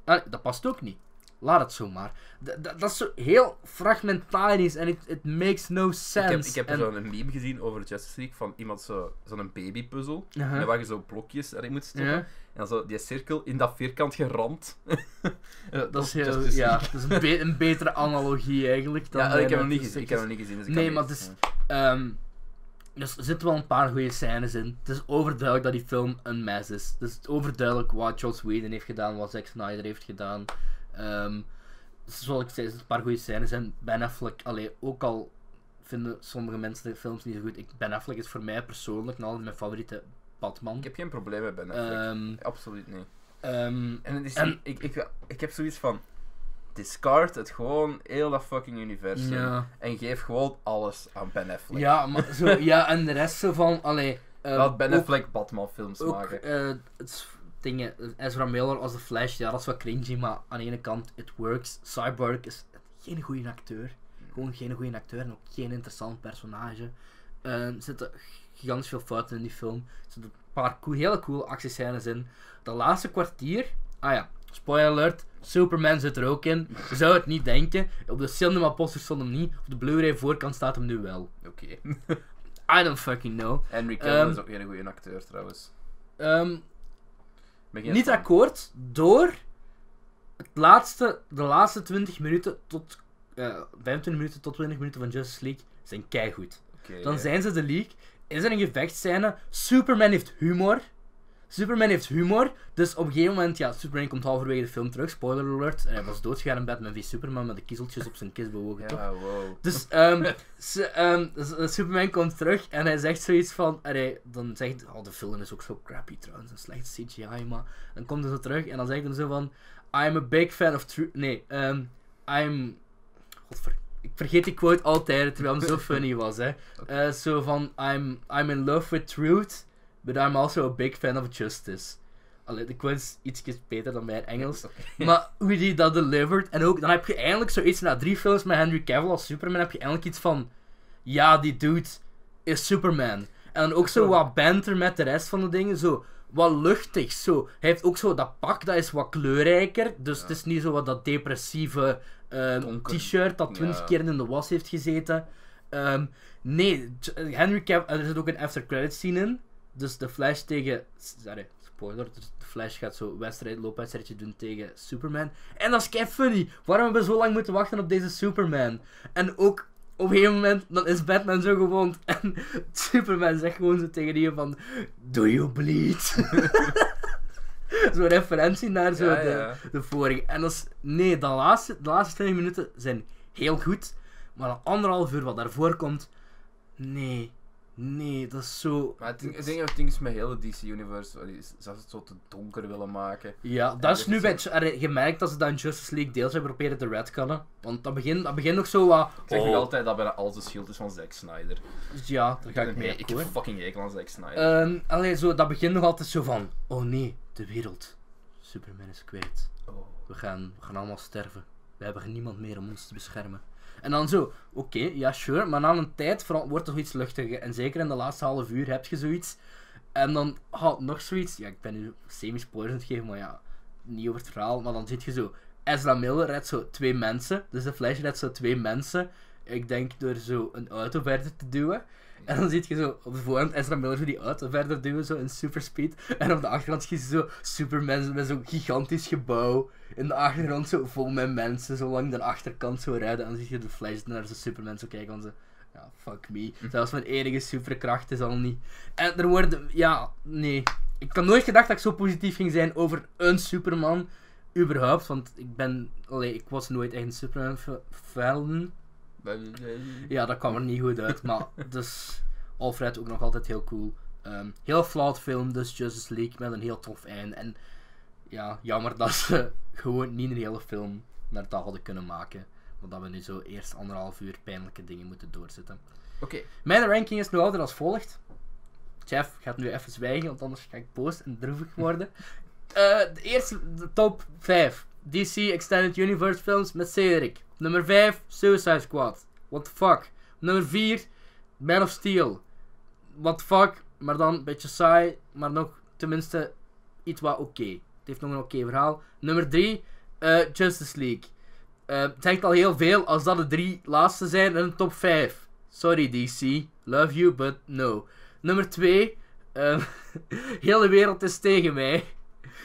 [SPEAKER 2] Ah, nee, dat past ook niet. Laat het zo maar. D- d- dat is zo heel fragmentarisch en it, it makes no sense.
[SPEAKER 1] Ik heb, ik heb
[SPEAKER 2] En-
[SPEAKER 1] zo'n meme gezien over Justice League van iemand zo- zo'n babypuzzel.
[SPEAKER 2] Uh-huh.
[SPEAKER 1] en Waar je zo blokjes erin moet stoppen.
[SPEAKER 2] Ja.
[SPEAKER 1] En dan zo die cirkel in dat vierkant geramd.
[SPEAKER 2] Eh, Dat is, heel,
[SPEAKER 1] Justice
[SPEAKER 2] ja,
[SPEAKER 1] League.
[SPEAKER 2] dat is een, be- een betere analogie eigenlijk. Dan eh,
[SPEAKER 1] Ja, eh, ik heb
[SPEAKER 2] bijna
[SPEAKER 1] hem niet
[SPEAKER 2] tussen
[SPEAKER 1] gezien. Ik heb
[SPEAKER 2] stukjes.
[SPEAKER 1] hem niet gezien. Dus ik
[SPEAKER 2] Nee,
[SPEAKER 1] kan
[SPEAKER 2] maar
[SPEAKER 1] niet-
[SPEAKER 2] het is- Ehm, dus er zitten wel een paar goede scènes in. Het is overduidelijk dat die film een mes is. Het is overduidelijk wat Joss Whedon heeft gedaan, wat Zack Snyder heeft gedaan. Ehm, zoals ik zei, er zitten een paar goede scènes in. Ben Affleck, allee, ook al vinden sommige mensen de films niet zo goed. Ik, ben Affleck is voor mij persoonlijk nog altijd mijn favoriete Batman.
[SPEAKER 1] Ik heb geen probleem met Ben Affleck.
[SPEAKER 2] Ehm,
[SPEAKER 1] Absoluut niet.
[SPEAKER 2] ehm,
[SPEAKER 1] En, het is,
[SPEAKER 2] En-
[SPEAKER 1] Ik, ik, ik heb zoiets van... Discard het gewoon heel dat fucking universum.
[SPEAKER 2] ja.
[SPEAKER 1] En geef gewoon alles aan Ben Affleck.
[SPEAKER 2] Ja, maar zo, ja, en de rest zo van, allee... eh,
[SPEAKER 1] Laat Ben
[SPEAKER 2] ook-
[SPEAKER 1] Affleck Batman films
[SPEAKER 2] Ook,
[SPEAKER 1] maken.
[SPEAKER 2] eh, het is- dingen, Ezra Miller als de Flash, ja, dat is wat cringy, maar aan de ene kant, it works. Cyborg is geen goede acteur. Gewoon geen goede acteur en ook geen interessant personage. Eh, er zitten gigantisch veel fouten in die film. Er zitten een paar cool- hele coole actiescènes in. Dat laatste kwartier, ah ja, spoiler alert, Superman zit er ook in. Je zou het niet denken. Op de cinema poster stond hem niet. Op de Blu-ray voorkant staat hem nu wel.
[SPEAKER 1] Oké.
[SPEAKER 2] I don't fucking know.
[SPEAKER 1] Henry Cavill
[SPEAKER 2] Ehm,
[SPEAKER 1] is ook geen goede acteur trouwens.
[SPEAKER 2] Ehm,
[SPEAKER 1] Ik ben geen
[SPEAKER 2] niet
[SPEAKER 1] fan.
[SPEAKER 2] akkoord door het laatste, de laatste 20 minuten tot eh 25 minuten tot 20 minuten van Justice League zijn keigoed.
[SPEAKER 1] Oké.
[SPEAKER 2] Dan zijn ze de league. Is er een gevechtscène? Superman heeft humor. Superman heeft humor. Dus op een gegeven moment, ja, Superman komt halverwege de film terug. Spoiler alert. En hij was doodgegaan in Batman v Superman met de kiezeltjes op zijn kist bewogen. toch?
[SPEAKER 1] Ja, wow.
[SPEAKER 2] Dus ehm, ze- ehm, s- Superman komt terug en hij zegt zoiets van. En hij dan zegt. Oh, de film is ook zo crappy trouwens, een slechte CGI, maar. Dan komt hij zo terug en dan zegt hij zo van. I'm a big fan of true. Nee, ehm I'm. Godver. Ik vergeet die quote altijd, terwijl hem zo funny was, hè. Eh, zo van. I'm, I'm in love with truth, but I'm also a big fan of justice. Allee, de quote is ietsjes beter dan mijn
[SPEAKER 1] Dus-
[SPEAKER 2] Engels. Maar hoe die dat delivered. En ook, dan heb je eindelijk zoiets na drie films met Henry Cavill als Superman. heb je eindelijk iets van. Ja, die dude is Superman. En dan ook zo wat banter met de rest van de dingen. Zo wat luchtig. Zo. Hij heeft ook zo dat pak, dat is wat kleurrijker. Dus het is niet zo wat dat depressieve ehm,
[SPEAKER 1] Donker.
[SPEAKER 2] t-shirt dat twintig
[SPEAKER 1] Ja.
[SPEAKER 2] keer in de was heeft gezeten. Ehm, nee, J- Henry Cavill. Er zit ook een after credit scene in. Dus de Flash tegen. Sorry, spoiler. Dus de Flash gaat zo wedstrijd, loopwedstrijdje doen tegen Superman. En dat is kei funny. Waarom hebben we zo lang moeten wachten op deze Superman? En ook op een gegeven moment, dan is Batman zo gewond. En Superman zegt gewoon zo tegen die van: Do you bleed? Zo'n referentie naar zo
[SPEAKER 1] Ja,
[SPEAKER 2] de,
[SPEAKER 1] ja.
[SPEAKER 2] de vorige. En dat is, nee, de laatste, de laatste 20 minuten zijn heel goed. Maar de anderhalf uur wat daarvoor komt, nee, nee, dat is zo.
[SPEAKER 1] Maar het ding- ik denk dat het ding is met heel het DC-universe, ze het zo te donker willen maken.
[SPEAKER 2] Ja, dat
[SPEAKER 1] Ja,
[SPEAKER 2] is
[SPEAKER 1] dit
[SPEAKER 2] nu
[SPEAKER 1] is
[SPEAKER 2] bij Ju- Je merkt dat ze dat in Justice League deels hebben proberen te redcannen. Want dat begint, dat begint nog zo wat.
[SPEAKER 1] Ik zeg
[SPEAKER 2] oh,
[SPEAKER 1] nog altijd dat bijna alles de schild is van Zack Snyder.
[SPEAKER 2] Ja, daar ga ik mee
[SPEAKER 1] Ik heb
[SPEAKER 2] akkoord.
[SPEAKER 1] fucking hekel aan Zack Snyder.
[SPEAKER 2] Ehm, allee, zo, dat begint nog altijd zo van. Oh nee, de wereld. Superman is kwijt.
[SPEAKER 1] Oh.
[SPEAKER 2] We gaan, we gaan allemaal sterven. we hebben er niemand meer om ons te beschermen. En dan zo, oké, ja, sure, maar na een tijd vera- wordt er zoiets luchtiger. En zeker in de laatste half uur heb je zoiets. En dan had nog zoiets, ja, ik ben nu semi-spoilers aan het geven, maar ja, niet over het verhaal. Maar dan zit je zo, Ezra Miller redt zo twee mensen. Dus de Flash redt zo twee mensen. Ik denk door zo een auto verder te duwen. En dan zit je zo op de voorhand Ezra Miller zo die auto verder duwen, zo in superspeed. En op de achtergrond schiet je zo Superman met zo'n gigantisch gebouw. In de achtergrond zo vol met mensen, zo lang de achterkant zo rijden. En dan zie je de Flash naar zo'n Superman zo kijken en zo... Ja, fuck me. Zelfs mijn enige superkracht is al niet... En er worden... Ja, nee. Ik had nooit gedacht dat ik zo positief ging zijn over een Superman. Überhaupt, want ik ben... Allee, ik was nooit echt een Superman-fan. Ja, dat kwam er niet goed uit. Maar dus Alfred ook nog altijd heel cool. Ehm, heel flawed film, dus Justice League met een heel tof einde. En ja, jammer dat ze gewoon niet een hele film naar dat hadden kunnen maken. Want dat we nu zo eerst anderhalf uur pijnlijke dingen moeten doorzitten.
[SPEAKER 1] Oké,
[SPEAKER 2] Mijn ranking is nu altijd als volgt. Jeff gaat nu even zwijgen, want anders ga ik boos en droevig worden. Eh, de eerste, de top 5. DC Extended Universe films met Cedric. Op Nummer 5, Suicide Squad. What the fuck. Op Nummer 4, Man of Steel. What the fuck, maar dan een beetje saai, maar nog tenminste iets wat oké. Het heeft nog een oké verhaal. Nummer 3, eh, Justice League. Eh, het zegt al heel veel als dat de drie laatste zijn in de top 5. Sorry DC, love you, but no. Nummer 2, ehm hele wereld is tegen mij.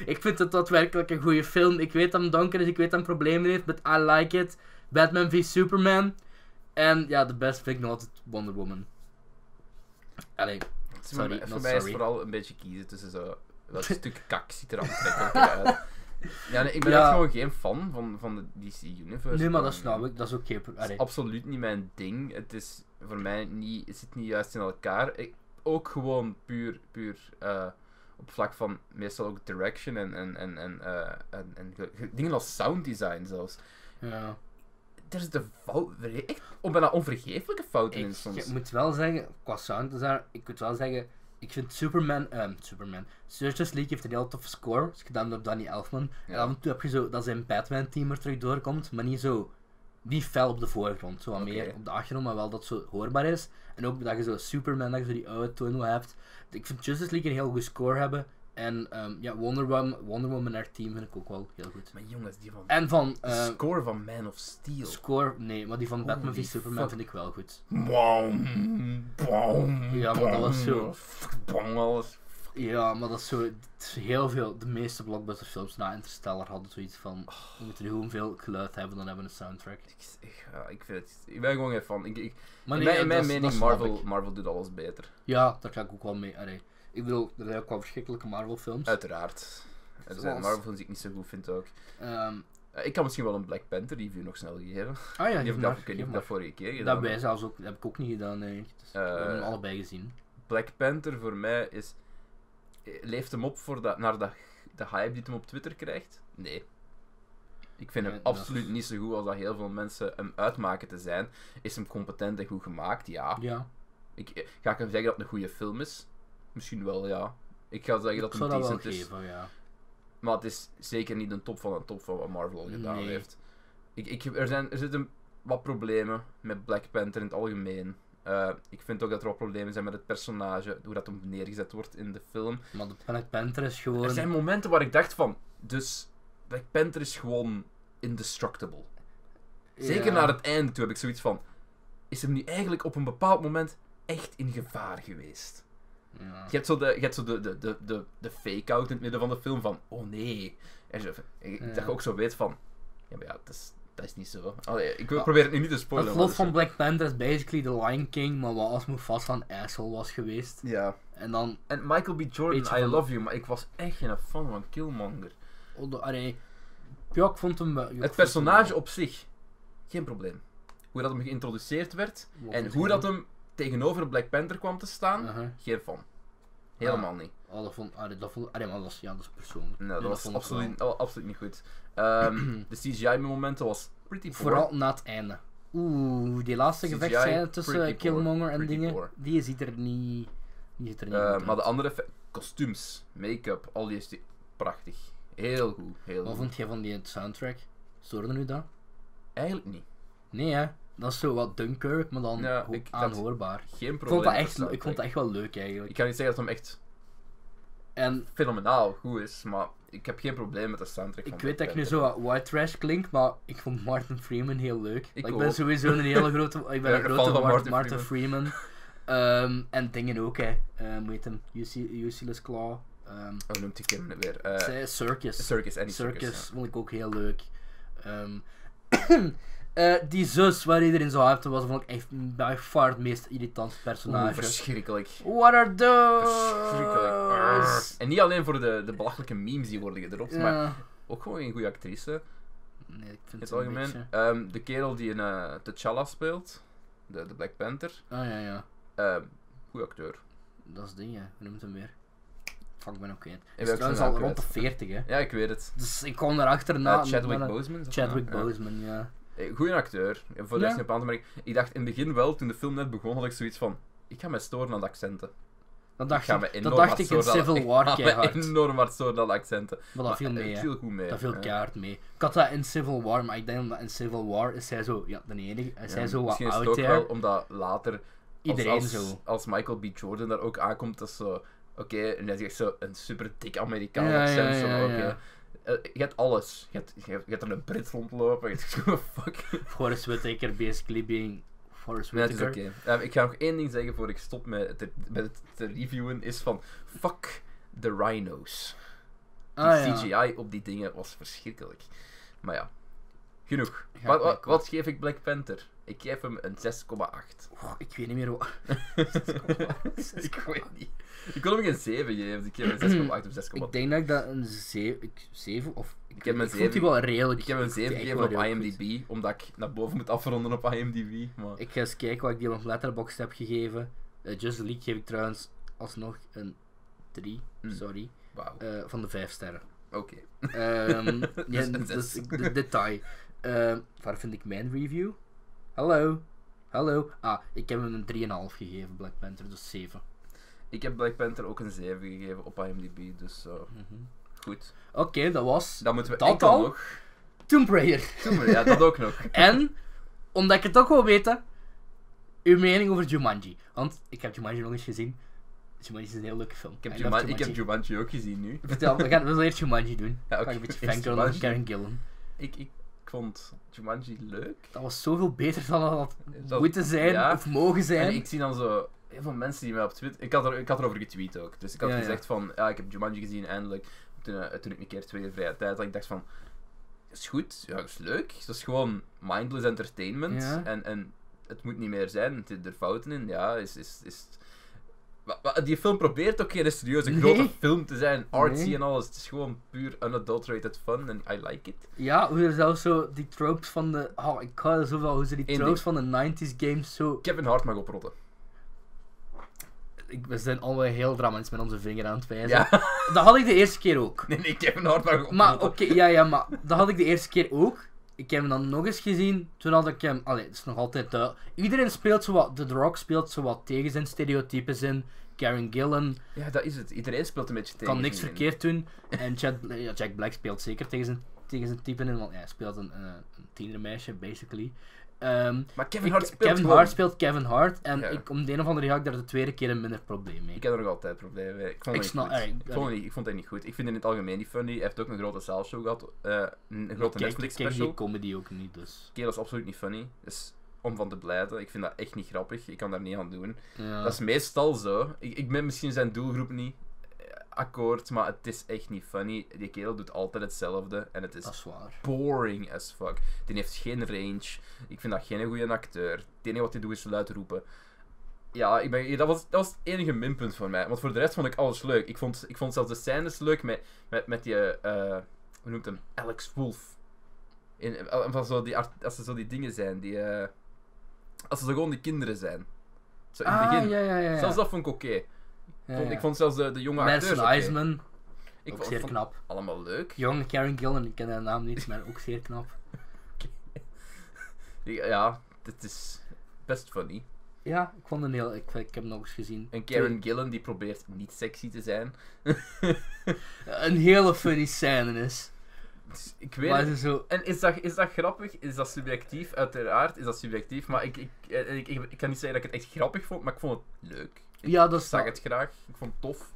[SPEAKER 2] Ik vind het daadwerkelijk een goede film. Ik weet dat hem donker is, ik weet dat hij problemen heeft, but I like it. Batman v Superman. En ja, de best vind ik nog altijd Wonder Woman. Allee,
[SPEAKER 1] het is voor
[SPEAKER 2] sorry,
[SPEAKER 1] mij- voor
[SPEAKER 2] not
[SPEAKER 1] mij is
[SPEAKER 2] sorry.
[SPEAKER 1] vooral een beetje kiezen tussen zo. Welk stuk kak ziet er aantrekkelijk uit? Ja, nee, ik ben
[SPEAKER 2] Ja.
[SPEAKER 1] echt gewoon geen fan van, van de DC Universe.
[SPEAKER 2] Nee, maar dat
[SPEAKER 1] Gewoon-
[SPEAKER 2] snap ik. Dat is ook geen... pro-
[SPEAKER 1] Het
[SPEAKER 2] Allee.
[SPEAKER 1] is absoluut niet mijn ding. Het is voor mij niet, het zit niet juist in elkaar. Ik, ook gewoon puur, puur eh, op vlak van meestal ook direction en, en, en, en, eh, en, en ge- ge- dingen als sound design zelfs.
[SPEAKER 2] Ja.
[SPEAKER 1] Er zitten fouten, echt on- bijna onvergeeflijke fouten in
[SPEAKER 2] Ik
[SPEAKER 1] soms.
[SPEAKER 2] ik moet wel zeggen, qua sound design, ik moet wel zeggen, ik vind Superman, ehm Superman, Justice League heeft een heel toffe score, is gedaan door Danny Elfman. En
[SPEAKER 1] Ja.
[SPEAKER 2] af en toe heb je zo dat zijn Batman-team er terug doorkomt, maar niet zo, niet fel op de voorgrond, zo wat
[SPEAKER 1] Oké.
[SPEAKER 2] meer op de achtergrond, maar wel dat zo hoorbaar is. En ook dat je zo Superman, dat je zo die oude toon hebt. Ik vind Justice League een heel goede score hebben. En ehm, ja, Wonder Woman, Wonder Woman en haar team vind ik ook wel heel goed.
[SPEAKER 1] Maar jongens, die van,
[SPEAKER 2] En van
[SPEAKER 1] de
[SPEAKER 2] eh,
[SPEAKER 1] score van Man of Steel.
[SPEAKER 2] score, nee, maar die van Batman
[SPEAKER 1] Holy
[SPEAKER 2] v Superman
[SPEAKER 1] Oh, fuck.
[SPEAKER 2] vind ik wel goed.
[SPEAKER 1] Boom, boom,
[SPEAKER 2] Ja, maar dat was zo.
[SPEAKER 1] boom, fuck, boom, alles.
[SPEAKER 2] Ja, maar dat is zo. het is heel veel. De meeste blockbusterfilms na Interstellar hadden zoiets van. We moeten nu hoeveel geluid hebben, dan hebben we een soundtrack.
[SPEAKER 1] Ik, ik, ja, ik, vind het, ik ben gewoon geen fan. Ik, ik,
[SPEAKER 2] Maar
[SPEAKER 1] in mijn,
[SPEAKER 2] nee,
[SPEAKER 1] in mijn
[SPEAKER 2] dat is- dat
[SPEAKER 1] mening,
[SPEAKER 2] snap
[SPEAKER 1] Marvel,
[SPEAKER 2] ik.
[SPEAKER 1] Marvel doet alles beter.
[SPEAKER 2] Ja, daar ga ik ook wel mee. Allee. Ik bedoel, er zijn ook wel verschrikkelijke Marvel-films.
[SPEAKER 1] Uiteraard. Er zijn
[SPEAKER 2] Zoals-
[SPEAKER 1] Marvel films die ik niet zo goed vind ook.
[SPEAKER 2] Ehm,
[SPEAKER 1] Eh, Ik kan misschien wel een Black Panther review nog snel geven.
[SPEAKER 2] ah ja,
[SPEAKER 1] ik weet niet
[SPEAKER 2] geef
[SPEAKER 1] of ik
[SPEAKER 2] maar,
[SPEAKER 1] dat- ik weet niet
[SPEAKER 2] geef
[SPEAKER 1] of ik dat
[SPEAKER 2] maar.
[SPEAKER 1] vorige keer
[SPEAKER 2] dat,
[SPEAKER 1] gedaan heb.
[SPEAKER 2] bij zelfs ook, heb ik ook niet gedaan, nee. Dus
[SPEAKER 1] Eh,
[SPEAKER 2] we hebben hem allebei gezien.
[SPEAKER 1] Black Panther voor mij is... eh, Leeft hem op voor dat, naar dat, de hype die hem op Twitter krijgt? Nee. Ik vind hem
[SPEAKER 2] Nee, dat is-
[SPEAKER 1] absoluut niet zo goed als dat heel veel mensen hem uitmaken te zijn. Is hem competent en goed gemaakt? Ja.
[SPEAKER 2] Ja,
[SPEAKER 1] Ik, eh, ga ik hem zeggen dat het een goede film is? Misschien wel, ja. Ik ga zeggen dat
[SPEAKER 2] ik
[SPEAKER 1] het een
[SPEAKER 2] zou dat wel
[SPEAKER 1] decent is.
[SPEAKER 2] geven, ja.
[SPEAKER 1] Maar het is zeker niet een top van een top van wat Marvel al gedaan
[SPEAKER 2] Nee.
[SPEAKER 1] heeft. Ik, ik, er, zijn, er zitten wat problemen met Black Panther in het algemeen. Eh, ik vind ook dat er wat problemen zijn met het personage, hoe dat hem neergezet wordt in de film.
[SPEAKER 2] Maar de Planet Panther is
[SPEAKER 1] Er
[SPEAKER 2] gewoon.
[SPEAKER 1] zijn momenten waar ik dacht van, dus Black Panther is gewoon indestructible. Zeker
[SPEAKER 2] Ja.
[SPEAKER 1] naar het einde toe heb ik zoiets van, is hem nu eigenlijk op een bepaald moment echt in gevaar geweest?
[SPEAKER 2] Ja.
[SPEAKER 1] Je hebt zo de, je hebt zo de, de, de, de, de fake-out in het midden van de film van, oh nee. En zo, ik,
[SPEAKER 2] Ja.
[SPEAKER 1] dat je ook zo weet van, ja, maar ja, dat is, dat is niet zo. Allee, ik wil
[SPEAKER 2] Ja.
[SPEAKER 1] probeer het nu niet te spoilen.
[SPEAKER 2] Ah, Het
[SPEAKER 1] maar
[SPEAKER 2] lot
[SPEAKER 1] dat
[SPEAKER 2] van
[SPEAKER 1] is
[SPEAKER 2] Black Panther is basically The Lion King, maar wat als Mufasa een asshole was geweest.
[SPEAKER 1] zo. Ja.
[SPEAKER 2] En dan
[SPEAKER 1] En Michael B. Jordan,
[SPEAKER 2] Beetje
[SPEAKER 1] I
[SPEAKER 2] van-
[SPEAKER 1] love you, maar ik was echt geen fan van Killmonger.
[SPEAKER 2] Oh, de- Allee, ja, ik vond hem wel- ik
[SPEAKER 1] Het
[SPEAKER 2] vond
[SPEAKER 1] personage
[SPEAKER 2] hem
[SPEAKER 1] op zich, geen probleem. Hoe dat hem geïntroduceerd werd
[SPEAKER 2] wel- wel
[SPEAKER 1] en
[SPEAKER 2] goed
[SPEAKER 1] hoe dat
[SPEAKER 2] gedaan.
[SPEAKER 1] hem tegenover Black Panther kwam te staan,
[SPEAKER 2] Uh-huh.
[SPEAKER 1] geen fan. Helemaal niet.
[SPEAKER 2] Oh, dat vond... Allee, dat vond... Allee, maar dat is... Ja, dat is persoonlijk.
[SPEAKER 1] Nee,
[SPEAKER 2] Ja,
[SPEAKER 1] dat was
[SPEAKER 2] vond ik
[SPEAKER 1] absoluut,
[SPEAKER 2] wel.
[SPEAKER 1] oh, absoluut niet goed. Ehm, de CGI-momenten was pretty poor.
[SPEAKER 2] Vooral na het einde. Oeh, die laatste
[SPEAKER 1] CGI
[SPEAKER 2] gevechtszijde tussen
[SPEAKER 1] pretty
[SPEAKER 2] eh, Killmonger
[SPEAKER 1] poor,
[SPEAKER 2] en
[SPEAKER 1] pretty
[SPEAKER 2] dingen,
[SPEAKER 1] poor.
[SPEAKER 2] die ziet er niet... Die ziet er niet
[SPEAKER 1] Eh,
[SPEAKER 2] goed
[SPEAKER 1] maar de
[SPEAKER 2] uit.
[SPEAKER 1] andere effe- kostuums, make-up, al die is die- prachtig. Heel goed, heel
[SPEAKER 2] Wat
[SPEAKER 1] goed.
[SPEAKER 2] vond jij van die soundtrack? Stoorde u dat?
[SPEAKER 1] Eigenlijk niet.
[SPEAKER 2] Nee, hè. Dat is zo wat Dunkirk, maar dan
[SPEAKER 1] Ja,
[SPEAKER 2] ho-
[SPEAKER 1] ik- dat-
[SPEAKER 2] aanhoorbaar.
[SPEAKER 1] Geen
[SPEAKER 2] Ik
[SPEAKER 1] probleem.
[SPEAKER 2] vond, dat
[SPEAKER 1] met
[SPEAKER 2] echt,
[SPEAKER 1] de
[SPEAKER 2] ik vond dat
[SPEAKER 1] soundtrack.
[SPEAKER 2] echt wel leuk, eigenlijk.
[SPEAKER 1] Ik kan niet zeggen dat hem echt
[SPEAKER 2] En
[SPEAKER 1] fenomenaal goed is, maar ik heb geen probleem met de soundtrack. van eh,
[SPEAKER 2] ik weet dat ik nu
[SPEAKER 1] Black
[SPEAKER 2] zo
[SPEAKER 1] Panther.
[SPEAKER 2] wat white trash klink, maar ik vond Martin Freeman heel leuk. Like, Ik,
[SPEAKER 1] ook.
[SPEAKER 2] ben sowieso een hele grote... Ik ben
[SPEAKER 1] Ja,
[SPEAKER 2] een
[SPEAKER 1] fan
[SPEAKER 2] grote
[SPEAKER 1] van
[SPEAKER 2] Mar-
[SPEAKER 1] Martin
[SPEAKER 2] Martin, Freeman. Ehm, en dingen ook, hè. Ehm, hoe heet hem? Useless Claw. Ehm
[SPEAKER 1] Hoe noemt ik hem weer? Eh,
[SPEAKER 2] zij- Circus.
[SPEAKER 1] circus, Annie
[SPEAKER 2] Circus,
[SPEAKER 1] Circus.
[SPEAKER 2] vond ik ook heel leuk. Ehm, eh, die zus waar iedereen zo hyped om was, vond ik echt by far het meest irritant
[SPEAKER 1] ja. Oeh,
[SPEAKER 2] personage.
[SPEAKER 1] verschrikkelijk.
[SPEAKER 2] What are Oh.
[SPEAKER 1] Verschrikkelijk.
[SPEAKER 2] those?
[SPEAKER 1] Arr. En niet alleen voor de, de belachelijke memes die worden gedropt, maar
[SPEAKER 2] Ja.
[SPEAKER 1] ook gewoon een goede actrice.
[SPEAKER 2] Nee, ik
[SPEAKER 1] In
[SPEAKER 2] vind
[SPEAKER 1] het
[SPEAKER 2] het een
[SPEAKER 1] algemeen.
[SPEAKER 2] beetje...
[SPEAKER 1] Ehm, de kerel die in eh, T'Challa speelt, de, de Black Panther,
[SPEAKER 2] Ah ja, ja.
[SPEAKER 1] ehm goede acteur.
[SPEAKER 2] Dat is ding, hè. Hoe noemt hem weer? Fuck, ik ben ook kwijt.
[SPEAKER 1] ben
[SPEAKER 2] Hij
[SPEAKER 1] ook
[SPEAKER 2] is trouwens
[SPEAKER 1] zijn
[SPEAKER 2] al
[SPEAKER 1] naam
[SPEAKER 2] rond de
[SPEAKER 1] kwijt.
[SPEAKER 2] 40, hè.
[SPEAKER 1] Ja, ik weet het.
[SPEAKER 2] Dus ik kwam erachter
[SPEAKER 1] Eh,
[SPEAKER 2] na...
[SPEAKER 1] Chadwick
[SPEAKER 2] na-
[SPEAKER 1] Boseman. is dat
[SPEAKER 2] Chadwick
[SPEAKER 1] de naam? Ja.
[SPEAKER 2] Boseman, ja.
[SPEAKER 1] Eh, Goeie acteur. Ja, Voor de
[SPEAKER 2] Ja.
[SPEAKER 1] rest geen plan, maar ik, ik dacht in het begin wel, toen de film net begon, had ik zoiets van... Ik ga mij storen aan de accenten.
[SPEAKER 2] Dat dacht
[SPEAKER 1] ik, ga
[SPEAKER 2] ik,
[SPEAKER 1] me
[SPEAKER 2] dat
[SPEAKER 1] enorm
[SPEAKER 2] dacht
[SPEAKER 1] hard
[SPEAKER 2] ik in
[SPEAKER 1] storen aan-
[SPEAKER 2] Civil War
[SPEAKER 1] Ik ga me
[SPEAKER 2] keihard.
[SPEAKER 1] enorm hard storen aan de accenten.
[SPEAKER 2] Maar dat viel
[SPEAKER 1] eh,
[SPEAKER 2] mee,
[SPEAKER 1] het
[SPEAKER 2] hè.
[SPEAKER 1] viel goed mee.
[SPEAKER 2] Dat viel
[SPEAKER 1] ja.
[SPEAKER 2] keihard mee. Ik had dat in Civil War, maar ik denk dat in Civil War is hij zo, ja, de enige, is
[SPEAKER 1] Ja,
[SPEAKER 2] hij zo wat
[SPEAKER 1] Misschien is het
[SPEAKER 2] out
[SPEAKER 1] ook
[SPEAKER 2] there.
[SPEAKER 1] wel omdat later... als-
[SPEAKER 2] Iedereen
[SPEAKER 1] als,
[SPEAKER 2] zo.
[SPEAKER 1] Als Michael B. Jordan daar ook aankomt, dat is zo... Oké, en hij zegt zo een super dik Amerikaans
[SPEAKER 2] Ja,
[SPEAKER 1] accent.
[SPEAKER 2] ja,
[SPEAKER 1] zo,
[SPEAKER 2] ja,
[SPEAKER 1] oké.
[SPEAKER 2] ja.
[SPEAKER 1] Eh, je hebt alles. Je hebt, je hebt, je hebt er een Brit rondlopen. Je hebt zo, fuck.
[SPEAKER 2] Forrest Whitaker basically being Forrest
[SPEAKER 1] Nee, het is
[SPEAKER 2] Whitaker.
[SPEAKER 1] oké. Ehm, ik ga nog één ding zeggen voor ik stop met het, te- met het te reviewen, is van fuck de rhino's. Die
[SPEAKER 2] Ah, ja.
[SPEAKER 1] CGI op die dingen was verschrikkelijk. Maar ja, genoeg.
[SPEAKER 2] Ja,
[SPEAKER 1] wat, wat,
[SPEAKER 2] ik-
[SPEAKER 1] wat geef ik Black Panther? Ik geef hem een 6,8.
[SPEAKER 2] Oeh, ik weet niet meer wat.
[SPEAKER 1] ik weet niet. Ik wil hem geen 7 geven, dus ik geef hem een 6,8 of 6,8.
[SPEAKER 2] Ik denk dat ik dat een 7 of... Ik,
[SPEAKER 1] heb een
[SPEAKER 2] ik vond die
[SPEAKER 1] zeven.
[SPEAKER 2] wel redelijk.
[SPEAKER 1] Ik heb hem een 7
[SPEAKER 2] echt
[SPEAKER 1] gegeven
[SPEAKER 2] wel
[SPEAKER 1] op
[SPEAKER 2] heel goed.
[SPEAKER 1] IMDb, omdat ik naar boven moet afronden op IMDb. Maar...
[SPEAKER 2] Ik ga eens kijken wat ik die op Letterboxd heb gegeven. Eh, Just the League geef ik trouwens alsnog een 3,
[SPEAKER 1] Mm.
[SPEAKER 2] sorry,
[SPEAKER 1] Wauw,
[SPEAKER 2] eh, van de 5 sterren.
[SPEAKER 1] oké.
[SPEAKER 2] Ehm ja,
[SPEAKER 1] een
[SPEAKER 2] dat is
[SPEAKER 1] zes.
[SPEAKER 2] de- detail. Ehm, waar vind ik mijn review? Hallo. Hallo. Ah, ik heb hem een 3,5 gegeven, Black Panther, dus 7.
[SPEAKER 1] Ik heb Black Panther ook een 7 gegeven op IMDb, dus eh, goed.
[SPEAKER 2] Oké, Mhm. dat was
[SPEAKER 1] Dan moeten we
[SPEAKER 2] Dat
[SPEAKER 1] enkel
[SPEAKER 2] al?
[SPEAKER 1] nog.
[SPEAKER 2] Tomb Raider.
[SPEAKER 1] Doen we, ja, dat ook nog.
[SPEAKER 2] en, omdat ik het ook wil weten, uw mening over Jumanji. Want ik heb Jumanji nog eens gezien. Jumanji is een heel leuke film.
[SPEAKER 1] Ik heb,
[SPEAKER 2] I love
[SPEAKER 1] Juman- ik heb Jumanji ook gezien nu.
[SPEAKER 2] Vertel, we gaan, we zullen eerst Jumanji doen.
[SPEAKER 1] Ja,
[SPEAKER 2] Ga
[SPEAKER 1] oké,
[SPEAKER 2] ik een beetje
[SPEAKER 1] eerst
[SPEAKER 2] fangirlen over
[SPEAKER 1] Jumanji.
[SPEAKER 2] Karen Gillan.
[SPEAKER 1] Ik, ik vond Jumanji leuk.
[SPEAKER 2] Dat was zoveel beter dan dat had
[SPEAKER 1] Dat-
[SPEAKER 2] moeten zijn
[SPEAKER 1] ja.
[SPEAKER 2] of mogen zijn.
[SPEAKER 1] En ik zie dan zo heel veel mensen die mij op Twitter. Ik had, er, ik had erover getweet ook. Dus ik had
[SPEAKER 2] Ja, ja.
[SPEAKER 1] gezegd van, ja, ik heb Jumanji gezien eindelijk. Toen, eh, toen ik een keer tweede vrije tijd had, ik dacht van, is goed, ja, is leuk. Het is gewoon mindless entertainment.
[SPEAKER 2] Ja.
[SPEAKER 1] En, en het moet niet meer zijn. Er zitten er fouten in, ja, is... is, is Wa- wa- die film probeert ook geen serieuze
[SPEAKER 2] Nee.
[SPEAKER 1] grote film te zijn, artsy
[SPEAKER 2] Nee.
[SPEAKER 1] en alles. Het is gewoon puur unadulterated fun en I like it.
[SPEAKER 2] Ja, hoe er zelfs zo die tropes van de. Oh, ik hou er zoveel hoe ze die
[SPEAKER 1] Eén
[SPEAKER 2] tropes van de 90s games zo.
[SPEAKER 1] Kevin Hart mag oprotten.
[SPEAKER 2] Ik, we zijn allemaal heel dramatisch met onze vinger aan het wijzen.
[SPEAKER 1] Ja,
[SPEAKER 2] Dat had ik de eerste keer ook.
[SPEAKER 1] nee, nee, Kevin Hart mag oprotten.
[SPEAKER 2] Maar oké, ja, ja, maar dat had ik de eerste keer ook. Ik heb hem dan nog eens gezien. Toen had ik hem. Allee, het is nog altijd. eh, iedereen speelt zo wat. The Rock speelt zo wat tegen zijn stereotypes in. Karen Gillan
[SPEAKER 1] Ja, dat is het. Iedereen speelt een beetje tegen.
[SPEAKER 2] kan niks
[SPEAKER 1] zijn zin.
[SPEAKER 2] verkeerd doen. En Chad, Bla- ja, Jack Black speelt zeker tegen zijn, tegen zijn typen in. Want hij speelt een, eh, een tienermeisje, basically. Ehm,
[SPEAKER 1] Maar Kevin
[SPEAKER 2] Ik-
[SPEAKER 1] Hart speelt
[SPEAKER 2] Kevin
[SPEAKER 1] gewoon.
[SPEAKER 2] Hart speelt Kevin Hart. En
[SPEAKER 1] Ja.
[SPEAKER 2] ik, om de een of andere reden had ik daar de tweede keer een minder probleem mee.
[SPEAKER 1] Ik heb er nog altijd problemen mee. Ik vond
[SPEAKER 2] Ik
[SPEAKER 1] het niet
[SPEAKER 2] snap-
[SPEAKER 1] goed.
[SPEAKER 2] eh, ik-
[SPEAKER 1] Ik vond het niet- ik vond het niet goed. Ik vind het in het algemeen niet funny. Hij heeft ook een grote zaalshow gehad. eh, een
[SPEAKER 2] Maar
[SPEAKER 1] grote
[SPEAKER 2] kijk, ik
[SPEAKER 1] Netflix
[SPEAKER 2] kijk
[SPEAKER 1] special.
[SPEAKER 2] die
[SPEAKER 1] De
[SPEAKER 2] comedy ook niet, dus...
[SPEAKER 1] kerel is absoluut niet funny. Dus om van te blijven. Ik vind dat echt niet grappig. Ik kan daar niet aan doen.
[SPEAKER 2] Ja.
[SPEAKER 1] Dat is meestal zo. Ik, ik ben misschien zijn doelgroep niet eh, akkoord. Maar het is echt niet funny. Die kerel doet altijd hetzelfde. En het is
[SPEAKER 2] dat is waar.
[SPEAKER 1] boring as fuck. Die heeft geen range. Ik vind dat geen goede acteur. Het enige wat hij doet is luid roepen. Ja, ik ben, dat, was, dat was het enige minpunt voor mij. Want voor de rest vond ik alles leuk. Ik vond, ik vond zelfs de scènes leuk met, met, met die... eh, hoe noemt hem? Alex Wolf. In, eh, van zo die, art- als ze zo die dingen zijn, die... eh, als ze zo gewoon die kinderen zijn. Zo in het
[SPEAKER 2] Ah,
[SPEAKER 1] begin.
[SPEAKER 2] ja, ja, ja. ja.
[SPEAKER 1] Zelfs dat vond ik oké. Ik
[SPEAKER 2] Ja,
[SPEAKER 1] vond-
[SPEAKER 2] ja.
[SPEAKER 1] Ik vond zelfs de, de jonge
[SPEAKER 2] Madison
[SPEAKER 1] acteurs oké.
[SPEAKER 2] Eisman,
[SPEAKER 1] Ik
[SPEAKER 2] ook
[SPEAKER 1] vond,
[SPEAKER 2] zeer
[SPEAKER 1] vond
[SPEAKER 2] knap.
[SPEAKER 1] allemaal leuk.
[SPEAKER 2] Jong Karen Gillan, ik ken haar naam niet, maar ook zeer knap.
[SPEAKER 1] Ja, dit is best funny.
[SPEAKER 2] Ja, ik vond hem heel... Ik, ik heb hem nog eens gezien.
[SPEAKER 1] Een Karen Gillen die probeert niet sexy te zijn.
[SPEAKER 2] Een hele funny scène is.
[SPEAKER 1] Dus ik weet
[SPEAKER 2] Maar
[SPEAKER 1] het
[SPEAKER 2] ze zo...
[SPEAKER 1] En is dat, is dat grappig? Is dat subjectief? Uiteraard is dat subjectief, maar ik, ik, eh, ik, ik, ik kan niet zeggen dat ik het echt grappig vond, maar ik vond het leuk. Ik
[SPEAKER 2] Ja, dat is
[SPEAKER 1] zag
[SPEAKER 2] dat.
[SPEAKER 1] het graag, ik vond het tof.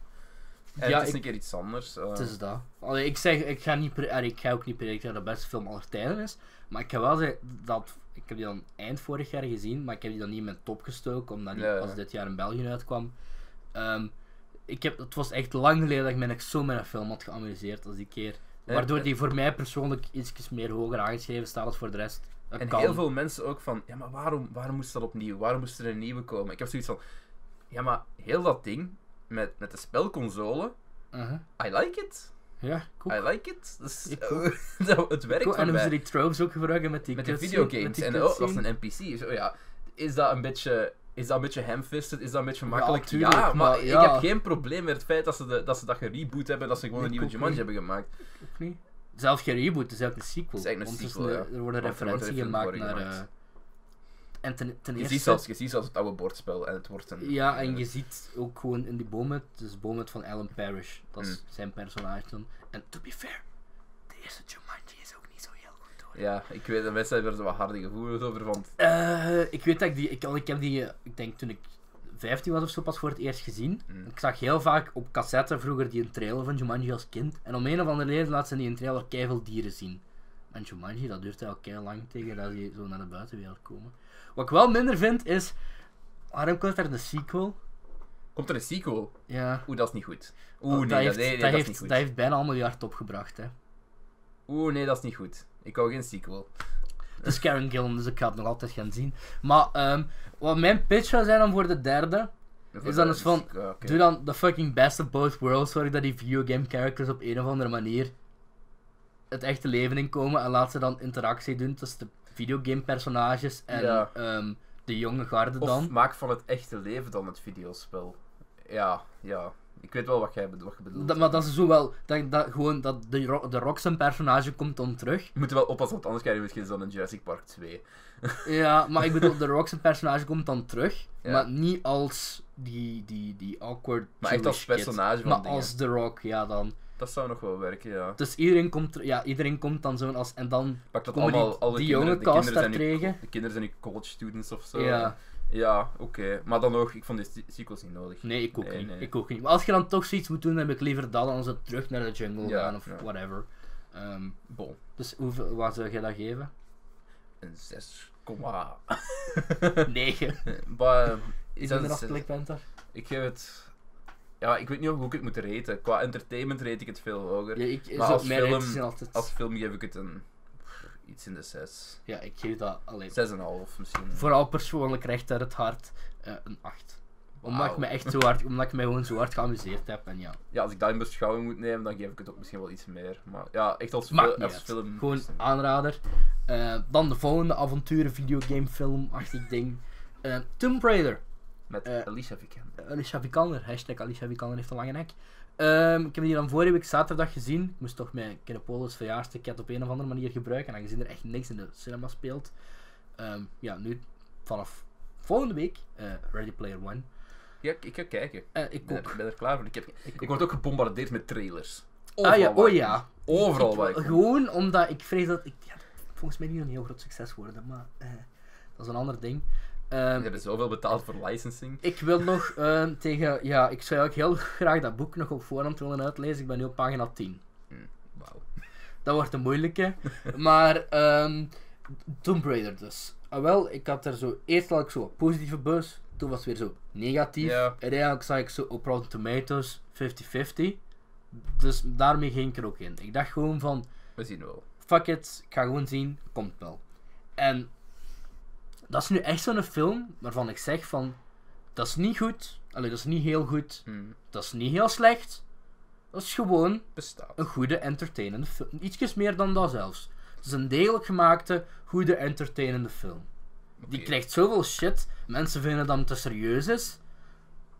[SPEAKER 1] En
[SPEAKER 2] Ja,
[SPEAKER 1] het is
[SPEAKER 2] ik-
[SPEAKER 1] een keer iets anders. eh.
[SPEAKER 2] Het is dat. Allee, ik, zeg, ik, ga niet pre- allee, ik ga ook niet predicten dat de beste film aller tijden is. Maar ik ga wel zeggen dat. Ik heb die dan eind vorig jaar gezien, maar ik heb die dan niet in mijn top gestoken, omdat die
[SPEAKER 1] Ja, ja.
[SPEAKER 2] pas dit jaar in België uitkwam. Ehm, ik heb, het was echt lang geleden dat ik me echt zo met een film had geamuseerd als die keer.
[SPEAKER 1] En-
[SPEAKER 2] Waardoor die voor mij persoonlijk iets meer hoger aangeschreven staat dan voor de rest. Dat
[SPEAKER 1] en
[SPEAKER 2] kan.
[SPEAKER 1] heel veel mensen ook van, ja maar waarom, waarom moest dat opnieuw? Waarom moest er een nieuwe komen? Ik heb zoiets van, ja maar heel dat ding met, met de spelconsole,
[SPEAKER 2] Uh-huh.
[SPEAKER 1] I like it.
[SPEAKER 2] Ja, cool.
[SPEAKER 1] I like it. Dus,
[SPEAKER 2] Ik
[SPEAKER 1] dat- het werkt
[SPEAKER 2] Cool,
[SPEAKER 1] voor
[SPEAKER 2] En hoe
[SPEAKER 1] mij.
[SPEAKER 2] ze die tropes ook gebruiken met die
[SPEAKER 1] met de
[SPEAKER 2] cutscene-
[SPEAKER 1] videogames.
[SPEAKER 2] met die
[SPEAKER 1] En oh, dat is
[SPEAKER 2] cutscene.
[SPEAKER 1] een NPC. Zo, ja. Is dat een beetje. Is dat een beetje hamfisted? Is dat een beetje makkelijk?
[SPEAKER 2] tuurlijk,
[SPEAKER 1] maar,
[SPEAKER 2] maar
[SPEAKER 1] ik
[SPEAKER 2] ja.
[SPEAKER 1] heb geen probleem met het feit dat ze, de, dat, ze dat gereboot hebben en dat ze gewoon
[SPEAKER 2] Ik
[SPEAKER 1] een nieuwe
[SPEAKER 2] ook
[SPEAKER 1] Jumanji
[SPEAKER 2] niet.
[SPEAKER 1] hebben gemaakt.
[SPEAKER 2] Ook niet. Zelf geen reboot, het is eigenlijk een
[SPEAKER 1] Het
[SPEAKER 2] sequel.
[SPEAKER 1] is eigenlijk een sequel,
[SPEAKER 2] Want Er wordt een
[SPEAKER 1] Want er wordt
[SPEAKER 2] referentie
[SPEAKER 1] een film
[SPEAKER 2] gemaakt
[SPEAKER 1] voor
[SPEAKER 2] naar. eh,
[SPEAKER 1] gemaakt.
[SPEAKER 2] en ten, ten
[SPEAKER 1] Je
[SPEAKER 2] eerste.
[SPEAKER 1] ziet, zelfs, je ziet zelfs het oude bordspel en het wordt een.
[SPEAKER 2] Ja, en je ziet ook gewoon in die boomhut, dus boomhut van Alan Parrish. Dat is
[SPEAKER 1] Mm.
[SPEAKER 2] zijn personage dan. En to be fair, de eerste Jumanji is ook niet zo heel goed hoor.
[SPEAKER 1] Ja, ik weet, de mensen hebben er zo wat harde gevoelens over. Want
[SPEAKER 2] Eh, ik weet dat ik die. Ik, ik heb die, eh, ik denk toen ik 15 was of zo, pas voor het eerst gezien.
[SPEAKER 1] Mm.
[SPEAKER 2] Ik zag heel vaak op cassette vroeger die een trailer van Jumanji als kind. En om een of andere reden laat ze die een trailer keiveel dieren zien. En Jumanji, dat duurt al keihard lang tegen dat ze zo naar de buitenwereld komen. Wat ik wel minder vind is. Waarom komt er een sequel?
[SPEAKER 1] komt er een sequel?
[SPEAKER 2] Ja.
[SPEAKER 1] Oeh, dat is niet goed. Oeh, nee,
[SPEAKER 2] dat heeft,
[SPEAKER 1] dat, nee, nee,
[SPEAKER 2] dat
[SPEAKER 1] dat is
[SPEAKER 2] heeft,
[SPEAKER 1] niet goed.
[SPEAKER 2] dat heeft bijna een miljard opgebracht. Hè.
[SPEAKER 1] Oeh, nee, dat is niet goed. Ik hou geen sequel.
[SPEAKER 2] Het is Karen Gillan, dus ik ga het nog altijd gaan zien. Maar ehm, wat mijn pitch zou zijn dan voor de derde. Is dan eens van,
[SPEAKER 1] Ja, oké.
[SPEAKER 2] Doe dan de fucking best of both worlds. Zorg dat die videogame characters op een of andere manier het echte leven inkomen. En laat ze dan interactie doen tussen de videogame personages en
[SPEAKER 1] Ja.
[SPEAKER 2] ehm, de jonge garde
[SPEAKER 1] Of
[SPEAKER 2] dan.
[SPEAKER 1] maak van het echte leven dan het videospel. Ja, ja. Ik weet wel wat jij bedo- wat je bedoelt.
[SPEAKER 2] Dat, maar dat is zo wel, dat, dat, gewoon dat de, Ro- de Rock zijn personage komt dan terug.
[SPEAKER 1] We moeten wel oppassen, want anders krijg je misschien zo'n Jurassic Park 2.
[SPEAKER 2] Ja, maar ik bedoel, de Rock zijn personage komt dan terug.
[SPEAKER 1] Ja.
[SPEAKER 2] Maar niet als die, die, die awkward
[SPEAKER 1] Maar echt als
[SPEAKER 2] Jewish kid.
[SPEAKER 1] personage van
[SPEAKER 2] Maar
[SPEAKER 1] dingen.
[SPEAKER 2] als The Rock, ja dan.
[SPEAKER 1] Dat zou nog wel werken, ja.
[SPEAKER 2] Dus iedereen komt, ter- ja, iedereen komt dan zo als, en dan
[SPEAKER 1] Pak dat
[SPEAKER 2] Komen die-
[SPEAKER 1] allemaal, alle
[SPEAKER 2] die
[SPEAKER 1] kinderen,
[SPEAKER 2] jonge
[SPEAKER 1] de
[SPEAKER 2] cast
[SPEAKER 1] kinderen zijn
[SPEAKER 2] daar
[SPEAKER 1] nu-
[SPEAKER 2] tegen?
[SPEAKER 1] De kinderen zijn nu college students of zo.
[SPEAKER 2] Ja.
[SPEAKER 1] Ja, oké. Maar dan nog, ik vond die se- sequels niet nodig.
[SPEAKER 2] Nee, ik ook,
[SPEAKER 1] Nee,
[SPEAKER 2] niet.
[SPEAKER 1] nee.
[SPEAKER 2] ik ook niet. Maar als je dan toch zoiets moet doen, dan heb ik liever dat dan ze terug naar de jungle
[SPEAKER 1] Ja,
[SPEAKER 2] gaan of
[SPEAKER 1] ja.
[SPEAKER 2] whatever. Ehm,
[SPEAKER 1] Bon,
[SPEAKER 2] dus hoeveel, wat zou jij dat geven?
[SPEAKER 1] een 6, komma.
[SPEAKER 2] 9.
[SPEAKER 1] Maar, dat
[SPEAKER 2] Is dat
[SPEAKER 1] een
[SPEAKER 2] eraf
[SPEAKER 1] zes?
[SPEAKER 2] Black Panther?
[SPEAKER 1] ik geef het... Ja, ik weet niet hoe ik het moet raten. Qua entertainment rate ik het veel hoger.
[SPEAKER 2] Ja, ik,
[SPEAKER 1] Maar
[SPEAKER 2] zo-
[SPEAKER 1] als
[SPEAKER 2] mijn
[SPEAKER 1] film-
[SPEAKER 2] ratings zijn altijd...
[SPEAKER 1] Als film geef ik het een... pff, Iets in de 6.
[SPEAKER 2] Ja, ik geef dat alleen.
[SPEAKER 1] 6,5 misschien.
[SPEAKER 2] Vooral persoonlijk recht uit het hart eh, een 8. Omdat ik
[SPEAKER 1] Wauw.
[SPEAKER 2] me echt zo hard, omdat ik me gewoon zo hard geamuseerd heb en ja.
[SPEAKER 1] Ja, als ik dat in beschouwing moet nemen, dan geef ik het ook misschien wel iets meer. Maar ja, echt als,
[SPEAKER 2] Maakt
[SPEAKER 1] fil-
[SPEAKER 2] niet
[SPEAKER 1] als
[SPEAKER 2] uit.
[SPEAKER 1] film.
[SPEAKER 2] Gewoon aanrader. Eh, dan de volgende avonturen, videogame, film, achtig ding. Eh, Tomb Raider.
[SPEAKER 1] Met
[SPEAKER 2] eh,
[SPEAKER 1] Alicia Vikander.
[SPEAKER 2] Alicia Vikander, hashtag Alicia Vikander heeft een lange nek. Ehm, ik heb die dan vorige week zaterdag gezien. Ik moest toch mijn Kinopolis verjaarsdeket op een of andere manier gebruiken. En aangezien er echt niks in de cinema speelt. ehm, ja, nu vanaf volgende week eh, Ready Player One.
[SPEAKER 1] Ja, ik, ik ga kijken. Ik
[SPEAKER 2] Eh, ik
[SPEAKER 1] ben,
[SPEAKER 2] ook.
[SPEAKER 1] er, ben er klaar voor. Ik, heb, ik,
[SPEAKER 2] ook.
[SPEAKER 1] word ook gebombardeerd met trailers.
[SPEAKER 2] ah ja,
[SPEAKER 1] Overal waar ik
[SPEAKER 2] oh ja.
[SPEAKER 1] kom. Overal
[SPEAKER 2] Ik-
[SPEAKER 1] waar ik kom.
[SPEAKER 2] Gewoon omdat ik vrees dat... Ik, ja, volgens mij niet een heel groot succes worden, maar eh, dat is een ander ding.
[SPEAKER 1] Ze
[SPEAKER 2] Ehm,
[SPEAKER 1] hebben zoveel betaald voor licensing.
[SPEAKER 2] Ik wil nog ehm, tegen... Ja, ik zou eigenlijk heel graag dat boek nog op voorhand willen uitlezen. Ik ben nu op pagina 10.
[SPEAKER 1] Wauw.
[SPEAKER 2] Dat wordt een moeilijke. maar ehm Tomb Raider dus. Ah, wel, ik had er zo... Eerst had ik zo een positieve bus. Toen was het weer zo negatief.
[SPEAKER 1] Ja.
[SPEAKER 2] En eigenlijk zag ik zo op Rotten Tomatoes 50-50. Dus daarmee ging ik er ook in. Ik dacht gewoon van...
[SPEAKER 1] We zien wel.
[SPEAKER 2] Fuck it, ik ga gewoon zien. Komt wel. En... Dat is nu echt zo'n film waarvan ik zeg van... Dat is niet goed. Allee, dat is niet heel goed.
[SPEAKER 1] Hmm,
[SPEAKER 2] Dat is niet heel slecht. Dat is gewoon
[SPEAKER 1] Bestaat.
[SPEAKER 2] een goede entertainende film. Ietsjes meer dan dat zelfs. Het is een degelijk gemaakte, goede entertainende film. Die
[SPEAKER 1] Oké.
[SPEAKER 2] krijgt zoveel shit. Mensen vinden dat het te serieus is.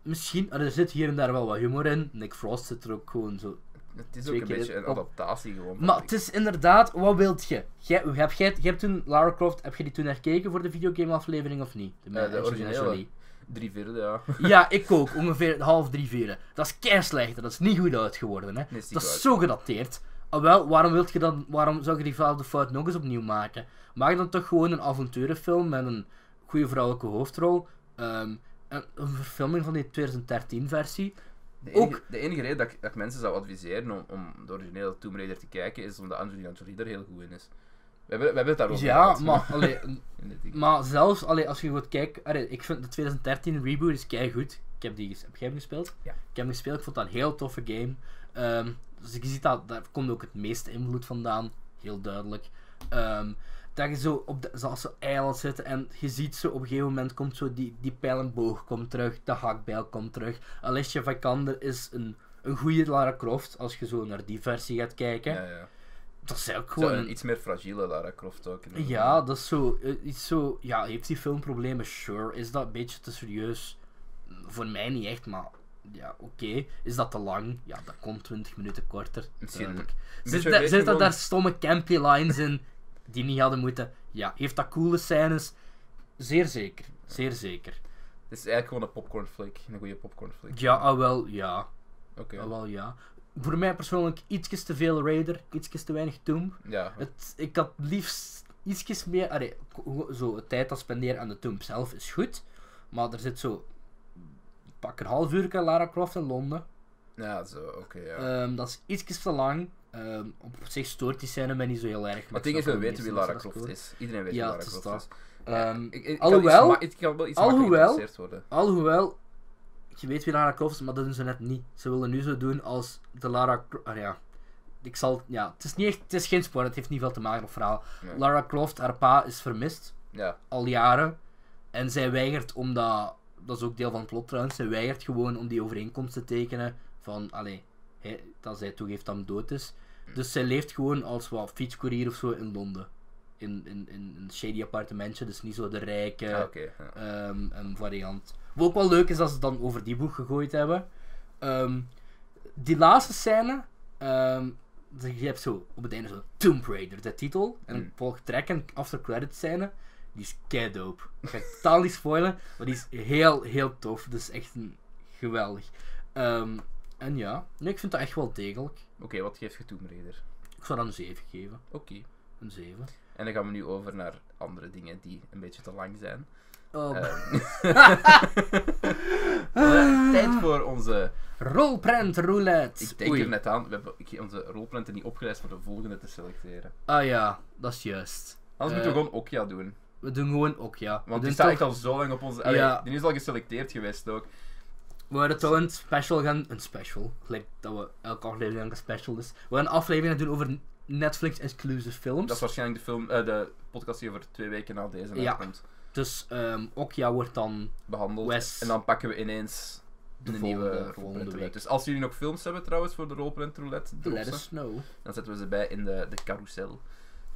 [SPEAKER 2] Misschien, er zit hier en daar wel wat humor in. Nick Frost zit er ook gewoon zo.
[SPEAKER 1] Het is
[SPEAKER 2] twee
[SPEAKER 1] ook een
[SPEAKER 2] keer
[SPEAKER 1] beetje een
[SPEAKER 2] op-
[SPEAKER 1] adaptatie gewoon. van
[SPEAKER 2] Maar
[SPEAKER 1] die-
[SPEAKER 2] het is inderdaad, wat wilt je? Jij, hoe heb jij, jij hebt toen Lara Croft, heb je die toen herkeken voor de videogame aflevering of niet?
[SPEAKER 1] Eh, de
[SPEAKER 2] Angelina
[SPEAKER 1] originele.
[SPEAKER 2] Jolie.
[SPEAKER 1] Drie vierde, ja.
[SPEAKER 2] Ja, ik ook. Ongeveer half drie vieren. Dat is keislechter. Dat is niet goed uitgeworden.
[SPEAKER 1] Nee,
[SPEAKER 2] Hè.
[SPEAKER 1] is niet
[SPEAKER 2] dat is
[SPEAKER 1] goed
[SPEAKER 2] zo gedateerd. Ah, wel, waarom, wilt je dan, waarom zou je diezelfde fout nog eens opnieuw maken? Maak dan toch gewoon een avonturenfilm met een goede vrouwelijke hoofdrol. Ehm, een, een verfilming van die 2013-versie.
[SPEAKER 1] De enige,
[SPEAKER 2] Ook-
[SPEAKER 1] de enige reden dat ik, dat ik mensen zou adviseren om, om de originele Tomb Raider te kijken, is omdat Angelina Jolie er heel goed in is. We hebben, we hebben het daarover
[SPEAKER 2] Ja,
[SPEAKER 1] gehad.
[SPEAKER 2] maar, Mm, allee,
[SPEAKER 1] In dit ding.
[SPEAKER 2] maar zelfs allee, als je goed kijkt... allee, ik vind de 2013 reboot is kei goed. Ik heb die ges- heb jij hem gespeeld?
[SPEAKER 1] Ja.
[SPEAKER 2] Ik heb hem gespeeld, ik vond dat een heel toffe game. Ehm, dus je ziet dat, daar komt ook het meeste invloed vandaan. Heel duidelijk. Ehm, dat je zo op de, zoals zo eiland zit en je ziet zo op een gegeven moment komt zo die, die pijlenboog komt terug, de hakbijl komt terug. Alicia Vikander is een, een goede Lara Croft als je zo naar die versie gaat kijken.
[SPEAKER 1] Ja, ja.
[SPEAKER 2] Dat is ook
[SPEAKER 1] Zo,
[SPEAKER 2] gewoon
[SPEAKER 1] een
[SPEAKER 2] een
[SPEAKER 1] iets meer fragiele Lara Croft ook. inderdaad.
[SPEAKER 2] ja, dat is zo, eh, iets zo. Ja, heeft die film problemen? Sure. Is dat een beetje te serieus? Mm, Voor mij niet echt, maar ja, oké. Is dat te lang? Ja, dat komt 20 minuten korter.
[SPEAKER 1] Misschien
[SPEAKER 2] duidelijk.
[SPEAKER 1] een
[SPEAKER 2] Zit
[SPEAKER 1] beetje
[SPEAKER 2] daar-
[SPEAKER 1] weet
[SPEAKER 2] Zitten
[SPEAKER 1] gewoon-
[SPEAKER 2] daar stomme campy lines in die niet hadden moeten? Ja, heeft dat coole scènes? Zeer zeker. Zeer zeker.
[SPEAKER 1] Het is eigenlijk gewoon een popcorn flick. Een goede popcorn flick.
[SPEAKER 2] Ja, ah wel, ja.
[SPEAKER 1] Oké.
[SPEAKER 2] Ah wel, ja. Voor mij persoonlijk ietsjes te veel Raider, ietsjes te weinig Tomb.
[SPEAKER 1] Ja.
[SPEAKER 2] Het, ik had liefst ietsjes meer. Allee, ko- zo, het tijd dat spenderen aan de tomb zelf is goed. Maar er zit zo. Pak een half uur Lara Croft in Londen.
[SPEAKER 1] Ja, zo, oké, ja.
[SPEAKER 2] Ehm, dat is ietsjes te lang. Ehm, op zich stoort die scène mij niet zo heel erg.
[SPEAKER 1] maar het ding is, we weten wie Lara Croft
[SPEAKER 2] dus is.
[SPEAKER 1] is. Iedereen weet
[SPEAKER 2] Ja,
[SPEAKER 1] wie Lara
[SPEAKER 2] het is
[SPEAKER 1] Croft
[SPEAKER 2] dat.
[SPEAKER 1] is.
[SPEAKER 2] Ehm,
[SPEAKER 1] Ik- ik- ik kan iets
[SPEAKER 2] alhoewel-
[SPEAKER 1] ma- Ik kan wel iets
[SPEAKER 2] alhoewel-
[SPEAKER 1] makkelijker geïnteresseerd worden.
[SPEAKER 2] Alhoewel, je weet wie Lara Croft is, maar dat doen ze net niet. Ze willen nu zo doen als de Lara Cro- ah, ja. Ik zal, ja, het is, niet echt, het is geen spoor, het heeft niet veel te maken met het verhaal.
[SPEAKER 1] Nee.
[SPEAKER 2] Lara Croft, haar pa, is vermist.
[SPEAKER 1] Ja.
[SPEAKER 2] al jaren. En zij weigert om dat, dat is ook deel van het plot trouwens, zij weigert gewoon om die overeenkomst te tekenen van, allee, hè, dat zij toegeeft dat hem dood is. Dus zij leeft gewoon als wat fietscourier of zo in Londen. In, in, in een shady appartementje, dus niet zo de rijke
[SPEAKER 1] Ah, oké. ja.
[SPEAKER 2] ehm, een variant. Wat ook wel leuk is dat ze het dan over die boek gegooid hebben. Ehm, die laatste scène, ehm, dus je hebt zo op het einde zo Tomb Raider, de titel. En dan
[SPEAKER 1] Mm.
[SPEAKER 2] volgt track en after credit scène. Die is kei dope. Ik ga het totaal niet spoilen, maar die is heel, heel tof. Dus echt een, geweldig. Ehm, en ja, nee, ik vind dat echt wel degelijk.
[SPEAKER 1] Oké, wat geeft je Tomb Raider?
[SPEAKER 2] Ik zou dat een 7 geven.
[SPEAKER 1] Oké.
[SPEAKER 2] Een 7.
[SPEAKER 1] En dan gaan we nu over naar andere dingen die een beetje te lang zijn.
[SPEAKER 2] Oh,
[SPEAKER 1] Ehm.
[SPEAKER 2] Ah.
[SPEAKER 1] Eh, Tijd voor onze...
[SPEAKER 2] rolprent roulette.
[SPEAKER 1] Ik denk
[SPEAKER 2] Oei.
[SPEAKER 1] er net aan, we hebben ik- onze rolprenten niet opgeleid om de volgende te selecteren.
[SPEAKER 2] Ah ja, dat is juist.
[SPEAKER 1] Anders
[SPEAKER 2] Eh,
[SPEAKER 1] moeten we gewoon Okja doen.
[SPEAKER 2] We doen gewoon ook, ja. we,
[SPEAKER 1] Want
[SPEAKER 2] doen
[SPEAKER 1] die staat
[SPEAKER 2] toch-
[SPEAKER 1] echt al zo lang op onze...
[SPEAKER 2] Ja.
[SPEAKER 1] Allee, Die is al geselecteerd geweest ook.
[SPEAKER 2] we hadden toch een special gaan... Een special. Gelijk dat we elke aflevering aan een special is. We gaan een aflevering gaan doen over Netflix-exclusive films.
[SPEAKER 1] Dat is waarschijnlijk de, film, eh, de podcast die over twee weken na deze
[SPEAKER 2] Ja.
[SPEAKER 1] uitkomt
[SPEAKER 2] Dus ehm Okja wordt dan...
[SPEAKER 1] behandeld.
[SPEAKER 2] Wes.
[SPEAKER 1] En dan pakken we ineens de,
[SPEAKER 2] volgende-
[SPEAKER 1] nieuwe
[SPEAKER 2] volgende
[SPEAKER 1] rolprint
[SPEAKER 2] week.
[SPEAKER 1] roulette. Dus als jullie nog films hebben trouwens voor de rolprint roulette, drop
[SPEAKER 2] Let
[SPEAKER 1] ze.
[SPEAKER 2] us know.
[SPEAKER 1] dan zetten we ze bij in de, de carousel.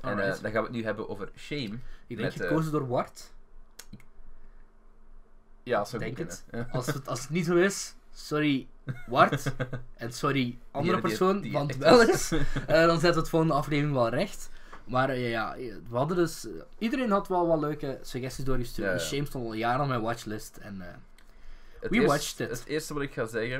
[SPEAKER 1] En eh,
[SPEAKER 2] Alright.
[SPEAKER 1] dan gaan we het nu hebben over Shame.
[SPEAKER 2] Ik denk
[SPEAKER 1] met, eh,
[SPEAKER 2] gekozen door Wart.
[SPEAKER 1] Ja, zo
[SPEAKER 2] Denk
[SPEAKER 1] goed
[SPEAKER 2] het.
[SPEAKER 1] kunnen. Ja.
[SPEAKER 2] Als het, als het niet zo is, sorry Wart. en sorry andere
[SPEAKER 1] Die- die-
[SPEAKER 2] persoon,
[SPEAKER 1] die-
[SPEAKER 2] want
[SPEAKER 1] echt
[SPEAKER 2] wel
[SPEAKER 1] is.
[SPEAKER 2] eens. Eh, dan zetten we het volgende aflevering wel recht. Maar eh, ja, eh, we hadden dus... eh, iedereen had wel wat leuke suggesties doorgestuurd.
[SPEAKER 1] Ja,
[SPEAKER 2] Ja,
[SPEAKER 1] ja.
[SPEAKER 2] Shame stond al jaren op mijn watchlist. En, eh,
[SPEAKER 1] Het
[SPEAKER 2] We
[SPEAKER 1] eerst-
[SPEAKER 2] watched it.
[SPEAKER 1] Het eerste wat ik ga zeggen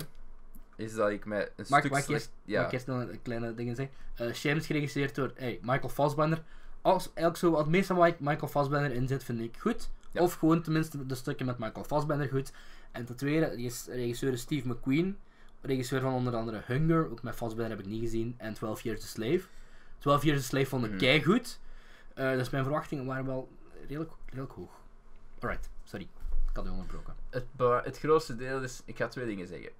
[SPEAKER 1] is dat ik mij een
[SPEAKER 2] Mag-
[SPEAKER 1] stuk
[SPEAKER 2] mag ik eerst-
[SPEAKER 1] slecht...
[SPEAKER 2] Ja.
[SPEAKER 1] Ja,
[SPEAKER 2] Mag ik eerst nog een kleine ding zeggen? Eh Shame is geregisseerd door hey, Michael Fassbender. Als elk zo wat meeste wat Michael Fassbender in zit, vind ik goed.
[SPEAKER 1] Ja.
[SPEAKER 2] Of gewoon tenminste de stukken met Michael Fassbender goed. En ten tweede, die is regisseur is Steve McQueen. Regisseur van onder andere Hunger, ook met Fassbender heb ik niet gezien. En 12 Years a Slave. 12 Years a Slave vond ik
[SPEAKER 1] Mhm.
[SPEAKER 2] kei goed. dus mijn verwachtingen waren wel redelijk, redelijk hoog. Alright, sorry. Ik had u onderbroken.
[SPEAKER 1] het, ba- het grootste deel is... Ik ga twee dingen zeggen.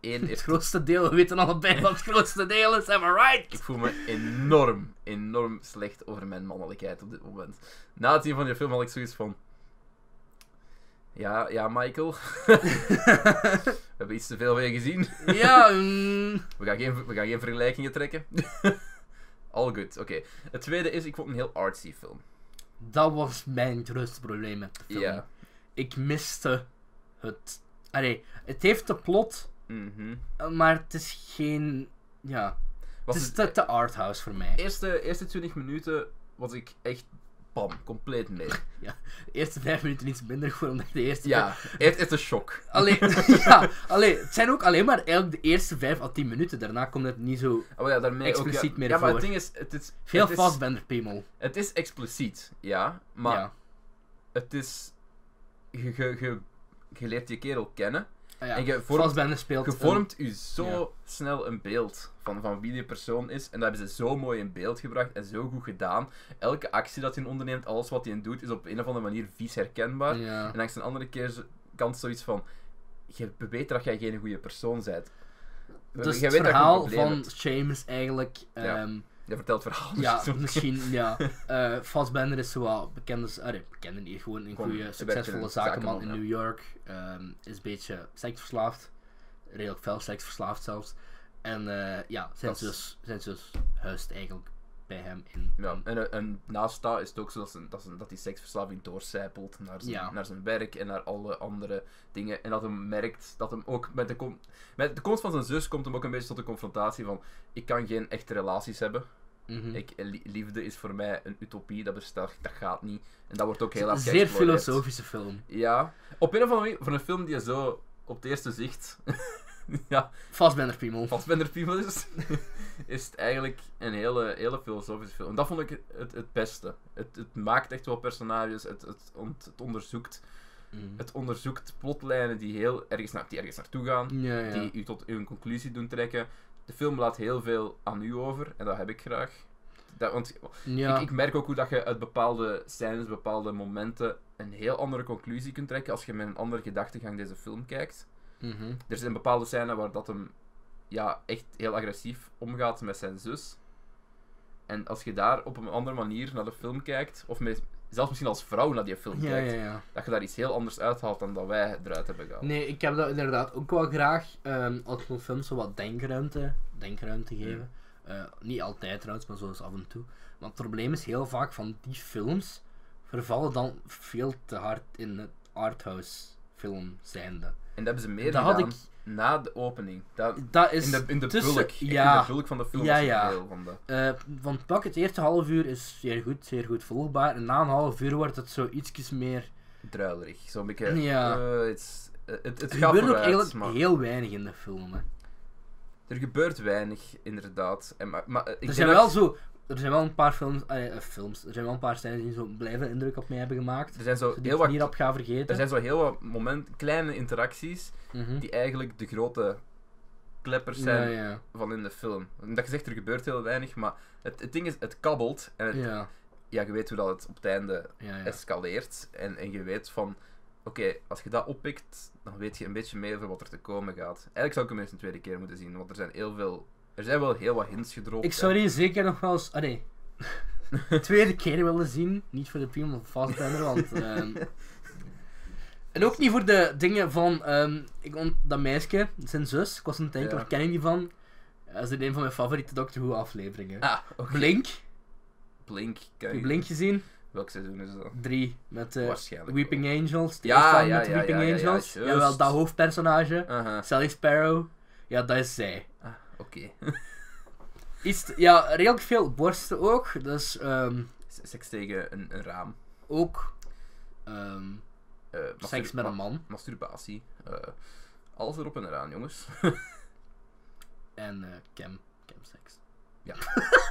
[SPEAKER 1] Eén
[SPEAKER 2] Het
[SPEAKER 1] is...
[SPEAKER 2] grootste deel, we weten allebei wat het grootste deel is, am I right?
[SPEAKER 1] Ik voel me enorm, enorm slecht over mijn mannelijkheid op dit moment. Na het zien van die film had ik zoiets van... Ja, ja, Michael. We hebben iets te veel van je gezien.
[SPEAKER 2] ja, mm.
[SPEAKER 1] We gaan geen, we gaan geen vergelijkingen trekken. All good, oké. Het tweede is, ik vond het een heel artsy film.
[SPEAKER 2] Dat was mijn grootste probleem met de film.
[SPEAKER 1] Ja.
[SPEAKER 2] Ik miste het. Allee, het heeft de plot,
[SPEAKER 1] Mhm.
[SPEAKER 2] eh, maar het is geen. Ja,
[SPEAKER 1] Was
[SPEAKER 2] het
[SPEAKER 1] het-
[SPEAKER 2] is te, te arthouse voor mij.
[SPEAKER 1] eerste, eerste 20 minuten was ik echt pam, compleet mee.
[SPEAKER 2] De eerste vijf minuten iets minder goed, omdat ik de eerste
[SPEAKER 1] Ja, het is een shock.
[SPEAKER 2] Allee, ja, allee, het zijn ook alleen maar eigenlijk de eerste 5 à 10 minuten. Daarna komt het niet zo
[SPEAKER 1] Oh ja, daarmee ook,
[SPEAKER 2] Expliciet
[SPEAKER 1] ja.
[SPEAKER 2] meer
[SPEAKER 1] Ja, maar het
[SPEAKER 2] voor.
[SPEAKER 1] ding is, het is...
[SPEAKER 2] veel
[SPEAKER 1] het is-
[SPEAKER 2] vastbender piemel.
[SPEAKER 1] Het is expliciet, ja. Maar
[SPEAKER 2] ja.
[SPEAKER 1] het is... Je, je, je, je leert je kerel kennen.
[SPEAKER 2] Ah ja.
[SPEAKER 1] en je vormt-
[SPEAKER 2] vastbender speelt.
[SPEAKER 1] Je
[SPEAKER 2] een-
[SPEAKER 1] vormt u zo snel een beeld van, van wie die persoon is. En dat hebben ze zo mooi in beeld gebracht en zo goed gedaan. Elke actie dat hij onderneemt, alles wat hij doet, is op een of andere manier vies herkenbaar.
[SPEAKER 2] ja.
[SPEAKER 1] En langs een andere keer zo- kant zoiets van... Je weet dat jij geen goede persoon bent.
[SPEAKER 2] Dus
[SPEAKER 1] je weet
[SPEAKER 2] het
[SPEAKER 1] dat je een
[SPEAKER 2] verhaal
[SPEAKER 1] probleem
[SPEAKER 2] van
[SPEAKER 1] hebt.
[SPEAKER 2] James eigenlijk.
[SPEAKER 1] Ja.
[SPEAKER 2] ehm,
[SPEAKER 1] Je vertelt dus verhalen.
[SPEAKER 2] Ja,
[SPEAKER 1] zo-
[SPEAKER 2] misschien, ja. Eh Fassbender is zowel bekend als... Arre, bekende niet, gewoon een
[SPEAKER 1] Gewoon, hij
[SPEAKER 2] goede,
[SPEAKER 1] werkt
[SPEAKER 2] succesvolle
[SPEAKER 1] in een
[SPEAKER 2] zakenman in
[SPEAKER 1] zakenman,
[SPEAKER 2] New York. Ehm, is een beetje seksverslaafd. Redelijk fel seksverslaafd zelfs. En eh, ja, zijn
[SPEAKER 1] Dat is-
[SPEAKER 2] zus, zijn zus huist dus eigenlijk bij hem in.
[SPEAKER 1] Ja, en, eh, en naast dat is het ook zo dat, ze- dat, ze- dat die seksverslaving doorcijpelt naar zijn,
[SPEAKER 2] Ja.
[SPEAKER 1] naar zijn werk en naar alle andere dingen. En dat hem merkt dat hem ook met de, kom- met de komst van zijn zus komt hem ook een beetje tot de confrontatie van ik kan geen echte relaties hebben.
[SPEAKER 2] Mhm.
[SPEAKER 1] Ik, li- liefde is voor mij een utopie, dat bestaat, dat gaat niet. En dat wordt ook heel erg
[SPEAKER 2] Zeer
[SPEAKER 1] geëxploreerd.
[SPEAKER 2] filosofische film.
[SPEAKER 1] Ja. Op een of andere manier, voor een film die je zo op het eerste zicht ja,
[SPEAKER 2] Fassbender piemel.
[SPEAKER 1] Fassbender People is, is het eigenlijk een hele, hele filosofische film. En dat vond ik het, het beste. Het, het maakt echt wel personages, het, het, ont- het, onderzoekt,
[SPEAKER 2] Mhm.
[SPEAKER 1] het onderzoekt plotlijnen die, heel ergens, naar, die ergens naartoe gaan,
[SPEAKER 2] Ja, ja.
[SPEAKER 1] die u tot een conclusie doen trekken. De film laat heel veel aan u over, en dat heb ik graag. Dat, want
[SPEAKER 2] ja.
[SPEAKER 1] ik, ik merk ook hoe dat je uit bepaalde scènes, bepaalde momenten, een heel andere conclusie kunt trekken als je met een andere gedachtegang deze film kijkt
[SPEAKER 2] Mhm.
[SPEAKER 1] er zijn bepaalde scènes waar dat hem ja, echt heel agressief omgaat met zijn zus. En als je daar op een andere manier naar de film kijkt, of met, zelfs misschien als vrouw naar die film
[SPEAKER 2] ja,
[SPEAKER 1] kijkt,
[SPEAKER 2] ja, ja.
[SPEAKER 1] dat je daar iets heel anders uithaalt dan dat wij eruit hebben gehaald.
[SPEAKER 2] Nee, ik heb dat inderdaad ook wel graag. ehm als ik een film zo wat denkruimte, denkruimte
[SPEAKER 1] Hmm.
[SPEAKER 2] geven. Eh, niet altijd trouwens, maar zo eens af en toe. Maar het probleem is heel vaak van die films vervallen dan veel te hard in het arthouse film zijnde.
[SPEAKER 1] En dat hebben ze meer
[SPEAKER 2] Dat had
[SPEAKER 1] gedaan na de opening. Dat,
[SPEAKER 2] Dat is
[SPEAKER 1] in de, in de
[SPEAKER 2] tussen-
[SPEAKER 1] bulk. echt
[SPEAKER 2] Ja,
[SPEAKER 1] In de bulk van de film
[SPEAKER 2] Ja,
[SPEAKER 1] was er
[SPEAKER 2] ja.
[SPEAKER 1] veel van de...
[SPEAKER 2] eh, want pak het eerste half uur is zeer goed, zeer goed volgbaar. En na een half uur wordt het zo ietsjes meer.
[SPEAKER 1] druilerig. Zo'n beetje...
[SPEAKER 2] Ja.
[SPEAKER 1] eh, het is- eh, het, het
[SPEAKER 2] Er
[SPEAKER 1] gaat
[SPEAKER 2] gebeurt ook
[SPEAKER 1] vooruit,
[SPEAKER 2] eigenlijk
[SPEAKER 1] maar
[SPEAKER 2] heel weinig in de film. Hè.
[SPEAKER 1] er gebeurt weinig, inderdaad. En, maar, maar, eh, ik
[SPEAKER 2] er
[SPEAKER 1] denk
[SPEAKER 2] zijn
[SPEAKER 1] dat-
[SPEAKER 2] wel zo. Er zijn wel een paar films, eh, eh, films. Er zijn wel een paar scènes die zo'n blijvende indruk op mij hebben gemaakt.
[SPEAKER 1] Er zijn zo
[SPEAKER 2] Die
[SPEAKER 1] heel
[SPEAKER 2] ik
[SPEAKER 1] wat
[SPEAKER 2] niet op ga vergeten.
[SPEAKER 1] Er zijn zo heel wat momenten, kleine interacties,
[SPEAKER 2] Mhm.
[SPEAKER 1] die eigenlijk de grote kleppers zijn
[SPEAKER 2] ja, ja.
[SPEAKER 1] van in de film. Omdat je zegt, er gebeurt heel weinig, maar het, het ding is, het kabbelt. En het- ja.
[SPEAKER 2] ja,
[SPEAKER 1] je weet hoe dat het op het einde
[SPEAKER 2] ja, ja.
[SPEAKER 1] escaleert. En, en je weet van, oké, als je dat oppikt, dan weet je een beetje meer over wat er te komen gaat. Eigenlijk zou ik hem eens een tweede keer moeten zien, want er zijn heel veel... Er zijn wel heel wat hints gedropt.
[SPEAKER 2] Ik zou die zeker nog wel eens. Allee. tweede keer willen zien. Niet voor de film van Fassbender, want. ehm, En ook niet voor de dingen van. ehm, ik ont... Dat meisje, zijn zus, ik was aan het denken,
[SPEAKER 1] Ja.
[SPEAKER 2] waar ken ik die van? Dat is in een van mijn favoriete Doctor Who afleveringen.
[SPEAKER 1] Ah, oké.
[SPEAKER 2] Blink.
[SPEAKER 1] Blink.
[SPEAKER 2] Heb
[SPEAKER 1] Kijk.
[SPEAKER 2] je Blink gezien?
[SPEAKER 1] Welk seizoen is dat?
[SPEAKER 2] Drie. Met eh,
[SPEAKER 1] Waarschijnlijk
[SPEAKER 2] Weeping Angels. De
[SPEAKER 1] Ja,
[SPEAKER 2] eerste film
[SPEAKER 1] ja,
[SPEAKER 2] met
[SPEAKER 1] ja,
[SPEAKER 2] Weeping
[SPEAKER 1] ja, ja, ja,
[SPEAKER 2] Angels.
[SPEAKER 1] juist.
[SPEAKER 2] Jawel, dat hoofdpersonage.
[SPEAKER 1] Aha,
[SPEAKER 2] Sally Sparrow. Ja, dat is zij.
[SPEAKER 1] ah, oké.
[SPEAKER 2] Iets, te- ja, redelijk veel borsten ook. Dus ehm,
[SPEAKER 1] Seks tegen een, een raam.
[SPEAKER 2] ook ehm,
[SPEAKER 1] Eh, mastur-
[SPEAKER 2] seks met een man.
[SPEAKER 1] masturbatie. eh, alles erop en eraan, jongens.
[SPEAKER 2] En eh cam, camseks.
[SPEAKER 1] Ja.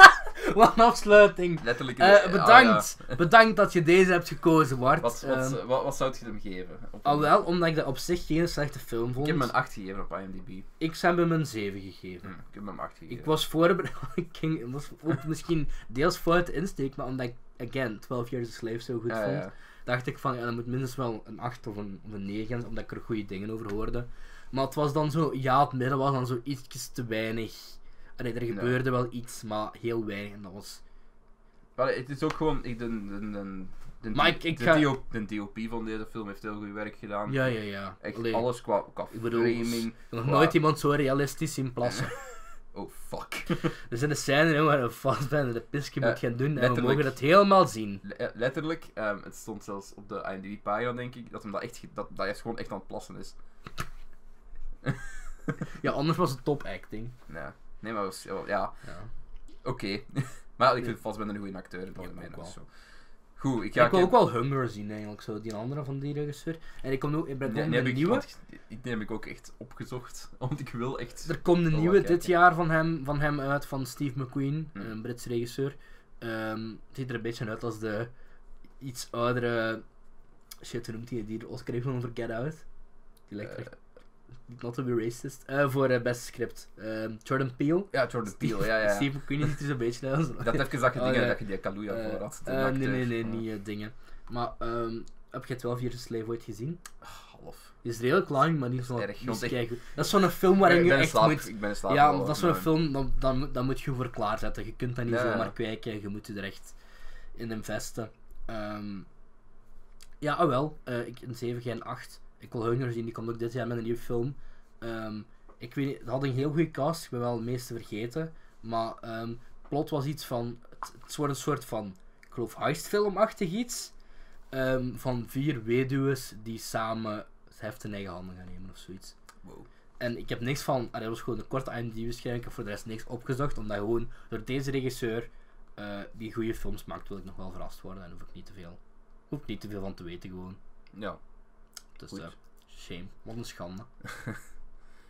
[SPEAKER 2] Wat een afsluiting.
[SPEAKER 1] Letterlijk.
[SPEAKER 2] Eh,
[SPEAKER 1] ah,
[SPEAKER 2] bedankt.
[SPEAKER 1] ja.
[SPEAKER 2] Bedankt dat je deze hebt gekozen, Bart.
[SPEAKER 1] Wat, wat, eh,
[SPEAKER 2] Ehm,
[SPEAKER 1] wat, wat zou je hem geven? Op een-
[SPEAKER 2] alhoewel, omdat ik dat op zich geen slechte film
[SPEAKER 1] Ik
[SPEAKER 2] vond.
[SPEAKER 1] heb hem een 8 gegeven op IMDb.
[SPEAKER 2] Ik heb hem een 7 gegeven.
[SPEAKER 1] Hm, ik heb hem een 8 gegeven.
[SPEAKER 2] Ik was voorbereid. ik ging, was ook misschien deels fout insteek, maar omdat ik, again, 12 Years a Slave zo goed
[SPEAKER 1] Ja,
[SPEAKER 2] vond.
[SPEAKER 1] Ah, ja.
[SPEAKER 2] dacht ik van, ja, dat moet minstens wel een 8 of een, of een 9 zijn, omdat ik er goede dingen over hoorde. Maar het was dan zo, ja, het midden was dan zo iets te weinig. Allee, er gebeurde wel iets, maar heel weinig. En dat was...
[SPEAKER 1] Maar het is ook gewoon. Ik, de, de, de, de,
[SPEAKER 2] Maar ik- ik
[SPEAKER 1] de,
[SPEAKER 2] ga-
[SPEAKER 1] DO de DOP van deze film heeft heel goed werk gedaan.
[SPEAKER 2] Ja, ja, ja.
[SPEAKER 1] Echt
[SPEAKER 2] Allee,
[SPEAKER 1] alles qua, qua
[SPEAKER 2] Ik bedoel,
[SPEAKER 1] framing.
[SPEAKER 2] nog
[SPEAKER 1] qua-
[SPEAKER 2] nooit iemand zo realistisch zien plassen.
[SPEAKER 1] Oh fuck.
[SPEAKER 2] er zijn de scène in waar we vast zijn en de pisje
[SPEAKER 1] Ja,
[SPEAKER 2] moet gaan doen. En we
[SPEAKER 1] letterlijk.
[SPEAKER 2] mogen dat helemaal zien.
[SPEAKER 1] Le- eh, letterlijk, ehm, het stond zelfs op de IMDb-pagina, denk ik, dat hem dat echt, ge- dat, dat hij gewoon echt aan het plassen is.
[SPEAKER 2] Ja, anders was het top acting.
[SPEAKER 1] Nee, nee maar was, ja,
[SPEAKER 2] Ja.
[SPEAKER 1] Oké. maar ik vind Fassbender een goede acteur. Dat
[SPEAKER 2] Ja,
[SPEAKER 1] is mijn
[SPEAKER 2] ook wel.
[SPEAKER 1] zo. Goed, ik ga...
[SPEAKER 2] ik wil ook wel Hunger zien eigenlijk, zo, die andere van die regisseur. En ik kom nu, ik ben
[SPEAKER 1] die, die
[SPEAKER 2] ook met
[SPEAKER 1] heb
[SPEAKER 2] een
[SPEAKER 1] ik,
[SPEAKER 2] nieuwe.
[SPEAKER 1] want ik- die- die heb ik ook echt opgezocht. Want ik wil echt...
[SPEAKER 2] Er komt een
[SPEAKER 1] Oh,
[SPEAKER 2] nieuwe
[SPEAKER 1] oké,
[SPEAKER 2] dit
[SPEAKER 1] oké.
[SPEAKER 2] jaar van hem, van hem uit, van Steve McQueen,
[SPEAKER 1] Hmm.
[SPEAKER 2] een Brits regisseur. Ehm, het ziet er een beetje uit als de iets oudere. Shit, hoe noemt hij het? die de Oscar heeft gewonnen voor Get Out? Die lijkt
[SPEAKER 1] eh,
[SPEAKER 2] echt. Not to be racist. Eh, voor eh, beste script. Ehm, Jordan Peele.
[SPEAKER 1] ja, Jordan Peele, ja, ja. ja.
[SPEAKER 2] Steve McQueen ziet er zo'n beetje uit als.
[SPEAKER 1] Dat even dat je,
[SPEAKER 2] Oh,
[SPEAKER 1] dingen,
[SPEAKER 2] ja.
[SPEAKER 1] dat je die Kaluuya
[SPEAKER 2] Eh,
[SPEAKER 1] voor had. de
[SPEAKER 2] eh, nee,
[SPEAKER 1] acteur. Ah,
[SPEAKER 2] nee, nee,
[SPEAKER 1] Ja.
[SPEAKER 2] niet eh, dingen. Maar ehm, heb je 12 Years a Slave ooit gezien?
[SPEAKER 1] Half.
[SPEAKER 2] Die is redelijk lang, maar die is wel
[SPEAKER 1] erg,
[SPEAKER 2] die
[SPEAKER 1] want
[SPEAKER 2] is
[SPEAKER 1] ik-
[SPEAKER 2] keigoed. Dat is zo'n film waarin
[SPEAKER 1] ik
[SPEAKER 2] je
[SPEAKER 1] ben in
[SPEAKER 2] echt
[SPEAKER 1] slaap,
[SPEAKER 2] moet
[SPEAKER 1] ik ben in slaap.
[SPEAKER 2] ja,
[SPEAKER 1] gevallen,
[SPEAKER 2] dat is zo'n
[SPEAKER 1] maar-
[SPEAKER 2] film, dan, dan, moet- dan moet je voor klaarzetten. Je kunt dat niet
[SPEAKER 1] Ja, ja.
[SPEAKER 2] zomaar kwijken, je moet je er echt in investen. Ehm, ja, ah wel. eh, ik, een 7, geen 8. Ik wil Hunger zien, die komt ook dit jaar met een nieuwe film. Ehm, ik weet niet, het had een heel goede cast, ik ben wel het meeste vergeten. Maar ehm plot was iets van, het, het wordt een soort van, ik geloof heistfilmachtig iets. ehm, van vier weduwen die samen het heft in eigen handen gaan nemen of zoiets.
[SPEAKER 1] Wow.
[SPEAKER 2] En ik heb niks van, ah, dat was gewoon een korte IMDb-beschrijving, ik heb voor de rest niks opgezocht, omdat gewoon door deze regisseur eh, die goede films maakt, wil ik nog wel verrast worden en hoef ik niet te veel, hoef ik niet te veel van te weten gewoon.
[SPEAKER 1] Ja,
[SPEAKER 2] Dus
[SPEAKER 1] Goed.
[SPEAKER 2] eh, shame, wat een schande.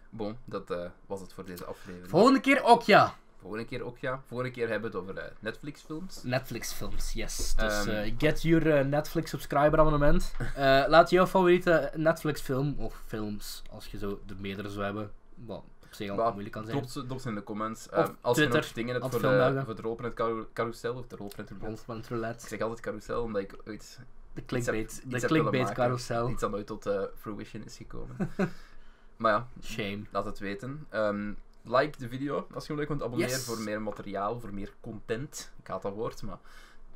[SPEAKER 1] bon, dat eh, was het voor deze aflevering.
[SPEAKER 2] Volgende keer ook ja,
[SPEAKER 1] Volgende keer ook, ja. Volgende keer hebben we het over eh, Netflix-films.
[SPEAKER 2] Netflix-films, yes. Dus
[SPEAKER 1] Ehm.
[SPEAKER 2] eh, get your eh, Netflix-subscriber-abonnement. Eh, laat jouw favoriete Netflix-film of films, als je zo de meerdere zou hebben, wat op zich al
[SPEAKER 1] Wat
[SPEAKER 2] moeilijk kan zijn.
[SPEAKER 1] Drop ze, drop ze in de comments.
[SPEAKER 2] Of
[SPEAKER 1] Eh, als je nog
[SPEAKER 2] Twitter,
[SPEAKER 1] dingen hebt
[SPEAKER 2] aan
[SPEAKER 1] voor
[SPEAKER 2] het
[SPEAKER 1] de,
[SPEAKER 2] filmmelden.
[SPEAKER 1] voor de rolprint karu- carousel of de rolprint roulette.
[SPEAKER 2] Rond
[SPEAKER 1] Ik
[SPEAKER 2] roulette,
[SPEAKER 1] zeg altijd carousel, omdat ik ooit
[SPEAKER 2] de
[SPEAKER 1] iets
[SPEAKER 2] clickbait,
[SPEAKER 1] heb
[SPEAKER 2] de
[SPEAKER 1] willen maken.
[SPEAKER 2] clickbait-carousel.
[SPEAKER 1] iets dat nooit tot eh, fruition is gekomen. maar ja,
[SPEAKER 2] Shame.
[SPEAKER 1] laat het weten. Ehm, like de video als je hem leuk vond. Abonneer
[SPEAKER 2] Yes.
[SPEAKER 1] voor meer materiaal, voor meer content. Ik haat dat woord, maar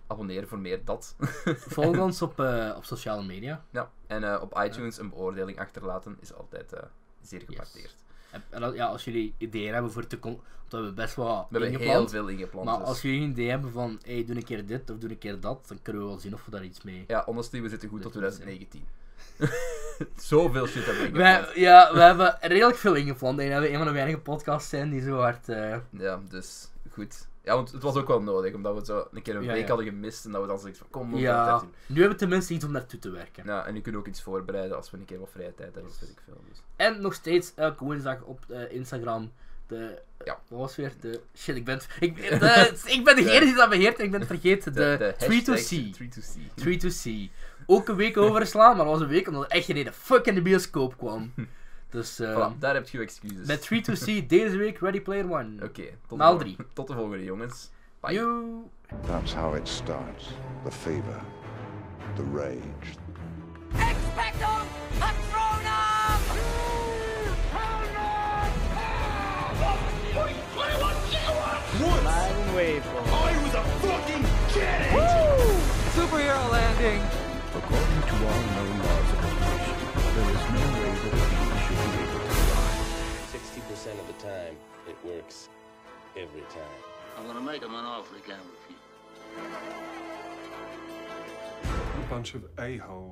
[SPEAKER 1] abonneer voor meer dat.
[SPEAKER 2] Volg ons op, eh, op sociale media.
[SPEAKER 1] ja. En eh, op iTunes een beoordeling achterlaten is altijd eh, zeer gepacteerd.
[SPEAKER 2] En- En als- ja, als jullie ideeën hebben voor toekomst, want we hebben best wel wat
[SPEAKER 1] We hebben heel
[SPEAKER 2] ingepland.
[SPEAKER 1] veel ingepland.
[SPEAKER 2] maar
[SPEAKER 1] dus-
[SPEAKER 2] als jullie een idee hebben van, hey, doe een keer dit of doe een keer dat, dan kunnen we wel zien of we daar iets mee...
[SPEAKER 1] Ja, honestly, we zitten goed tot
[SPEAKER 2] Dat moet zijn.
[SPEAKER 1] 2019. Zoveel shit hebben we ingepland.
[SPEAKER 2] Wij, ja, we hebben redelijk veel ingepland. En dat we een van de weinige podcasts zijn die zo hard... eh,
[SPEAKER 1] Ja, dus goed. Ja, want het was ook wel nodig, omdat we het zo een keer een
[SPEAKER 2] Ja,
[SPEAKER 1] week
[SPEAKER 2] ja.
[SPEAKER 1] hadden gemist en dat we dan zoiets van, kom, we gaan het
[SPEAKER 2] ja,
[SPEAKER 1] doen.
[SPEAKER 2] nu hebben we tenminste iets om naartoe te werken.
[SPEAKER 1] Ja, en je kunt ook iets voorbereiden als we een keer wat vrije tijd hebben, of weet ik veel. Dus.
[SPEAKER 2] En nog steeds elke woensdag op eh, Instagram de...
[SPEAKER 1] Ja.
[SPEAKER 2] Wat was weer de... Shit, ik ben... het- Ik, de- ik ben degene die dat beheert en ik ben het vergeten. De, Tree to
[SPEAKER 1] hashtag
[SPEAKER 2] see
[SPEAKER 1] Tree to see.
[SPEAKER 2] 3 to C. Ook een week overslaan, maar dat was een week omdat er echt geen ene fuck in de bioscoop kwam. Dus eh
[SPEAKER 1] Voilà, daar heb je je excuses.
[SPEAKER 2] met 3 to C deze week Ready Player One.
[SPEAKER 1] Oké, tot, de
[SPEAKER 2] Maal
[SPEAKER 1] vol-
[SPEAKER 2] drie.
[SPEAKER 1] tot de volgende jongens. Bye.
[SPEAKER 2] Yo.
[SPEAKER 3] That's how it starts. The fever, the rage,
[SPEAKER 4] Expecto Patronum!
[SPEAKER 5] Once. I was a fucking kid.
[SPEAKER 3] According to all known laws of creation, there is no way that a being should be able to fly.
[SPEAKER 6] 60% of the time, it works every time.
[SPEAKER 7] I'm gonna make him an offer he can't refuse.
[SPEAKER 8] a bunch of a-holes.